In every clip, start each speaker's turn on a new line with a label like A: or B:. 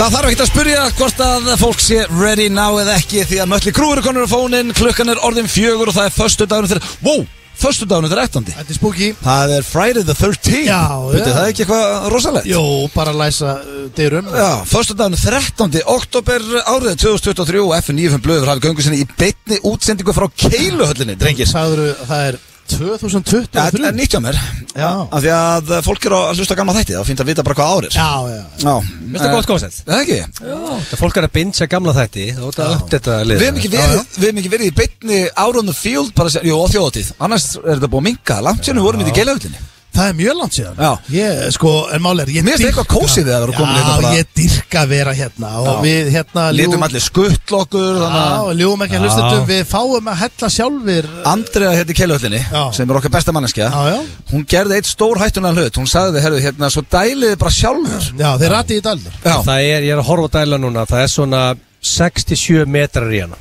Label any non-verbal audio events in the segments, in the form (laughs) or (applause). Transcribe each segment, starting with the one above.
A: Það þarf ekkert að spyrja hvort að fólk sé ready now eða ekki því að mölli krúur er konur á fónin, klukkan er orðin fjögur og það er förstu dagunum þegar, wow, förstu dagunum þegar ettandi.
B: Þetta er spooky
A: Það er Friday the 13th.
B: Já,
A: Veitir,
B: já.
A: það er ekki eitthvað rosalegt.
B: Jó, bara læsa uh, dyrum
A: Já, förstundaginu 13. oktober árið 2023 og F95 Blöður hafi göngu sinni í beinni útsendingu frá Keiluhöllinni, drengir.
B: Sagður uh, það er 2023
A: Já, þetta er nýtt hjá mér.
B: Já.
A: Af því að fólk eru að hlusta á gamla þætti, þá finnst að vita bara hvað árir.
B: Já, já
A: Já.
C: Mér finnst það gott koncept.
A: Það ekki?
C: Það Eh, fólk er að bingja gamla þætti Þá er þetta upp þetta lið
A: Við hefum ekki verið, við hefum ekki verið í beinni out on the field bara sem, jú, á þjóðatíð. Annars er þetta búið að minka, langt sérna vorum við í Keiluhöllinni.
B: Það er mjög langt síðan
A: Já.
B: Ég, sko, en máli er ég
A: Mér finnst
B: dýrka-
A: eitthvað kósí við að vera komin hérna bara-
B: Já, ég dyrka að vera hérna Og
A: Já.
B: við hérna
A: Lítum allir skuttlokkur, þannig
B: Já,
A: að
B: ljúum ekki að
C: Já.
B: hlusta þetta Við fáum að hella sjálfir
A: Andrea hérna í Keiluhöllinni,
B: Já.
A: sem er okkar besta manneskja,
B: Já, já
A: hún gerði eitt stór hættunan hlut, hún sagði, herru, hérna, svo dæliði bara sjálfur.
B: Já, þeir rati í dalnur
A: Já.
C: Það er, ég er að horfa á dæla núna Það er svona 67 metrar í hana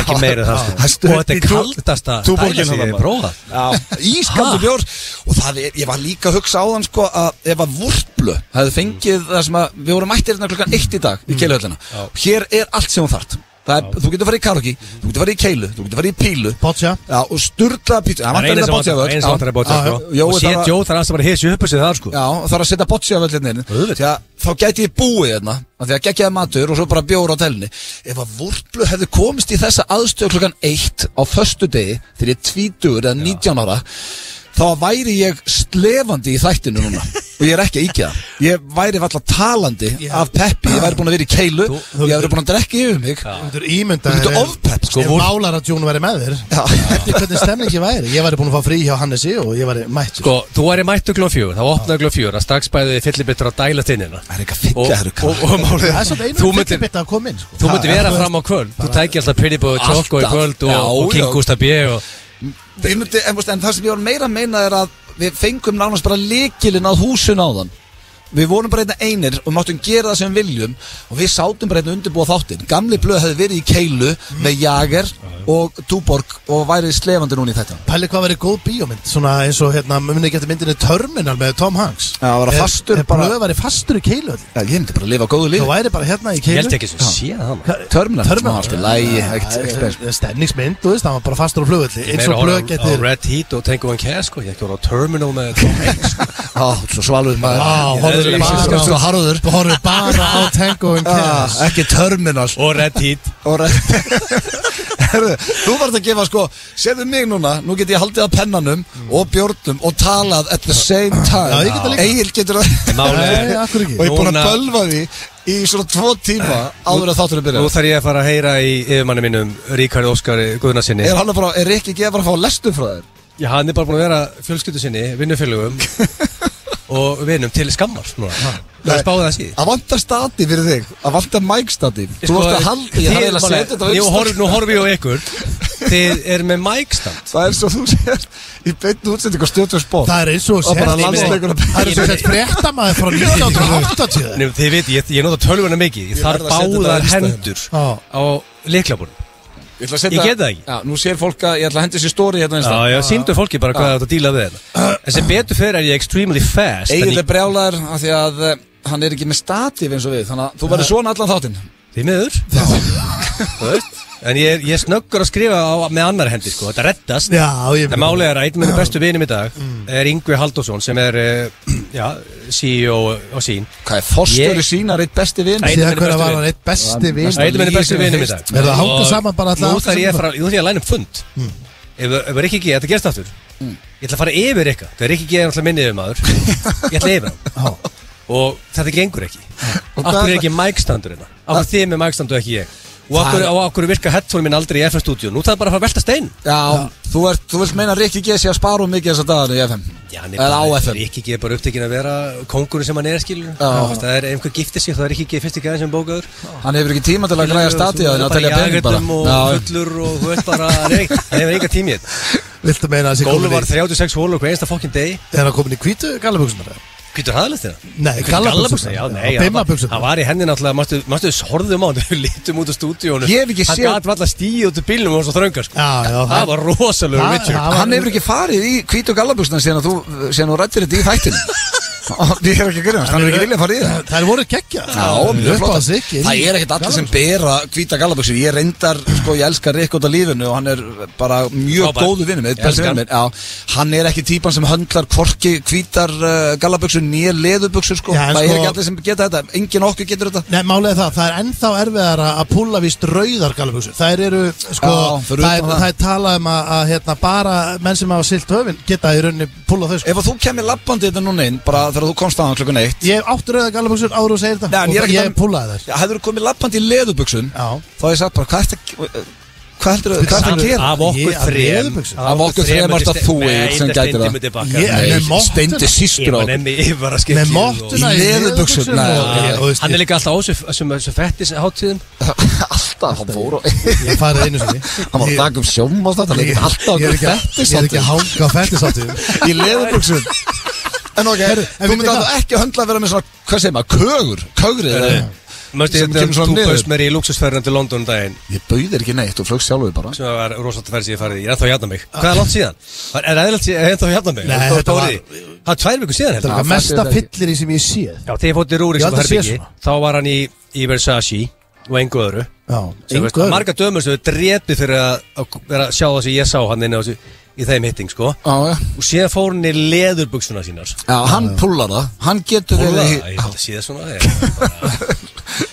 C: Ekki meira en það
A: Það er
C: sko.
A: stutt
C: Og þetta
A: í
C: er
A: tú-
C: kaldasta
A: túborgin
C: dæla sem ég
A: þarna
C: hef prófað
A: Ískaldur
C: Ha?
A: bjór Og það er, ég var líka að hugsa á þann sko að ef að vúrplu hefði fengið það sem að við vorum mættir hérna klukkan eitt í
B: Mm.
A: dag í keiluhöllina og hér er allt sem hún þart Það er, þú getur farið í karaoke, þú getur farið í keilu, þú getur farið í pílu
B: Boccia
A: Já, og sturla pítsu, það
C: Það er
A: vantar
C: eina
A: þetta
C: sem vantar-
A: bótsjávöld
C: eina sem vantar að bóta
A: Jó,
C: sko. Og
A: það
C: sétt
A: var-
C: Jó, það er alltaf bara hessi upp þessi það sko
A: Já, og það er að setja bótsjávöld hérna inn
C: Auðvitað.
A: Því að þá gæti ég búið hérna, af því að geggjaði matur og svo bara bjór á telni Ef að vúrplu hefði komist í þessa aðstöð klukkan eitt á föstu degi þegar ég tvítur eða 19 ára þá væri ég slefandi í þættinu
C: (laughs)
A: núna og ég er ekki að íkja það ég væri valla talandi af peppi ég væri búin að vera í keilu ég væri búin að drekka yfir mig
B: Þú getur ímyndað
A: Þú getur
B: þér-
A: ofpepp, sko,
B: Ef
A: vor-
B: málar að Jón væri með þér
A: Já.
B: Eftir hvernig stemningi væri Ég væri búin að fá frí hjá Hannesi og ég væri mætt
C: Sko, þú væri mættu glóð fjögur, þá opnaði glóð fjögur að strax bæði fyllibittur á dæla tinnina
A: Það er ekki að fylla, það eru
C: og, og, og,
B: Það er svolítið
C: Þú
B: einu
C: myndir-
B: fyllibitt að koma inn sko.
C: Þú myndir vera fram á kvöld Þú tækir alltaf Pretty Boy Choco í
A: Alltaf.
C: kvöld og,
A: Já,
C: og King
A: já.
C: Gustaf B og,
A: Ég myndi, en, veist, en það sem ég var meira að meina er að við fengum nánast bara líkilinn að húsun á þann Við vorum bara einna einir og máttum gera það sem við viljum og við sátum bara einna undirbúa þáttinn Gamli blöð hefði verið í keilu með Jager og Túborg og værið slefandi núna í þetta
B: Pæli hvað verið góð bíómynd Svona eins og hérna Muni ekki eftir myndinni Terminal með Tom Hanks
A: Já, að vera fastur
B: Ef
A: bara-
B: blöð væri fastur í keilu
A: Já, ég myndi bara að lifa góðu
B: Þú
A: lífi
B: væri bara hérna í
C: Ég
B: keilu
C: held ekki sem sé það maður.
A: Terminal,
B: Terminal.
A: smá, allt í lagi,
B: Já,
A: ekkert-
B: það er-
A: ekkert spes.
B: það er Stemningsmynd, þú veist, það var bara fastur á flugvelli
C: Ég
B: Eins
C: meira
B: og blöð
C: horfa á- á
B: getur
C: Red Heat og Tango and Cash sko. Ég ekki voru á Terminal með Tom Hanks
A: Á, svo svalur maður
B: Á,
A: Ég-
B: horfðu
A: ég- ég-
B: bara á-
A: Svo harður
B: Þú horfir bara á Tango and
A: Ah,
B: Cash
A: Ekki Terminal
C: Og Red (laughs) Heat
A: (laughs) og (laughs) Herðu, þú varst að gefa sko Sérðu mig núna, nú get ég haldið á pennanum og bjórnum og talað at the same time
B: Já, ég get það líka.
A: Egil getur það
C: Máli
B: Nei, af hverju
A: (laughs)
B: ekki?
A: og ég er búin að
C: Núna-
A: bölva því í svona tvo tíma áður að þátturinn
C: Nú
A: byrja
C: þarf ég að fara að heyra í yfirmanni mínum Ríkari Óskari Guðnarsinni
A: Er hann að bara, er ekki ekki að bara að fá lestum frá þér?
C: Já, hann er bara búin að vera fjölskyldu sinni
A: (laughs)
C: Vinnufélugum Og vinum til skammar núna. Það er spáðið að síði
A: Að vantar stati fyrir þig, að vantar mæk stati Þú
C: Sko,
A: varst að halda, ég hefði að setja þetta á
C: Nú
A: Insta.
C: horf- nú horfi ég á ykkur Þið er með mækstand
A: Það er svo þú sér í beinu útsendingu stjóttur spór
B: Það er eins og
A: Og bara
B: sett-
A: landsleikur-
B: Það er eins og sett fréttamaður frá 1980
C: (laughs) Nefnum, þið veit, ég, ég nota tölvuna mikið Ég
A: Ég verð að
C: þarf
A: setja þetta á hérna.
C: báðar
A: Instagram.
C: hendur
B: Já.
C: á leiklabunum
A: Ég, ætla að setja-
C: Ég get það ekki.
A: Já, Nú sér fólk að ég ætla að henda sér stóri hérna
C: Já, já, síndu fólki bara hvað þetta díla við þetta En sem betur fyrir er ég extremely fast
A: Egil
C: en
A: er brjálæður af því að eh, hann er ekki með statíf eins og við þannig að þú verður svona allan þáttinn
C: ég- Því miður (laughs) Þú veist, En ég er, ég er snöggur að skrifa á, með annar hendi sko, þetta reddast
B: Já, ég
C: Það málega er að einn með bestu vinum í dag er Yngvi Halldórsson sem er eh, já, CEO á sín
A: Hvað er fórstöru
C: Ég-
A: sínar eitt besti vinn?
C: Nei.
B: Síðan
C: Einn af mínum
B: hverja
C: bestu
B: var
C: vinum.
B: hann eitt besti vinn
C: Það er einn með bestu vinum í dag
B: Er það að hanga
C: Og
B: saman bara alla
C: Nú
B: átta
C: þarf ég
B: saman?
C: að fara, nú þarf ég að læna um fund
B: Hmm.
C: Ef ef Rikki G, þetta gerst aftur Ég ætla að fara yfir eitthvað Þegar Rikki G er alltaf minniðum maður Ég ætla að yfir hann Og þetta gengur ekki Akkur er ekki mækstandur hérna Akkur þið með mækstandu ekki ég Og akkur, og akkur virka headphone minn aldrei í FM stúdíu Nú þarf bara að fara að velta stein
A: Já, þú, ert, þú vilt meina að Rikki G sé að spara um mikið þess að dagana í FM
C: Já, hann er
A: Eða á
C: bara-
A: FM
C: Rikki G er bara upptekinn að vera kongurinn sem hann er skilur Það er ef einhver giftir sig Það er Rikki G fyrst ekki aðeins sem bókaður
A: Hann hefur ekki tíma til að græja statíf þannig að telja pening bara
C: Og
A: Já,
C: fullur og þú veist bara Nei, það hefur enga tímið
B: Viltu meina að þessi
C: Gólu var
B: komin í
C: 36 hólur okkur einsta fokkin degi
B: Er hann komin í hvítu gallabuxunar?
C: Hvítur hraðalegt þeirra?
B: Nei, gallabuxurnar.
C: Já, nei,
B: Og
C: hann var-
B: bimmabuxurnar.
C: Hann var í henni náttúrulega, mástu, mástu, horfðum á hann Við lítum út á stúdíónu
A: Ég hef ekki séð-
C: Hann gæti alltaf stíð út úr bílnum og var svo þröngar sko.
B: Já, já,
C: Það var rosalegu
B: Það-
C: Richard
B: það var-
A: Hann hefur ekki farið í hvítu gallabúsna síðan að þú, síðan þú rættir þetta í þættinu
C: (laughs)
A: Ég er ekki að grunast, hann er ekki viljað að fara í það
B: Það er voru geggja
A: Já, mjög
B: upp á
A: flott
B: sig
A: Það er ekkert allir sem bera hvíta gallabuxur Ég reyndar, sko, ég elskar Rick út af lífinu og hann er bara mjög
C: Frábær.
A: góðu vinnum
C: Ég elska hann.
A: Hann er ekki típan sem höndlar hvorki hvítar uh, gallabuxur nýja leðubuxur, sko
B: Já, en
A: Það er
B: sko-
A: ekki allir sem geta þetta, engin okkur getur þetta
B: Nei, málega það, það er ennþá erfiðar að púlla víst rauðar galabúsur Það eru, sko,
A: Já, fyrir
B: það, er,
A: utan það.
B: það er talað um að, að hérna, bara menn sem hafa silt höfin geta í rauninni púlla þau sko.
A: Ef að þú kemur labbandi þetta núna inn, bara þegar þú komst aðan klukkan eitt
B: Ég hef átt rauðar galabúsur áður og segir
A: Nei,
B: þetta
A: en ég er
B: og
A: ekki
B: ég
A: að-
B: púllaði þær
A: Já, hefur þú komið labbandi í leðubuxum
B: Já,
A: Þá hef ég sagt bara, hvað ertu að- uh, hvað heldur þú, hvað ertu að
C: Af-
A: gera?
C: Af okkur
B: Ég- af
C: þrem
B: leðurbuxum.
A: Af okkur þrem varst það þú, Egill, sem gætir það.
B: Ég- en
C: það
B: með
A: Nei,
B: mottuna.
A: steindi
C: Ég
A: sístur á
C: var
A: okkur
C: nefni, ég var að skipta
B: með mottuna
A: í leðurbuxum,
B: leðurbuxum
A: nei,
B: og-
A: já,
B: og- og-
C: Hann er líka alltaf á þessu- þessum þessum fettis hátíðum
A: Alltaf, hann fór (laughs) og
B: Ég farið einu sinni
A: Hann var að taka um sjóma og þetta, hann
B: Ég-
A: er alltaf
B: Ég er ekki að-
A: fættis
B: ég er ekki að hanga á fettisáttum
A: í leðurbuxum En ok,
B: Herru, en
A: þú
B: vitið
A: myndir
B: hvað?
A: alltaf ekki að höndla að vera með svona, hvað segir maður, kögur, kögrið eða-
C: Mörstu,
A: Sem kemur svona
C: hérna þú
A: niður.
C: baust mér í luxusferðin til London um daginn
A: Ég bauðir ekki neitt, þú flögst sjálfur bara
C: sem var rosalega ferð sem ég farið í, ég er ennþá að jafna mig Hvað er langt síðan? Var- Er eðlilegt síðan, er ennþá að jafna mig?
B: Nei,
C: Það var
B: þetta var-
C: dórið. Það var tvær viku síðan
B: Þetta er
C: heldur
A: Já,
B: eitthvað mesta
A: fattu þetta ekki.
B: fyllir í sem ég séð
C: Já, þegar ég fótt í
B: Ég
C: Rúriks
B: held
C: og
B: að sé
C: Herbyggi
B: svona.
C: þá var hann í, í Versace og engu öðru
B: Já,
C: Sem veist,
B: engu öðru.
C: Marga dömur sem við drepið fyrir að, að vera að sjá það sem ég sá hann inn á þessu í þeim hitting sko
A: Já, já
C: og síðan fór hann í leðurbuksuna sínar
A: Já, hann púlar það, hann getur
C: Púla,
A: verið í
C: ég held að sé það svona ég-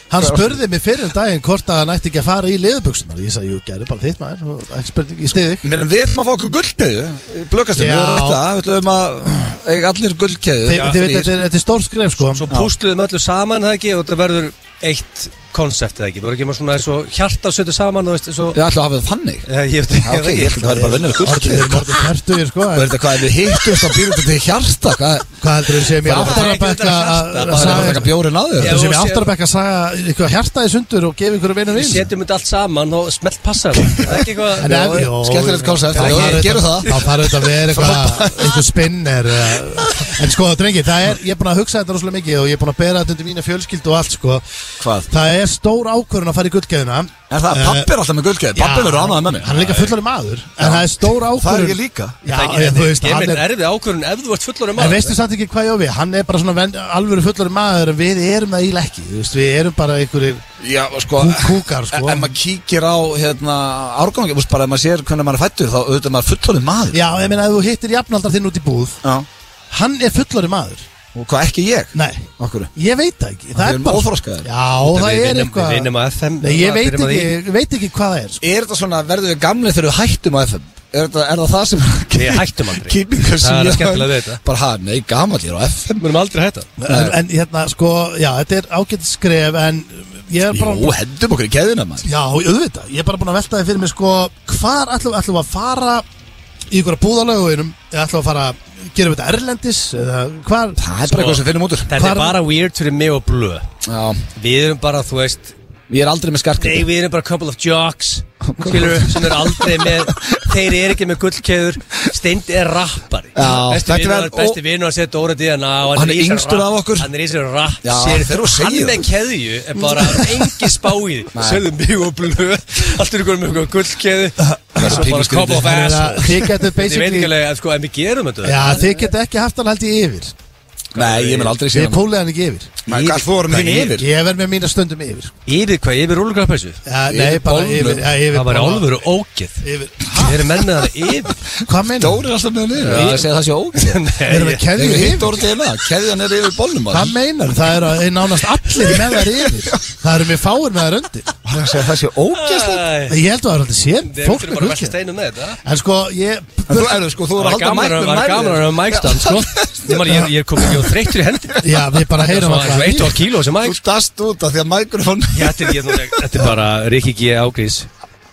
B: Hann spurði mig fyrir um daginn hvort að hann ætti ekki að fara í leðubuksunar Ég sagði, jú, gerði bara þitt maður og ekki spurning, ég stiði
A: Mér en við ætlum að fá okkur gullkeðu Blökastum, við
B: Já.
A: erum þetta Við ætlum að eiga allir gullkeðu
B: Þið þið veit, þetta er- þetta er stór skref sko
C: Svo púsluðum öllu saman það ekki og þetta verður eitt konsept eða ekki Þú voru ekki maður svona eins og hjarta sötu saman og veist svo
A: Ég ætla að hafa það þannig
C: Eh, Ég veit ég
A: Já,
C: veit
A: ok, ég
C: ekki
A: ætla að það er bara vinnur
B: Allir
A: gullkeðu
B: eru morgun færtugir sko
A: Hvað er þetta, hvað er við hittumst á býrjum til hjarta? Hvað
B: Hvað heldur þau sem ég
C: Bara-
B: aftar að
C: Bara-
B: bekka
C: Bara-
A: er það að taka bjórin að þér?
C: Já.
B: Heldur sem
C: og
B: ég
C: sé-
B: aftar að bekka að saga eitthvað hjarta í sundur og gefa einhverju vinum
C: Við
B: vinn
C: setjum þetta allt saman og smelt passa það Það er ekki
B: En
C: eitthvað
B: ef-
A: Já,
B: jú,
A: skemmtilegt konsept,
B: já,
A: já,
B: það er
A: gerum það.
B: auðvitað- Það þarf auðvitað að vera eitthvað Eitthvað spinner eh, En sko, drengi, það er Ég er búin að hugsa þetta rosalega mikið Og ég er búin að bera þetta undir mína fjölskyldu og allt sko
A: Hvað?
B: Það er stór ákvörun að fara í Eh, gullgeðuna
A: Er það, pappi er alltaf með gullkeðu, pappi verður ánað með mig
B: Hann er líka fullari maður En það er stór ákvörun
A: Það er ég líka
B: Já,
C: Það er
B: en
C: ekki-
B: þú veist,
C: Ég
B: hann
C: minn
B: er
C: erfið ákvörðun ef þú ert fullur um
B: En veistu samt ekki hvað ég á við, hann er bara svona ven, alvöru fullari maður en við erum það ílega ekki, þú veist, við erum bara einhverjir
A: Já, sko
B: kú- kúkar, sko.
A: En ef maður kíkir á, hérna, árgangi, þú veist bara ef maður sér hvernig maður er fættur, þá auðvitað er maður fullorðin maður.
B: Já, ég meina, ef þú hittir jafnaldar þinn út í búð,
A: Já.
B: hann er fullari maður.
A: Og hvað, ekki ég?
B: Nei,
A: Okkur.
B: ég veit það ekki, það
A: við
B: er
A: erum
B: bara...
A: óþroskaðir.
B: Já, það er
C: Við
B: eitthvað...
C: vinnum að FM
B: Nei, ég veit
C: byrjum að
B: ekki,
C: því.
B: ég veit ekki hvað það er, sko.
A: Er þetta svona, verður við gamli þegar við hættum á FM? Er, þetta, er það það sem
C: Við hættum aldrei.
A: Kýmingar sem
C: Það er að skemmtilega við þetta.
A: Bara, ha, nei, gamall ég er á FM
C: Við munum aldrei hætta
B: En, en hérna, sko, já, þetta er ágætt skref, en ég er bara...
A: Jú, hendum okkur í keðina maður
B: Já, auðvitað, ég er bara búin að velta þið fyrir mig sko Hvar ætlum, ætlum við að fara í ykkur að búðalöguinum eða ætlum við að fara að gera þetta erlendis eða hvar
A: Það er bara eitthvað sem finnum út úr
C: Þetta
B: Hvar-
C: er bara weird fyrir mig og blöð
A: Já,
C: Við erum bara, þú veist
A: ég er aldrei með
C: Nei,
A: skarkið
C: við erum bara couple of jocks Skilur, sem eru aldrei með Þeir eru ekki með gullkeður Steind er rappari
A: Já, þetta
C: Besti vinur-
A: verður-
C: Besti vinur að setja Dóra DNA og
A: Hann er
C: í sér
A: yngstur
C: rapp-
A: af okkur.
C: Hann er í sér rapp
A: Já,
C: sér-
A: þegar þú segir
C: Hann með keðju er bara engi spáið
A: Nei.
C: Sérðu mjög og blöð Allt er ykkur með ykkur gullkeðu
A: er
C: Svo bara
A: pínu skrítið.
C: couple of
B: Þannig að
C: ass
B: Þið getur
C: Ég veit
B: basically
C: ekki alveg að sko, en við gerum þetta
B: Já, þið getur ekki haft hann held í yfir
A: Nei, ég mun aldrei
B: Þið
A: sér
B: pólið hann ekki yfir
A: Maður, hvað þú erum þín yfir?
B: Ég verð með mína stundum yfir
C: Yfir hvað, yfir rúlugrafpæsu?
B: Já,
A: Yfir
B: nei, bara
A: bolnum.
B: yfir já, yfir
C: Það var í
B: bara-
C: alvöru ógeð
B: Yfir
C: Við erum menn með það yfir
B: Hvað meina?
A: Dóri er alltaf með hann yfir Já, ég segi það sé ógeð
C: (laughs) Nei,
B: Erum við
C: ég-
A: Ég
B: keðjur
A: hef hitt
B: yfir?
A: Dóri DNA, keðjan er yfir bollum
B: Hvað meinar? Það eru að- nánast allir með þær yfir Það eru mér fáir með þær undir
A: Hann segir það sé ógeðslega
C: Æ.
B: Ég held að það er aldrei sér
C: Þeir
B: Fólk
C: eru
B: með
C: bara velta
B: gullkeðjur
C: steinu með þetta
B: En sko, ég
A: En þú erðu sko, þú er að
C: Það er
A: halda
C: gaman að
A: mæknum
C: það er gaman að vera mækstand sko. (laughs) Ég, man, ég, ég kom ekki á þreyttur í
B: (laughs)
C: hendi
B: Já, við bara heyrum
C: Svo
B: alltaf
C: eitt og að kíló sem
A: Þú
C: mæk
A: dast út af því að mæknum
C: Ég, Þetta er, ég, ég, þetta er bara Rikki G. Ágrís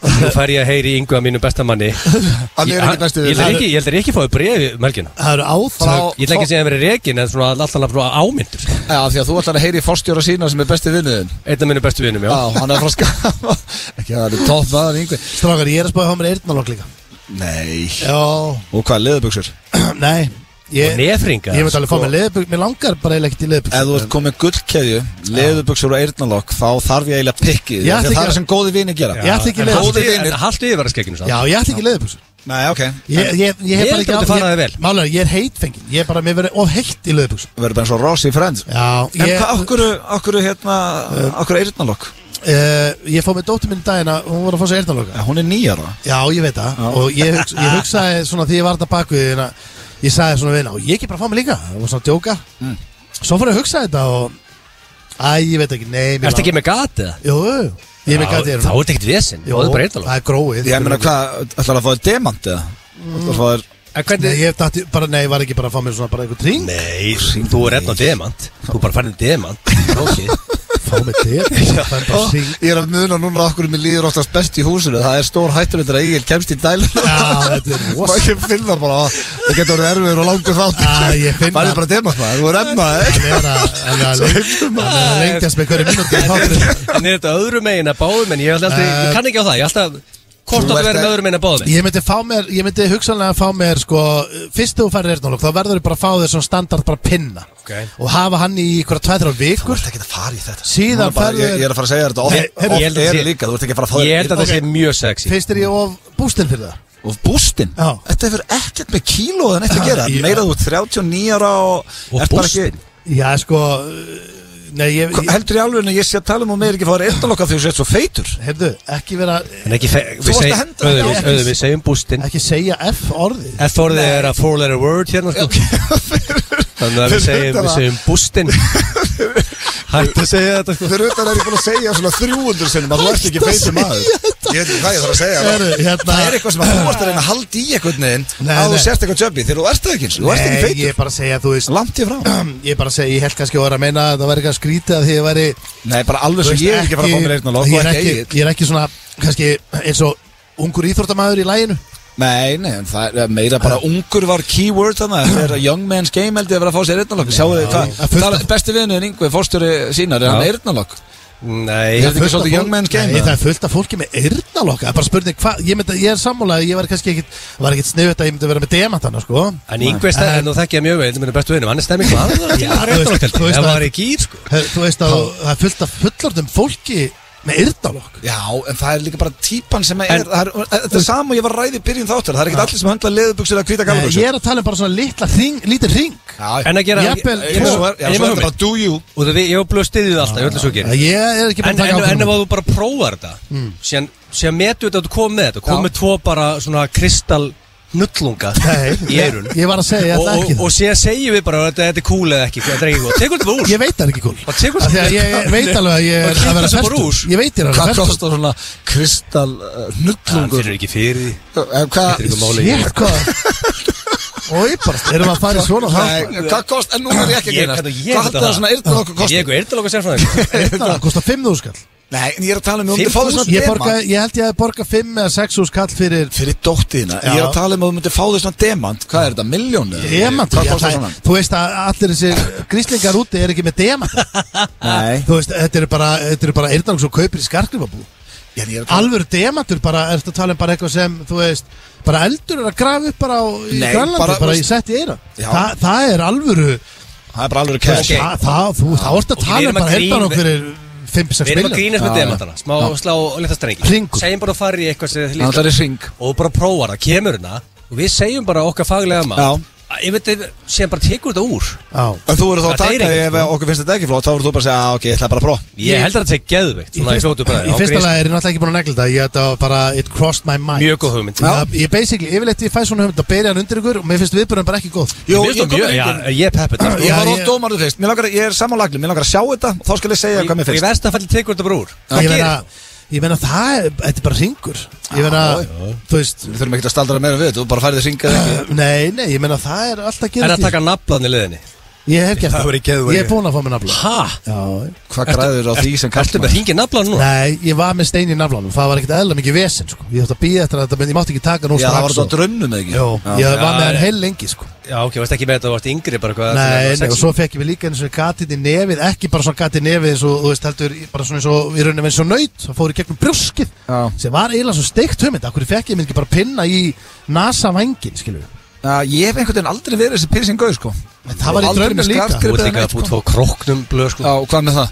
C: Nú fær ég að heyri yngu að mínu
B: (laughs)
C: besta manni
A: Hann
C: Ég
A: er ekki bestu við
C: ég held að Rikki- ég held að Rikki fái brefi melgina
B: Það eru átök
A: Frá-
C: Ég ætla ekki að segja að vera rekin en svona alltaf bara ámyndur
A: Já, því að þú ætlar að heyri fórstjóra sína sem er besti vinnuðin
C: Einn af mínu bestu vinum, já
A: Já, hann er frá skama Ekki að það er topp maður yngveg
B: Strákar, ég er að spáði hafa mér eyrnalokk líka
A: Nei
B: Já,
A: Og hvað, leðubuxur?
B: (clears throat) nei Ég,
C: Nefringa
B: ég veit alveg fá mér leðbuk Mér langar bara eiginlega ekkert í leðbuk
A: sko. Ef þú ert komið gullkeðju, leðubuxur og eyrnalokk þá þarf ég eiginlega pikkið
B: Ég
A: því að
B: ætla ekki
A: það er
B: að-
A: sem góði vini gera
B: Ég ætla ekki
A: leðurbuxur.
C: Haldu yfir að skekkinu
B: Já, ég ætti ekki leðbuk
A: Nei, ok
B: Ég, ég, ég hef
C: Ég
B: bara
C: held
B: ekki
C: að þetta fara þér vel.
B: Málega, ég er heitfengin Ég er bara, mér verið of heitt í löðbúks
A: Við verðum bara eins og Ross í Friends
B: Já,
A: En
B: ég,
A: hvað, okkur, okkur, hérna, okkur eyrnalokk?
B: uh, ég fóð með dóttir minn í daginn að hún var að fá sér eyrnaloka
A: Hún er nýjar það
B: Já, ég veit það Og ég, hugsa, ég hugsaði svona því ég var þetta baku Þegar hérna, ég sagði svona við henni Og ég ekki bara að fá mig líka Það var svona að djóka
A: Mm.
B: Svo fór ég að hugsa þetta og Æ, ég veit ekki, nei mér lang-
C: Ertu ekki með gatið?
B: Jú, ég er með gæti
C: Þá er þetta ekkert vesinn, þá er þetta
B: það
C: bara eitthvað
B: er gróið
A: Ég meina hvað, ætlar að fá þér demant eða? Ætlar að fá þér
C: En
B: Nei,
C: hvernig
B: ég dætti, bara, nei, var ekki bara að fá mér svona bara einhver tring
C: Nei, þú er enn á demant Þú er bara farin í demant Róki
B: Fá mér
A: (laughs)
B: þér, það er bara tring
A: Ég er að muna núna okkur mér líður oftast best í húsinu Það er stór hættuleitur að ég kemst í dæluna
B: Já, þetta er
A: Og
B: rosa
A: ekki finnar bara að Það getur orðið erfiður og langur þátt
B: Já, ég finn
A: Bara
B: það.
A: bara demant maður, þú er emma eh? ekki?
B: Hann er að-
A: (laughs)
B: hann er að leng- hann er að lengjast með hverju mínúti í þátturinn.
C: En er þetta öðrum megin að báðum En ég held aldrei,
B: Eh,
C: ég kann ekki á það Ég held alltaf, hvort
A: Þú
C: áttu að
A: ert
C: vera
A: að-
C: með öðrum megin að báðum
B: Ég myndi fá mér, ég myndi hugsanlega að fá mér sko, fyrst þegar þú færir eyrnálokk þá verður þú bara að fá þér svona standard bara pinna
C: Ok.
B: og hafa hann í ykkur að tvæðra
A: Þú
B: vikur
A: ert ekki að fara í þetta
B: Síðan
A: Núna bara,
B: ferðu-
A: ég, ég er að fara að segja þér þetta
C: Nei,
A: oft, oft
C: heyrðu, ég held að
A: er
C: sé-
A: líka Þú ert ekki að fara að fá
C: Ég held að þetta sé mjög sexy
B: Fyrst er ég of bústinn fyrir það
A: Og bústinn,
B: Já.
A: þetta hefur ekkert með kílóðan eitt að gera
B: Já.
A: Meira þú ert 39 ára og,
C: Og
A: ert bara ekki-
C: bústinn?
B: Já, sko uh, Nei, ég,
A: Hva-
B: ég
A: Heldur í alveg að ég sé að tala um og meir ekki að fá þér eyrnalokka því þú sétt svo feitur
B: heyrðu, ekki vera
C: En ekki, fe-
A: varst
C: við
A: að
C: segjum
A: henda
C: auðvitað-
A: þetta á-
C: auðvitað, Við segjum bústinn
B: ekki segja F orðið
C: F-orðið er að four letter word hérna sko Þannig að við
A: fyrir
C: segjum, við
A: utan
C: segjum bústinn Hætt að segja þetta sko
A: Fyrir utan er ég búin að segja svona 300 sinnum að þú ert ekki feitur maður Ég veit ekki hvað ég þarf að segja sko.
B: Heyrðu, hérna
A: Það er eitthvað sem að þú ert að reyna að halda í einhvern veginn
B: Nei,
A: að þú
B: nei.
A: sért eitthvað tjöpi þegar þú ert það ekki eins og þú ert ekki
B: Nei, ég
A: feitur
B: er bara að segja, þú veist (clears throat)
A: Langt í frá
B: Ég er bara að segja, ég held kannski að vera að meina að það væri eitthvað skrítið að því ég væri
A: Nei, bara alveg
B: þú
A: sem
B: veist,
A: ég er ekki að fara að fá mér eyrnalokk
B: ég
A: og
B: er
A: ekki
B: ekki,
A: Egill.
B: ég er ekki svona, kannski eins og ungur íþórtamaður í læginu
A: Nei, nei, en það er meira bara ungur var keyword þannig Það er að young man's game held ég að vera að fá sér eyrnalokk Sjáu þið hvað,
B: að fullt
A: Ah. það er besti viðinu Yngvi, fórstjóri sínar, er hann
C: Já.
A: eyrnalokk
C: Nei,
A: Ég held ekki
B: Fullt af
A: svolítið young
B: fólk-
A: man's game
B: Nei,
A: eða?
B: það er fullt af fólki með eyrnalokka Það er bara spurning, hva, ég, myndi, ég er sammálaði Ég var kannski ekkit, var ekkit sniðut að ég myndi vera með demantana sko.
C: En yngveð stæði, nú þekki ég mjög vel, minn er bestu vinnum, hann er stemming maður það er til
B: þú veist-
C: að reyta nokkert,
B: þú veist
C: það
B: að-
C: var í gýr sko.
B: Hef- Þú veist að það er fullt af fullorðum fólki með eyrnalokk
A: Já, en það er líka bara típan sem er,
C: En-
A: það er Þetta er sama og ég var að ræði í byrjun þáttur Það er ekkert allir sem höndla leðubuxur eða hvita
B: Nei, Ég
A: galvabuxur
B: er að tala um bara svona litla hring, lítið hring
C: En að gera,
B: Jafnvel-
C: ég
A: Svo er já, svo er þetta
C: er með hugmynd,
A: bara do you
C: og það við, ég var blöð stiðið alltaf, ég öllu svo gerir.
B: Ég er ekki bara að
C: En,
B: taka
C: en, en ef
B: ákvörðun. um
C: að þú bara prófar þetta, síðan, síðan metu þetta að þú kom með þetta,
A: Já.
C: kom með tvo bara svona kristal nullunga (laughs) í eirun.
B: Ég var að segja, ég
C: Og,
B: ætla
C: og,
B: ekki
C: og síðan segjum við bara, þetta þetta er cool eða ekki, þetta er ekki góð, tekur þetta bara
B: það
C: úr.
B: Ég veit það er ekki kúl
C: Bara tekur
B: Af því að ég veit alveg að ég
C: Og
B: er að
C: klippa
B: vera
C: þessu bara úr.
B: fertur Ég veit ég er að
A: Hvað
B: vera fertur
A: kostar svona kristal uh,
C: Það
A: nullungur?
C: fyrir ekki fyrir því.
A: Eh, Hvað
C: Þetta er ekki máli.
B: Sér hvað Ói bara, erum við að fara í svona
A: Nei,
B: það
A: Hvað kostar, en nú er ég ekki að
C: Ég-
A: gera
C: hvernig ég
A: Hvað
C: veit
A: haldur það
C: það?
A: svona
B: Ah,
A: yrtan okkur
C: Ég er
A: kostar?
C: eitthvað eyrnalokka sérfræðingur.
B: Það kostar 5 þúskall
A: Nei, en ég er að tala um að þú myndir fá
C: 5.000
A: þess
B: Ég,
A: svona
B: borga,
A: demant
B: ég held ég að borga 5 eða 6 þúskall fyrir
A: Fyrir dóttiðina, ég er að
B: Já.
A: tala um að þú myndir fá þess svona demant Hvað er þetta, miljónu?
B: demant
A: Hvað kostar svona?
B: Þú veist að allir þessir gríslingar úti er ekki með demant
A: Nei,
B: Þú veist, þetta er bara, þetta er bara eyrnang sem þú kaupir í skarklifabú
A: ég er að tala
B: Alvöru demantur bara, ertu að tala um bara eitthvað sem, þú veist Bara eldur er að grafa upp bara á, í
A: Nei,
B: Grænlandi,
A: bara-
B: bara, í sett í eira
A: Já.
B: Þa, Það er alvöru
A: Það er bara alveg
B: Þa,
A: cash
C: Ok.
B: það, þú, það vorst að
C: Ok, við
B: tala
C: erum
B: um
C: að
B: bara
C: grín-
B: eyrnang fyrir 5-6
C: Við erum að
B: miljonir
C: grínast með
A: Já, já.
C: demantana, smá slá og leta strengi.
B: Hringur.
C: Segjum bara að fara í eitthvað sem
A: Það
C: þið líka.
A: er ring
C: og þú bara prófar það, kemur hérna og við segjum bara okkar faglega maður
A: Já.
C: að ég veit að sem bara tekur þetta úr
B: Já
A: En þú verður þá að
C: Þetta er
A: taka,
C: ekki,
A: ef okkur finnst þetta ekki flott Þá verður þú bara að segja, "Ah, ok, ég ætla bara að prófa
C: ég held að þetta sé geðveikt svona í fljótu bræði
B: Í fyrsta lagi er ég náttúrulega ekki búin að negla þetta Ég þetta var bara, it crossed my mind
C: mjög góð hugmynd
B: Já. Ég basically, yfirleitt ég fæ svona hugmynd að byrja hann undir ykkur og mér finnst viðbúrðan bara ekki góð
A: Jú,
C: Mér finnst
A: ég
C: það
A: kom
C: mjög-
A: engin-
C: já, ég peppi þetta sko.
A: Ég
B: Já,
A: var ótt
B: ég-
A: dómarðu fyrst, Mér langar, að- ég er samanlagli, mér langar að sjá þetta og Þá skal ég segja hvað mér
C: og í
A: finnst
C: versta falli tekur þetta bara úr hvað
B: Ég meina,
C: gerir?
B: ég meina það, er- þetta er bara ringur Ég meina, þú veist
A: Við þurfum ekki að staldra meira við þetta, þú bara færði þringað ekki
B: Nei, nei, ég meina það er alltaf
C: er
B: gerist
C: að taka naflaðan í liðinni
B: Ég hef gert
C: Það verið geðveikt.
B: Ég er búin að fá mér nafla
C: ha?
B: Já
A: Hvað græður á því sem
C: Ertu með
A: kallmenn?
C: hringið naflaðan núna?
B: Nei, ég var með stein í naflanum Það var ekkert eðla mikið vesen, sko Ég ætti að býja eftir þetta, menn ég mátti ekki taka nú
A: Já, það var
B: strax
A: þetta á
B: og-
A: drömmum eða ekki
B: Jó,
A: Já.
B: ég var
C: Já,
B: með hann
C: ég-
B: heil lengi, sko
C: já ok, varst ekki með þetta, varst yngri bara hvað
B: Nei, nei, og
C: sexy.
B: svo fekk ég mig líka eins og gatið í nefið, ekki bara svona gatið í nefið eins og, þú veist, heldur, bara svona eins og, í rauninni eins og nöyt, það fór í gegnum brjóskið,
A: Já.
B: sem var eiginlega svo steikt hugmynd, af hverju fekk ég mig ekki bara pinna í nasa vangin, skilur við.
A: Já, Ég hef einhvern veginn aldrei verið þessi pyrsingaur sko
B: En það var í
A: Aldrei
B: draunum
A: með
B: líka.
A: skartgrip
C: þú ert
A: eða
C: líka
A: neitt,
C: búið
A: sko.
C: tvo kroknum blöð
A: Já,
C: sko
A: og hvað með það?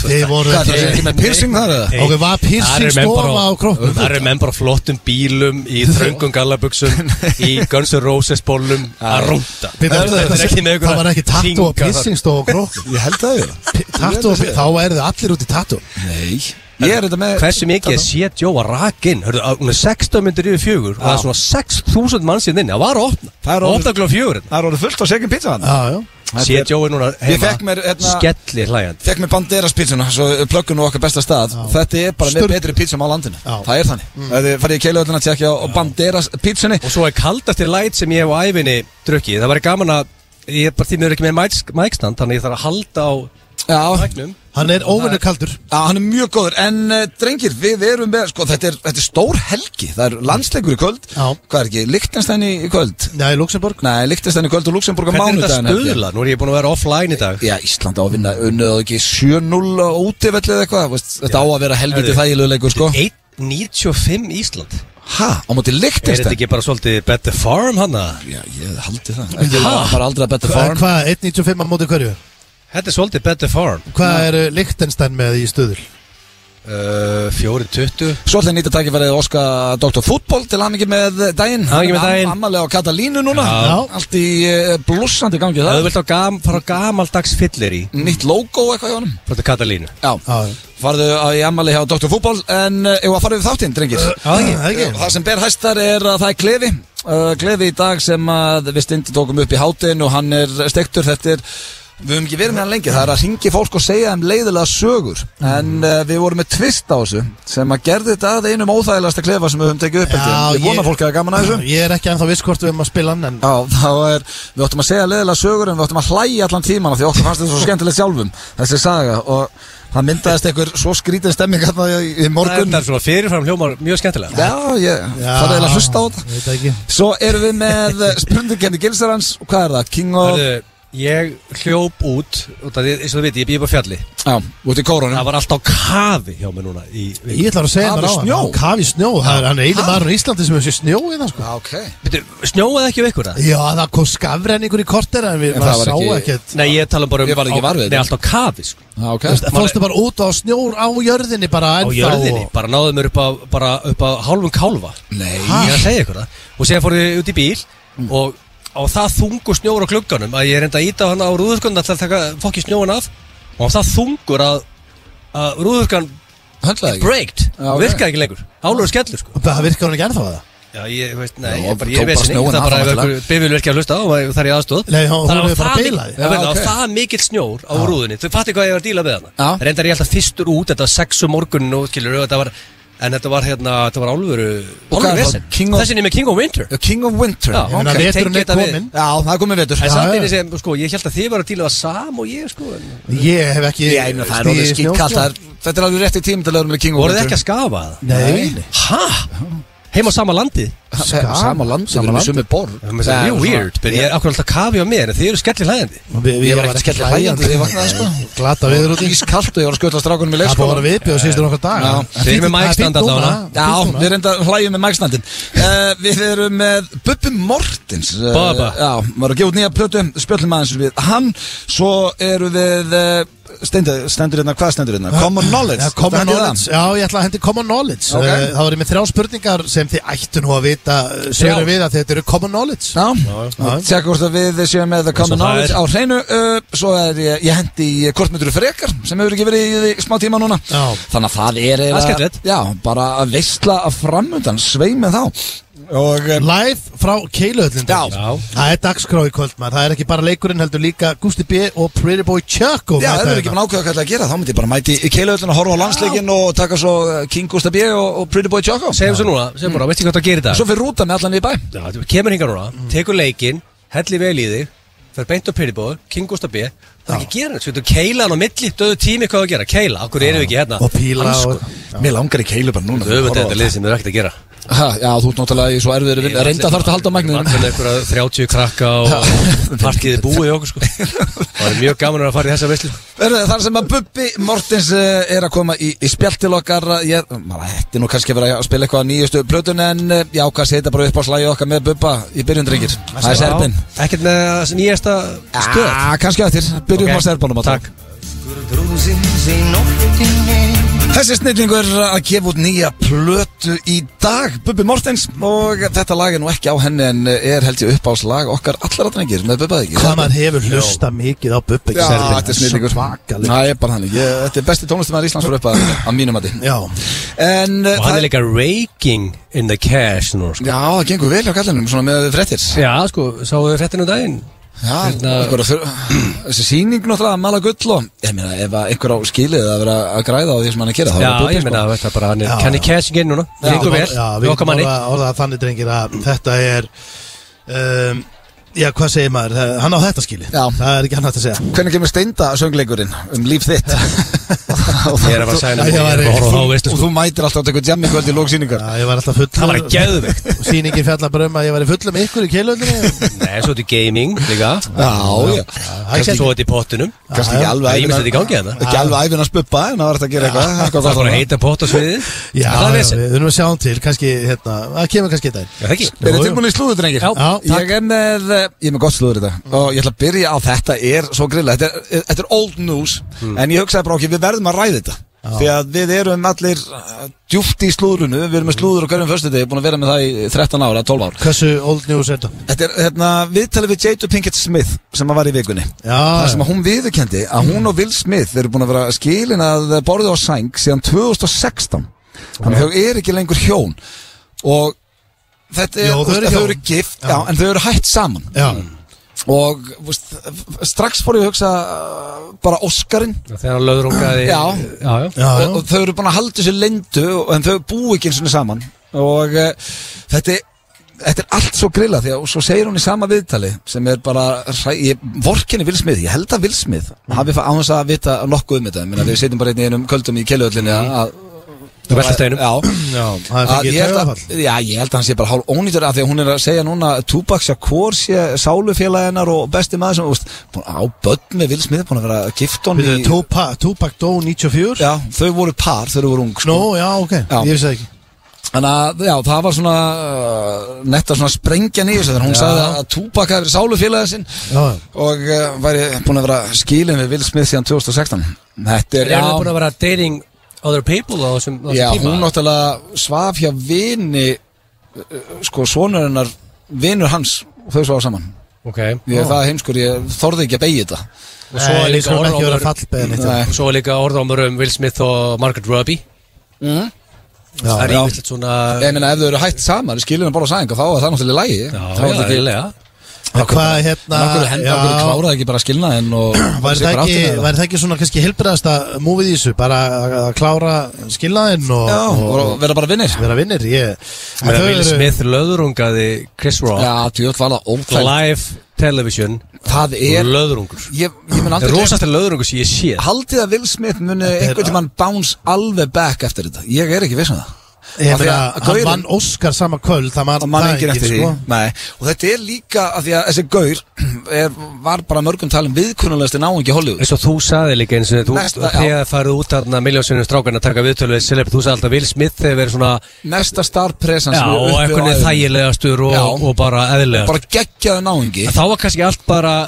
B: Þið voru
A: Hvað, það er
B: ekki
A: ekki með piercing þar eða?
B: Ok, var piercing stofa á kroppnum?
C: Það eru menn bara á flottum bílum Í þröngum
B: (laughs)
C: gallabuxum Í Guns N' Roses bólum Að rúnda
B: Bíddu,
C: Þetta er ekki með einhverja
B: Það var ekki tattu og
C: hringa þar.
B: piercing stofa á kroppnum
A: Ég held að það
B: Tattu og þá er þið allir út í tattu
A: Nei Ég er þetta með
C: Hversu mikið er sé Jóa rakinn Hörðu, að- hún er 16 myndir yfir fjögur Og það er svona 6.000 mann síðan inni Það var að opna
A: Það er
C: Það var
A: orðið-
C: opna klá fjögur hérna.
A: Það er orðið fullt á segjum pizza hann
B: Já, já
C: Sé Jói núna heima
A: Ég fekk mér, hérna-
C: Skelli hlægjand
A: Fekk með Banderas pizzuna, svo plöggum nú okkar besta stað Þetta er bara
B: Sturl-
A: með betri pizzum á landinu
B: Já.
A: Það er þannig mm. Þið farið í keiluöldin að tjekka á á Banderas pizzunni
C: Og svo er kaldastir læt sem ég hef á æfinni drukkið Það væri gaman að Ég er bara því mér ekki með mæks- mækstand Þannig ég þarf að halda á
A: Já,
C: mæknum
B: Hann er óvinni kaldur
A: Já, hann er mjög góður, en uh, drengir, við erum með, sko, þetta er, þetta er stór helgi, það er landsleikur í kvöld,
B: Já.
A: hvað er ekki, Lichtenstein í kvöld?
B: Nei, Luxemburg
A: Nei, Lichtenstein í kvöld og Luxemburg á
C: Hvernig er
A: mánudaginn.
C: þetta
A: held ég.
C: stuðla? Nú er ég búin að vera offline í dag
A: Já, Ísland á að vinna, unnið og ekki 7-0 á útivellið eða eitthvað, veist, þetta á að vera helviti
C: Herðu.
A: þægileguleikur, sko.
C: 1.95 Ísland
A: Ha, á móti
C: Er þetta
A: Lichtenstein?
C: ekki bara svolítið better farm hana?
A: Já, ég haldi það. Ég var bara aldrei að betta
B: Hvað,
A: form.
B: hva, 1.95 á móti hverju?
C: Þetta er svolítið better farm
B: Hvað er Lichtenstein með í stuðul?
C: uh, 4.20
A: Svo ætla ég að nýta takkifærið að óska Dr. Fútbol til hann með daginn.
C: Hamingju með
A: Hann er
C: daginn.
A: am- Ammali á Katalínu núna.
B: Já.
A: Allt í uh, blúsandi gangi
C: Það er
A: það.
C: vilt á gam, fara á gamaldags fyllir í
A: Nýtt logo eitthvað hjá honum.
C: Frá þetta Katalínu
A: Já,
B: Já,
A: farðu að ég ammali hjá Dr. Fútból en uh, ef að farðu við þáttinn, drengir
B: það ekki. Það
A: Það sem ber hæstar er að það er Klefi uh, Klefi í dag sem að við stindi tókum upp í hátinn og hann er stektur þetta er Við höfum ekki verið með hann lengi, það er að ringi fólk og segja um leiðilega sögur En uh, við vorum með tvist á þessu sem að gerði þetta að einum óþægilegasta klefa sem við höfum tekið upp held ég.
B: Já,
A: Ég vona fólk að gaman að þessu
B: Ég er ekki ennþá viss hvort við erum að spila hann en
A: Já, þá er, við óttum að segja leðilega sögur en við óttum að hlæja allan tíman af því okkur fannst þetta svo skemmtilegt sjálfum þessi saga og það myndaðist einhver svo skrítin stemming hérna í, í morgun
C: Þetta er svona fyrirfram hljómar mjög skemmtilega
A: Já, ég, það er eiginlega að hlusta á þetta
B: Ég veit ekki
A: Svo erum við með spurningkenni Gilsarans og hvað er það? King of...
C: Hörðu, Ég hljóp út út af því, eins og þú veit, ég býði upp á fjalli
A: Já, út í
C: Það
A: kórunum
C: var alltaf kafi hjá mér núna í, í,
B: Ég ætla að segja
A: Kafi
B: mér á
A: snjó.
B: hann Kafi snjó Það er hann einu maður í Íslandi sem hefur sér snjó í það sko
A: Já, ok
C: Bíddu, Snjóaði ekki á ykkur það?
B: Já, það kom skafrenningur í korter en við
A: En það var
B: maður
A: ekki-
B: sá ekkert
C: Nei, ég tala bara um
A: Ég var ekki
C: á-
A: var við
C: Nei,
A: þetta.
C: alltaf kafi, sko
A: Já, ok
B: Þú veist,
C: Maður-
B: Fórstu bara út á snjór á jörðinni bara
C: Á
B: ennþá
C: jörðinni,
B: og-
C: bara náðu mér upp á, bara upp á hálfum kálfa
A: Nei
C: Ég er að segja ykkur það Og séðan fór ég út í bíl
A: Mm.
C: og, og það þungur snjór á glugganum Að ég reynda að íta hann á rúðurkunna til að taka fokki snjóin af Og það þungur að, að rúðurkan
A: Höndlaði ekki
C: breaked
A: Já, ok.
C: ja,
A: Ah.
C: Virkaði ekki lengur, álur skellur sko
B: Það virkar hann ekki ennþá að það
C: Já, ég veist, nei,
A: Já,
C: ég, bara, ég
A: tók bara
C: veist ekki
A: snjóinn
C: Það
A: af
C: bara
A: það
C: ef ykkur bifur ekki að hlusta á og Það er í aðstóð
B: Nei, hún- hún
C: var
B: hefur bara
C: það
B: bilað
C: mikil-
A: Já,
C: það var
A: ok.
C: það mikill snjór á rúðunni Þau fattu hvað ég var að díla með hana
A: Já.
C: Reyndar ég alltaf fyrstur út, þetta var sex um morgun og skilur, þetta var, En þetta var hérna, þetta var álfuru
A: Og hvað er
C: Álfuru
A: það?
C: vesen
A: King of-
C: Þessin er með King of Winter
A: The King of Winter
C: Já,
A: Já,
B: Ég meina,
A: ok.
B: veturinn
C: tengi
B: er
C: þetta við.
B: kominn.
A: Já, það er komið vetur
C: En samt
B: já.
C: einu sem, sko, ég held að þið var að díla það sam og ég, sko en-
B: Ég hef ekki
A: Ég einu, það er
B: stigið
A: orðið
B: í snjó,
A: skýtkallt
B: sko.
A: það er- Þetta er alveg rétt í tímum til að vera með King of
C: Voruð þið ekki
A: Winter
C: að skafa það?
B: Nei, nei.
C: Hæ? Heim á sama landið?
A: Sa- Sama land,
B: Sama
A: við erum í
B: land.
A: sömu borg
C: Það er mjög weird, menn ég er akkur alltaf kafi á mér en þið eru skellir hlæðandi
B: Við-
A: Ég var ekkert skellt hlægjandi þegar ég vaknaði, sko.
B: Glata viður út í
A: Ískallt og ég var að skjöldla strákunum í
B: Það búið að
A: leikskóla
B: vera viðbjóð síðustu nokkar dag
A: Já.
B: En
C: Þeir
B: fínt-
C: eru
B: það er
C: með mækstand
B: fínt
C: allavega.
B: núna, fínt
A: Já,
B: núna.
A: við reynda að hlægjum með magstandin uh, Við erum með Bubbi Mortens uh,
C: Bubba.
A: Já, maður að gefa út nýja plötu, spjöllum aðeins við hann Svo eru við, uh, stendur, stendur hérna, hvað stendur hérna? Common Knowledge
B: Já, common
A: Þetta er
B: knowledge. Já, ég ætla að hendi common knowledge Eh,
A: Ok.
B: okay. Það var ég með þrjá spurningar sem þið ættu nú að vita eh,
C: Þrjár?
B: Sögur við að þetta eru common knowledge
A: Já, tjekka hvort að við séum með the Common
C: Svo það
A: Knowledge
C: er-
A: á hreinu uh, Svo er ég, ég hendi í kortmyndur frekar sem hefur ekki verið í, í smá tíma núna
B: Já.
A: Þannig að það er eiginlega-
C: Það er skemmtilegt.
A: Já, bara að veistla að framundan, svei með þá
B: eh,
A: Og um,
B: Live frá Keiluhöllin
A: Já.
C: Já.
B: Það er dagskrá í kvöld maður Það er ekki bara leikurinn heldur líka Gusti B og Pretty Boy Chuck
A: Já, ef við erum ekki búin að ákveða hvað það að gera, þá myndi ég bara mæti í keilauðlun og horfa á landsleikin og taka svo eh, King Gustaf B. og, og Pretty Boy Choco
C: Segjum svo núna, segjum bara, veistu hvað það gerir í dag?
A: Svo fyrir rúta með allan í bæ
C: Já, þú kemur hinga núna, tekur leikinn, hellir vel í þig, fer beint á Pyrribóður, King Gustaf B, það er ekki að gera neitt, sko, þú keila hann á milli, döðu tími hvað á að gera, keila, okkur erum við ekki hérna.
B: Og píla
C: Hans-
B: og
A: Mér langar í keilu bara núna
C: Þú hefur þetta lið sem þau er ekkert að gera.
A: ha, Já, þú ert náttúrulega í svo erfiðri vinn Reynda þarf að halda
C: Það
A: magninu
C: er einhverja 30 krakka (laughs) og partíði búið í okkur sko. Það er mjög gaman að fara í þessa veislu. sko.
A: Þar sem að Bubbi Mortens eh, er að koma í, í spjall til okkar eh, ég, maður hætti nú kannski að vera að spila eitthvað á nýjustu plötun en eh, já, hvað setja bara upp á slægi okkar með Bubba í byrjun drengir Það er serbin
C: Já, Ekkert með nýjasta stöð.
A: Já, Sko, kannski eftir, byrjum
C: Ah. Ok.
A: á serbinum
C: Takk.
D: Drún roses ain't no fitting in.
A: Þessi snillingur er að gefa út nýja plötu í dag, Bubbi Mortens og þetta lag er nú ekki á henni en er held ég uppáðslag okkar allar að drengir með Bubba ekki
B: Hvað maður hefur hlusta mikið á Bubba
A: Já, þetta er snillingur
B: Svakaleg
A: Næ, bara hann ég, Þetta er besti tónlistamæður Íslands fyrir uppað að mínum að því
B: Já,
A: En uh,
C: Og
A: það
C: hann er líka raking in the cash nú, sko.
A: Já, það gengur vel hjá kallanum, svona með frettir
C: Já, sko, sáu við fréttinu daginn
A: Já,
C: Hérna-
A: einhver að þurfa Þessi sýning náttúrulega að mala gull og Ég meina, ef að einhver á skilið að vera að græða á því sem hann er að gera þá er
C: Já,
A: það Bubbi,
C: ég
A: sko.
C: meina, þetta er bara, hann er
B: Já,
C: kanni
B: já.
C: cashing inn núna Það gengur vel,
B: já,
C: við
B: við
C: okkar
B: getum
C: manni
B: orðað orða þannig drengir að þetta er um, Já, hvað segir maður? Það- Hann á þetta skili
A: Já.
B: Það er ekki hann hægt að segja
A: Hvernig kemur steinda söngleikurinn um líf
C: (laughs)
A: þitt?
C: Ég er að fara (laughs) að
B: Já,
C: sæna
B: já,
C: ég er
B: já,
C: bara að horfa á
A: Og
C: veislu, sko.
A: þú mætir alltaf að tekja jammi kvöld í lóksýningar
B: Já, ég var alltaf fullur
C: Það var geðveikt.
B: Og Sýningin fjallar bara um að ég var í fullum ykkur í
C: (laughs)
B: keilöldinu
C: sko Nei, svo þetta er gaming líka
A: Já, já
C: Kannski svo þetta í pottunum
A: Kannski ekki alveg
C: Það
A: ævina-
C: er ýmislegt í gangi þarna.
A: Ekki alveg æfina að spuppa en það var þetta að gera eitthvað eitthvað
C: Það
A: gott
C: fór að
A: þarna.
C: heita pott á sviðið
B: Já,
C: Það er
B: já,
C: vesen.
B: við erum að sjá hann til Kannski, hérna, það kemur kannski þetta
C: Já, það
A: Er
C: ekki
B: Jú,
A: þið
B: jú.
A: tilbúin í slúður, drengir? Mm.
C: Já,
A: Ég er með, eh, ég er með gott slúður í dag Og ég ætla að byrja á þetta er svo grilla Þetta er, eh, þetta er old news En ég hugsaði bara okkur, við verðum að ræða þetta Því að við erum allir eh, djúpt í slúðrunu Við erum með slúður á hverjum föstu Búin að vera með það í 13 ára, 12 ára
B: Hversu old news er þetta?
A: Þetta er hérna, viðtalið við Jada Pinkett Smith Sem að var í vikunni Það
B: Já,
A: sem að hún viðurkendi að hún og Will Smith eru búin að vera skilin að borðu á sæng síðan 2016 þannig að þau eru ekki lengur hjón og þetta er,
B: Jó, þau eru
A: að þau
B: hjón.
A: eru gift já. en þau eru hætt saman
B: já,
A: og veist, strax fór ég að hugsa uh, bara Óskarinn
C: Þegar hann löðrungaði
A: Já.
C: já, já.
B: já, já.
A: og, og þau eru búin að halda sér lendu og- en þau búi ekki eins og saman og uh, þetta er Þetta er allt svo grilla því að og svo segir hún í sama viðtali sem er bara, hræ- ég, vorkinni vilsmið, ég held að vilsmið hafi fa- á þess að vita nokkuð um þetta Ég meina, við sitjum bara einnig einum köldum í keluöllinni að, að,
C: Þú velta steinum
A: já,
B: Já, það er
A: að
B: fengið
A: ég held að,
B: taugafall.
A: já, ég held að hann sé bara hálf ónýtur af því að hún er að segja núna að Tupac Shakur sé sálufélaginnar og besti maður sem, úst, búin, á börn með vilsmið, búin að vera að gifta
B: Bíddu,
A: hann í,
B: Tupac Tupac dó 94
A: já, þau voru par, þau voru ung sko.
B: Nó, já, ok,
A: Já.
B: ég vissi það ekki
A: Þannig að, já, það var svona uh, netta svona sprengjan í þessu þegar hún sagði að Tupac er sálufélagin sinn
B: Já, já.
A: og uh, væri búin að vera skilin við Will Smith síðan 2016 Þetta
C: Er
A: er,
C: hann búin að vera dating other people á þessum á þessum
A: já,
C: tíma?
A: hún náttúrulega svaf hjá vini uh, uh, sko sonurinnar, vinur hans og þau svaf saman
C: Ok
A: Ég er það heimskur, ég þorði ekki að beigja þetta
C: Og svo er
B: Nei, við
C: líka
B: skulum ekki vera
C: orðrómur
B: fallbeðin eitt
A: Nei.
C: Og svo er líka orðrómur um Will Smith og Margaret Robbie Það er
B: Já,
A: já.
C: ýmislegt svona
A: Mm. Ég meina, ef þau eru hætt saman, skilin bara á sæðing og þá er það náttúrulega í lagi
C: Já,
A: Þá er
C: já,
A: þetta ekki
C: eiginlega.
B: En hvað hérna
A: Nákvæmlega henda, okkur
B: já,
A: kláraði ekki bara að skilna en og
B: Væri
A: sig bara
B: það,
A: átti með
B: ekki,
A: það.
B: væri það ekki svona kannski hilbriðasta múfið í þessu, bara að að klára skilnaðinn og,
A: Já, og
B: og,
A: vera bara vinnir
B: vera vinnir ég,
C: Ég meina, Will Smith löðrungaði Chris Rock
A: Já, djöld var það óþægt
C: Live television
A: Það er,
C: Löðrungur
A: ég, ég mun
C: Það
A: aldrei
C: er
A: gleyma-
C: rosast löðrungur sem ég sé
A: Haldið að Will Smith muni einhvern tímann bounce alveg back eftir þetta Ég er ekki viss um það
B: ég
A: Af því
B: meina,
A: að
B: hann
A: gaurinn-
B: vann Óskar sama kvöld það
A: Það
B: man,
A: mann
B: það sko.
A: enginn eftir því Nei. Og þetta er líka að því að þessi gaur er, var bara mörgum talum viðkunnulegasti náungi í Hollywood
C: eins og þú saði líka eins og þú
A: Næsta, já.
C: þegar farið út þarna miljónsinnum strákan að taka viðtölu við celebrity, þú sagði alltaf Will Smith hefur verið svona
A: Mesta star presence
C: já, og eitthvað þægilegastur og,
A: Já.
C: og bara eðlilegastur
A: Bara geggjaðu náungi
C: þá var kannski allt bara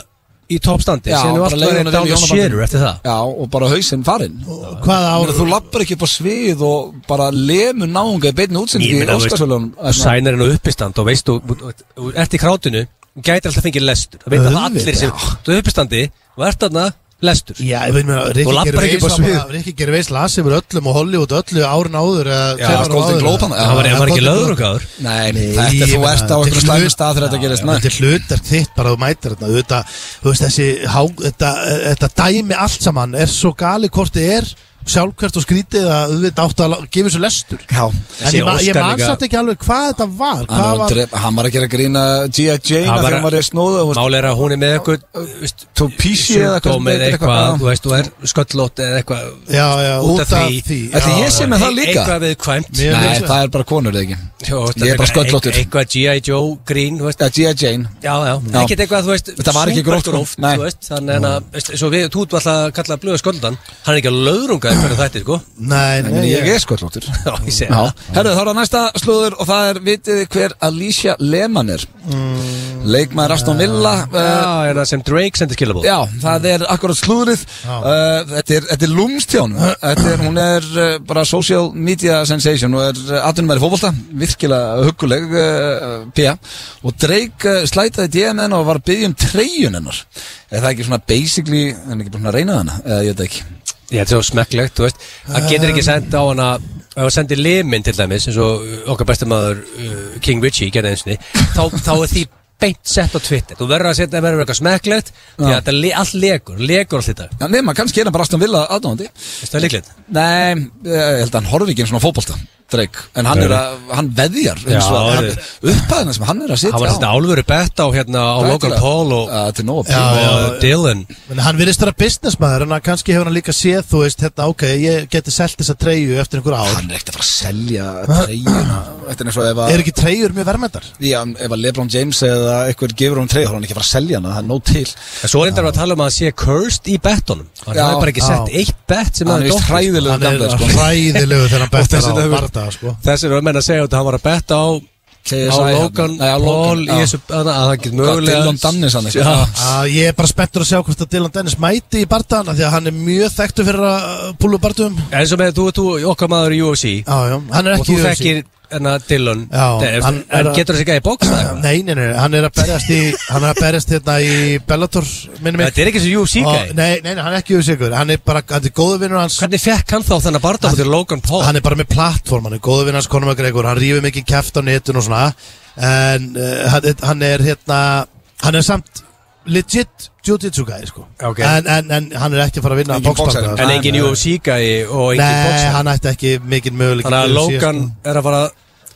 C: í toppstandi
A: Já,
C: sem var
A: bara
C: alltaf
A: leiðin
C: verið
A: að
C: down
A: velja
C: the
A: hjónabandið.
C: shitter eftir það
A: Já, og bara hausinn farinn
B: hvaða
A: Ára,
B: ára
A: þú lappar ekki upp á svið og bara lemur náunga í beinni
C: Ég
A: útsendingi í
C: meina, þú veist,
A: Óskarsvölunum
C: þú sænar henn á uppistand og veist þú, þú- þú ert í krátinu þú gætir alltaf fengið lestur það veit að
B: Auðvitað,
C: allir sem,
B: já.
C: þú er uppistandi og ert þarna lestur
B: Já, ég veit mér að
C: Þú
B: Rikki
C: labbar
B: Gervais
C: ekki upp á
B: var
C: svið.
B: bara- Rikki Gervais las yfir öllum og Hollywood öllu árin áður eða
A: Já,
B: tveim árum
A: Golden
B: áður.
A: Globe hann-
C: það var,
A: Já,
C: var ekki
B: Golden Globe.
C: löðrungaður
A: Nei,
B: Nei,
A: þetta
B: ég
A: þú
B: meina,
A: ert á
B: þetta er
A: einhverjum
B: hlut-
A: slæmum stað þegar þetta gerist
B: Þetta
A: næ.
B: er hlutark þitt bara að þú mætir þarna Þetta, þú veist, þessi, há, þetta, þetta dæmi allt saman er svo gali hvort þið er sjálfkvært og skrítið að þú veit áttu að lá- gefa þessu lestur
A: Já,
B: En ég, ma ég
C: Óskar
B: man
C: líka-
B: satt ekki alveg hvað þetta var
A: hann,
B: Hvað
A: var,
B: var
A: drep, hann var að gera grína G.I. Jane
C: Hann
A: að
C: var
A: þegar
C: að-
A: hann var í snóðu og
C: Mál er að hún er með eitthvað veist,
A: Topísi eða eitthvað sem
C: sjúkdóm eða
A: heitir eitthvað,
C: eitthvað,
A: já.
C: þú veist, þú er sköllótt eða eitthvað
B: Já, já, út af því
A: Ætli
B: já,
A: ég sé með það
C: Ein-
A: líka?
C: Eitthvað viðkvæmt
B: Mér-
A: Nei,
B: Ég-
A: það er bara konur eða ekki
C: Jó, þú veist,
A: Ég er bara
C: eitthvað-
A: sköllóttur
C: eit- Eitthvað G.I. Joe grín, þú veist
A: Já, G.I. Jane
C: Já, já, ekkert eitthvað, þú veist
A: Þetta var ekki gróft,
C: supergróft,
A: nei.
C: þú veist Þannig en að, veist, svo við, þú ert alltaf að kalla blöða sköldan Hann er ekki að löðrunga þér fyrir þetta, sko (laughs)
B: Nei,
A: En
B: nei,
A: ég
B: ég
A: er skollóttur
C: Já, ég segi
A: Já,
C: það
B: Mm.
A: herru þá er það næsta slúður og það er vitið þið hver Alicia Lehmann er leikmaður Aston Villa uh,
C: Já, er það sem Drake sendir skilabóð
A: Sko. Já, það er akkurat slúðrið
B: Já.
A: uh, Þetta er, þetta er lúmst hjá hún Þetta er, hún er uh, bara social media sensation og er aðtunum í fótbolta virkilega hugguleg uh, uh, Pía og Drake uh, slætaði DM hennar og var að biðja um treyjun hennar Er það ekki svona basically er hann ekki búin að reyna hana? Uh, ég veit það ekki
C: Ég þetta er svo smekklegt, þú veist Það getur ekki senda á hana ef hann sendir limin til dæmis eins og uh, okkar besti maður uh, King Richie gerði einsni þá, þá er því beint sett á Twitter Þú verður að setja að verður eitthvað smekklegt því að þetta le allt legur, legur allt þetta
A: Já, nema, kannski er hann bara Aston Villa aðdóndi
C: Veistu það líklegt?
A: Nei, eh, ég held að hann horfi ekki eins og fótbolta Drake, en hann, er að, hann veðjar eins og
C: Já,
A: hann,
C: þetta-
A: upphæðina sem hann er að sitja
C: Hann var þetta álveru bett á hérna á Logan Paul og,
A: uh, til nóg
B: Já,
A: já,
C: og
B: já, já.
C: Dylan
B: Men hann virðist vera businessmaður en að kannski hefur hann líka séð þú veist hérna ok, ég geti selt þessa treyju eftir einhver ár
A: hann er ekkert að fara að selja treyjuna þetta er eins og ef að
B: Er ekki treyjur mjög verðmættar?
A: Já, ef að Lebron James eða eitthvað gefur hún treyja þá er hann ekki að fara að selja hana, það er nóg til
C: En svo reyndar við að tala um að hann sé cursed í bettunum Hann
A: Já,
C: hefur bara ekki sett
B: já.
C: eitt bett sem
A: hann er
C: hann
A: vist
C: dottir.
A: hræðilegu
B: Hann er
A: gamlega sko.
B: hræðilegu
A: (laughs)
B: þegar hann bettar
C: þess
B: á
C: vegna hefur-
B: barða sko
C: Þessi er að menna að segja að hann var að betta á
A: KSI
C: á
A: hérna.
C: Logan
A: Nei, á Logan,
C: Paul í
A: já.
C: þessu að að það getur mögulega
A: Dylan Dennis hann eitthvað.
C: Já.
B: Að Ah, Ég er bara spenntur að sjá hvort að Dylan Dennis mæti í barðana því að hann er mjög þekktur fyrir að uh, púlu úr barðum
C: En svo með þú, þú, okkar maður í UFC
B: Já, já, hann er
C: og
B: ekki
C: þú
B: í UFC.
C: þekkir enna Dylan
B: Já,
C: Def,
B: hann
C: hann,
B: er að-
C: getur þessi gæði bóks það
B: Nei, nei, nei, hann er að berjast í
C: (laughs)
B: Hann er að berjast hérna í Bellator Minni mig
C: Þetta er ekki þessi UFC
B: Og-
C: gæði
B: Nei, nei, nei, hann er ekki usikur Hann er bara, hann er góðu vinnur hans
C: Hvernig fekk hann þá þennan barnda fyrir Logan Paul?
B: Hann er bara með plattform, hann er góðu vinnur hans Conor McGregor, hann rífur mikið kæft á netun og svona En uh, hann- hann er hérna Hann er samt legit jiu-jitsu gæði, sko
C: Ok.
B: en, en, en hann er ekki að fara að vinna
A: Engin boxari.
B: boxbardaga, sko.
C: en engin UFC gæði og engin
B: Nei,
C: bóks
B: hann ætti ekki mikið möguleik
C: Þannig að Logan er að fara að